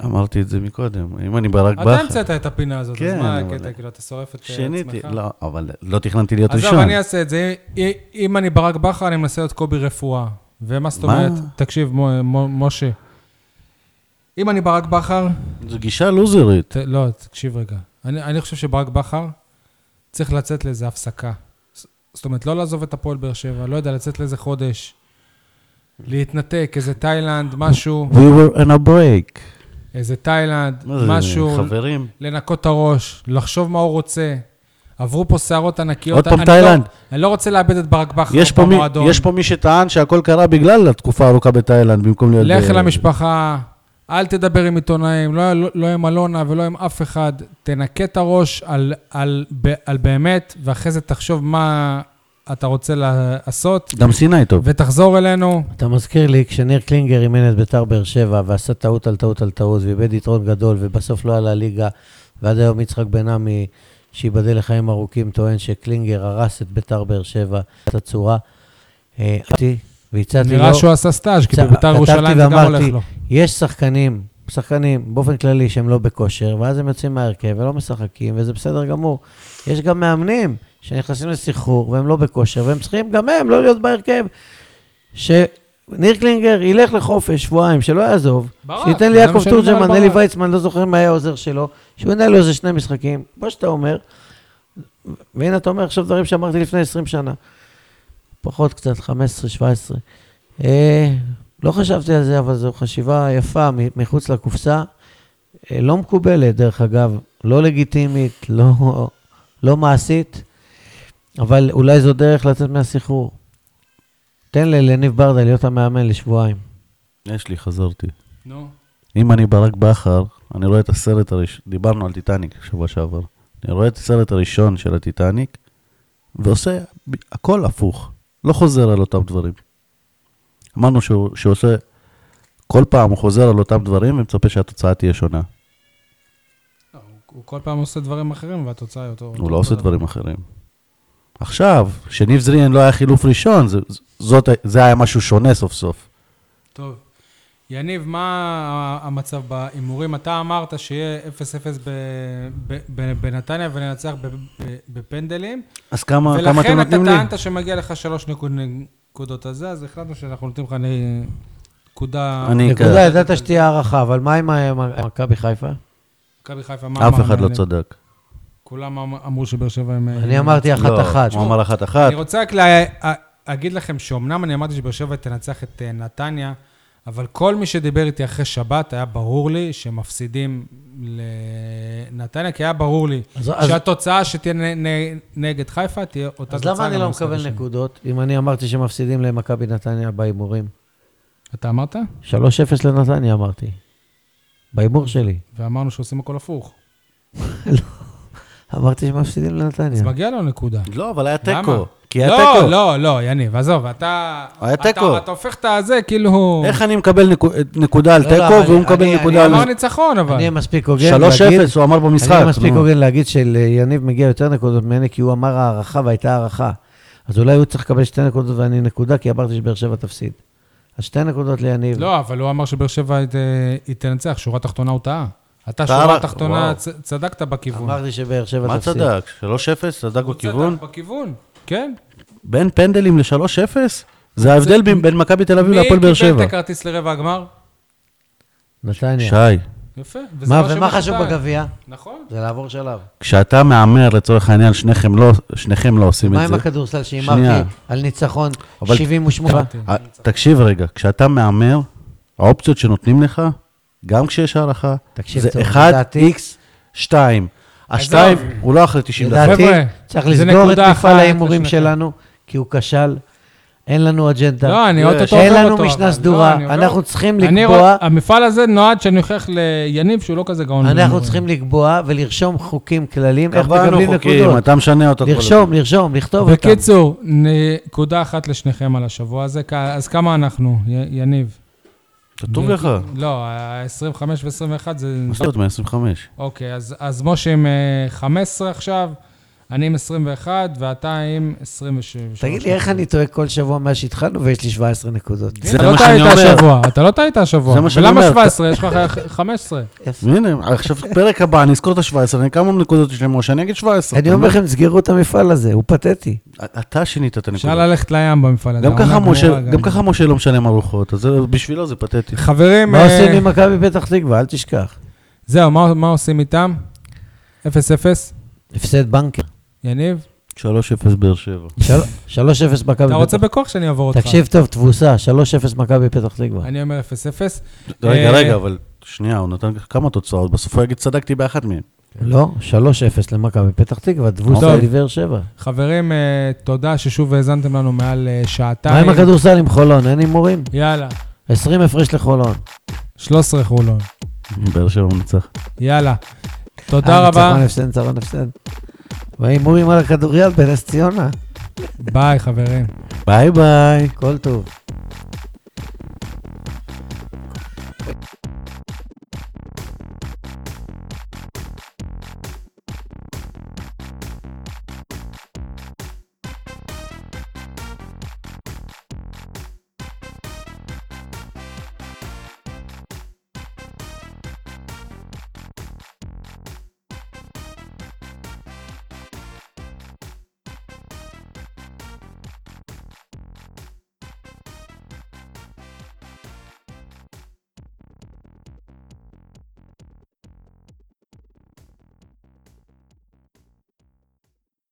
S2: אמרתי את זה מקודם. אם אני ברק
S1: אתה
S2: בכר...
S1: המצאת את הפינה הזאת, אז
S2: כן,
S1: מה
S2: אבל-
S1: הקטע? כאילו, אתה שורף את אה,
S2: שיניתי,
S1: עצמך.
S2: לא, אבל לא תכננתי להיות
S1: עזוב,
S2: ראשון.
S1: אני אעשה את זה. אם- אם אני ברק בכר, אני מנסה להיות קובי רפואה. ומה זאת
S2: מה?
S1: אומרת? תקשיב, מו- מו- משה. אם אני ברק בכר,
S2: זו גישה לוזרית.
S1: ת- לא, תקשיב רגע. אני אני חושב שברק בכר צריך לצאת לאיזה הפסקה. ז- זאת אומרת, לא לעזוב את הפועל באר שבע, לא יודע, לצאת לאיזה חודש. להתנתק, איזה תאילנד, משהו,
S2: We were on a break.
S1: איזה תאילנד,
S2: מה זה,
S1: משהו,
S2: חברים?
S1: לנקות את הראש, לחשוב מה הוא רוצה. עברו פה שערות ענקיות.
S2: עוד פעם
S1: אני
S2: תאילנד.
S1: לא- אני לא רוצה לאבד את ברק בכר
S2: יש פה מי-
S1: במועדון.
S2: יש פה מי שטען שהכל קרה בגלל התקופה הארוכה בתאילנד, במקום להיות...
S1: לך
S2: ב-
S1: אל המשפחה, אל תדבר עם עיתונאים, לא, לא, לא עם אלונה ולא עם אף אחד. תנקה את הראש על, על, ב- על באמת, ואחרי זה תחשוב מה אתה רוצה לעשות,
S2: גם סיני טוב.
S1: ותחזור אלינו.
S3: אתה מזכיר לי, כשניר קלינגר אימן את ביתר באר שבע ועשה טעות על טעות על טעות ואיבד יתרון גדול ובסוף לא עלה ליגה, ועד היום יצחק בן עמי, שייבדל לחיים ארוכים, טוען שקלינגר הרס את ביתר באר שבע, את הצורה. אה, אותי, והצעתי
S1: נראה
S2: לא-
S3: לו,
S1: שהוא עשה סטאז', כי
S3: צ-
S1: בביתר
S3: כתבתי
S1: ירושלים זה גם
S3: ואמרתי,
S1: הולך לו.
S3: יש שחקנים, שחקנים באופן כללי שהם לא בכושר, ואז הם יוצאים מההרכב ולא משחקים, וזה בסדר גמור. יש גם מאמנים שנכנסים לסחרור והם לא בכושר, והם צריכים גם הם לא להיות בהרכב. שניר קלינגר ילך לחופש שבועיים, שלא יעזוב.
S1: ברק,
S3: שייתן לי
S1: זה מה
S3: יעקב
S1: שאני מדבר על
S3: תורג'מן,
S1: ברק.
S3: אלי ויצמן, לא זוכר מה היה העוזר שלו, שהוא ינהל לו איזה שני משחקים, כמו שאתה אומר. והנה אתה אומר עכשיו דברים שאמרתי לפני 20 שנה. פחות קצת, 15-17. אה, לא חשבתי על זה, אבל זו חשיבה יפה, מ- מחוץ לקופסה. אה, לא מקובלת, דרך אגב, לא לגיטימית, <laughs> לא, לא מעשית, אבל אולי זו דרך לצאת מהסחרור. תן לניב ברדה להיות המאמן לשבועיים.
S2: יש לי, חזרתי.
S1: נו,
S2: אם אני ברק בכר, אני רואה את הסרט הראשון, דיברנו על טיטניק שבוע שעבר, אני רואה את הסרט הראשון של הטיטניק, ועושה ב- הכל הפוך, לא חוזר על אותם דברים. אמרנו שהוא, שהוא עושה, כל פעם הוא חוזר על אותם דברים ומצפה שהתוצאה תהיה שונה.
S1: לא, הוא- הוא כל פעם עושה דברים אחרים, והתוצאה היא אותו...
S2: הוא
S1: אותו
S2: לא עושה
S1: דבר.
S2: דברים אחרים. עכשיו, שניב זריאן לא היה חילוף ראשון, זה, זאת, זה היה משהו שונה סוף סוף.
S1: טוב. יניב, מה ה- המצב בהימורים? אתה אמרת שיהיה 0-0 ב- ב- ב- בנתניה וננצח ב- ב- בפנדלים.
S2: אז כמה, כמה אתם
S1: ולכן אתה
S2: נותנים לי?
S1: טענת שמגיע לך שלוש נקוד- נקודות הזה, אז החלטנו שאנחנו נותנים לך נ- נקודה...
S2: אני כ-
S3: נקודה, ידעת שתהיה הערכה, אבל מה עם ה- מכבי חיפה?
S1: מכבי חיפה, מה
S2: אף
S1: אמרנו
S2: אחד לא
S1: עליהם?
S2: צודק.
S1: כולם אמ- אמרו שבאר שבע הם...
S3: אני אמרתי
S2: לא,
S3: אחת-אחת.
S2: הוא אמר אחת-אחת.
S1: אני רוצה רק לה- ה- להגיד לכם שאומנם אני אמרתי שבאר שבע תנצח את אה, נתניה, אבל כל מי שדיבר איתי אחרי שבת, היה ברור לי שהם מפסידים לנתניה, כי היה ברור לי
S3: אז- אז-
S1: שהתוצאה שתהיה נ- נ- נגד חיפה תהיה אותה תוצאה.
S3: אז למה אני
S1: גם
S3: לא
S1: במשחק
S3: מקבל
S1: השני.
S3: נקודות, אם אני אמרתי שמפסידים למכבי נתניה בהימורים?
S1: אתה אמרת?
S3: 3-0 לנתניה אמרתי. בהימור שלי.
S1: ואמרנו שעושים הכל הפוך.
S3: אמרתי שמפסידים לנתניה.
S1: אז מגיע לנו נקודה.
S2: לא, אבל היה
S1: למה?
S2: תיקו. כי היה
S1: לא,
S2: תיקו.
S1: לא, לא, יניב, עזוב, אתה...
S4: היה
S1: אתה-
S4: תיקו.
S1: אתה הופך את הזה, כאילו...
S4: איך אני מקבל נקו- נקודה על
S3: לא, לא, אבל
S4: תיקו והוא
S3: אני-
S4: מקבל
S3: אני-
S4: נקודה
S2: לא,
S4: על...
S1: אמר ניצחון, אבל.
S3: אני אהיה מספיק הוגן
S4: 3-0,
S3: להגיד...
S4: הוא אמר במשחק.
S3: אני אהיה מספיק
S4: נו.
S3: הוגן להגיד שליניב מגיע יותר נקודות ממני, כי הוא אמר הערכה והייתה הערכה. אז אולי הוא צריך לקבל שתי נקודות ואני נקודה, כי אמרתי שבאר שבע תפסיד. אז שתי נקודות ליניב.
S1: לא, אבל הוא אמר שבאר שבע ת- היא תנצח, שורה תחתונה הוא טעה. אתה
S2: טעה
S1: שורה
S2: רק-
S1: תחתונה,
S2: וואו.
S1: צ- צדקת בכיוון.
S3: אמרתי שבאר שבע
S2: מה
S3: תפסיד.
S2: צדק? 3-0? צדק
S1: הוא
S2: בכיוון?
S1: צדק בכיוון, כן.
S2: בין פנדלים ל-3-0? זה ההבדל בין בין מכבי תל אביב
S1: מי
S2: להפועל
S1: קיבל
S2: באר שבע.
S1: את הכרטיס לרבע הגמר?
S3: נתניה.
S2: שי,
S1: יפה. וזה
S3: מה,
S1: מה
S3: ומה
S1: שמותר.
S3: חשוב בגביע?
S1: נכון.
S3: זה לעבור שלב.
S2: כשאתה מהמר, לצורך העניין, שניכם לא, שניכם לא עושים
S3: מה
S2: את
S3: עם
S2: זה.
S3: הכדורסל
S2: שנייה.
S3: שהימרתי על ניצחון
S2: אבל-
S3: 78?
S2: אה, תקשיב רגע, כשאתה מהמר, האופציות שנותנים לך, גם כשיש הערכה,
S3: תקשיב
S2: זה
S3: טוב,
S2: 1
S3: לדעתי-
S2: x 2. השתיים, הוא לא אחרי 90 דקות.
S3: לדעתי,
S1: חבר'ה,
S3: צריך
S1: זה
S3: לסגור את
S1: נקודה
S3: מפעל
S1: אחת
S3: ההימורים
S1: לשניכם.
S3: שלנו, כי הוא כשל. אין לנו אג'נדה.
S1: לא, אני אוטוטו
S3: שאין
S1: עובר
S3: לנו
S1: אותו,
S3: משנה
S1: אבל-
S3: סדורה.
S1: לא, אני עובר
S3: אנחנו
S1: אותו.
S3: צריכים
S1: אני
S3: לקבוע,
S1: רוא- המפעל הזה נועד שאני אוכיח ליניב שהוא לא כזה גאון.
S3: אנחנו
S1: בהימורים.
S3: צריכים לקבוע ולרשום חוקים כלליים, איך
S2: קבענו
S3: מקבלים
S2: חוקים,
S3: נקודות.
S2: אתה משנה אותו כל הזמן.
S3: לרשום, לרשום, לכתוב אותם.
S1: בקיצור, נקודה אחת לשניכם על השבוע הזה. כ- אז כמה אנחנו, י- יניב?
S2: כתוב לך.
S1: לא, ה-25 ו-21 זה...
S2: מה זאת אומרת, 125?
S1: אוקיי, אז, אז משה עם אה, 15 עכשיו, אני עם 21 ואתה עם 27.
S3: תגיד לי, איך אני טועה כל שבוע מאז שהתחלנו ויש לי 17 נקודות?
S1: זה
S2: זה
S1: אתה לא
S2: מה שאני
S1: טעית
S2: אומר.
S1: השבוע, אתה לא טעית השבוע.
S2: זה מה שאני
S1: ולמה
S2: אומר.
S1: 17? יש לך ח-
S2: <laughs>
S1: 15.
S2: הנה, עכשיו פרק הבא, אני אזכור את ה-17, אני כמה נקודות יש למשה, אני אגיד 17.
S3: אני אומר לכם, סגרו את המפעל הזה, הוא פתטי.
S2: אתה שינית את
S1: אפשר
S2: הנקודות.
S1: ללכת לים במפעל הזה.
S2: גם
S1: העונה
S2: ככה
S1: גמורה,
S2: משה-
S1: גם-
S2: גם ככה משה לא משלם ארוחות, אז זה- בשבילו זה פתטי.
S1: חברים,
S3: מה
S1: אה,
S3: עושים עם מכבי פתח תקווה? אל תשכח.
S1: זהו, מה מה עושים איתם? 0-0,
S3: הפסד בנקר.
S1: יניב?
S2: 3-0 באר שבע.
S3: של- 3-0 מכבי
S1: אתה
S3: פתח
S1: רוצה בכוח שאני אעבור אותך.
S3: תקשיב טוב, תבוסה, 3-0 מכבי פתח תקווה.
S1: אני אומר 0-0.
S2: רגע,
S1: אה,
S2: רגע, אבל שנייה, הוא נתן כמה תוצאות, בסוף הוא יגיד צדקתי באחת מהן.
S3: לא, 3-0 למכבי פתח תקווה, תבוסה
S1: טוב.
S3: לבאר שבע.
S1: חברים, אה, תודה ששוב האזנתם לנו מעל אה, שעתיים.
S3: מה עם הכדורסל עם חולון? אין הימורים?
S1: יאללה,
S3: 20 הפרש לחולון.
S1: 13 חולון.
S2: באר שבע מנצח.
S1: יאללה. תודה
S3: אה,
S1: רבה.
S3: ניצחון הפסד, ניצחון הפסד. וההימורים על הכדוריד בנס ציונה.
S1: ביי, חברים.
S2: ביי ביי.
S3: כל טוב.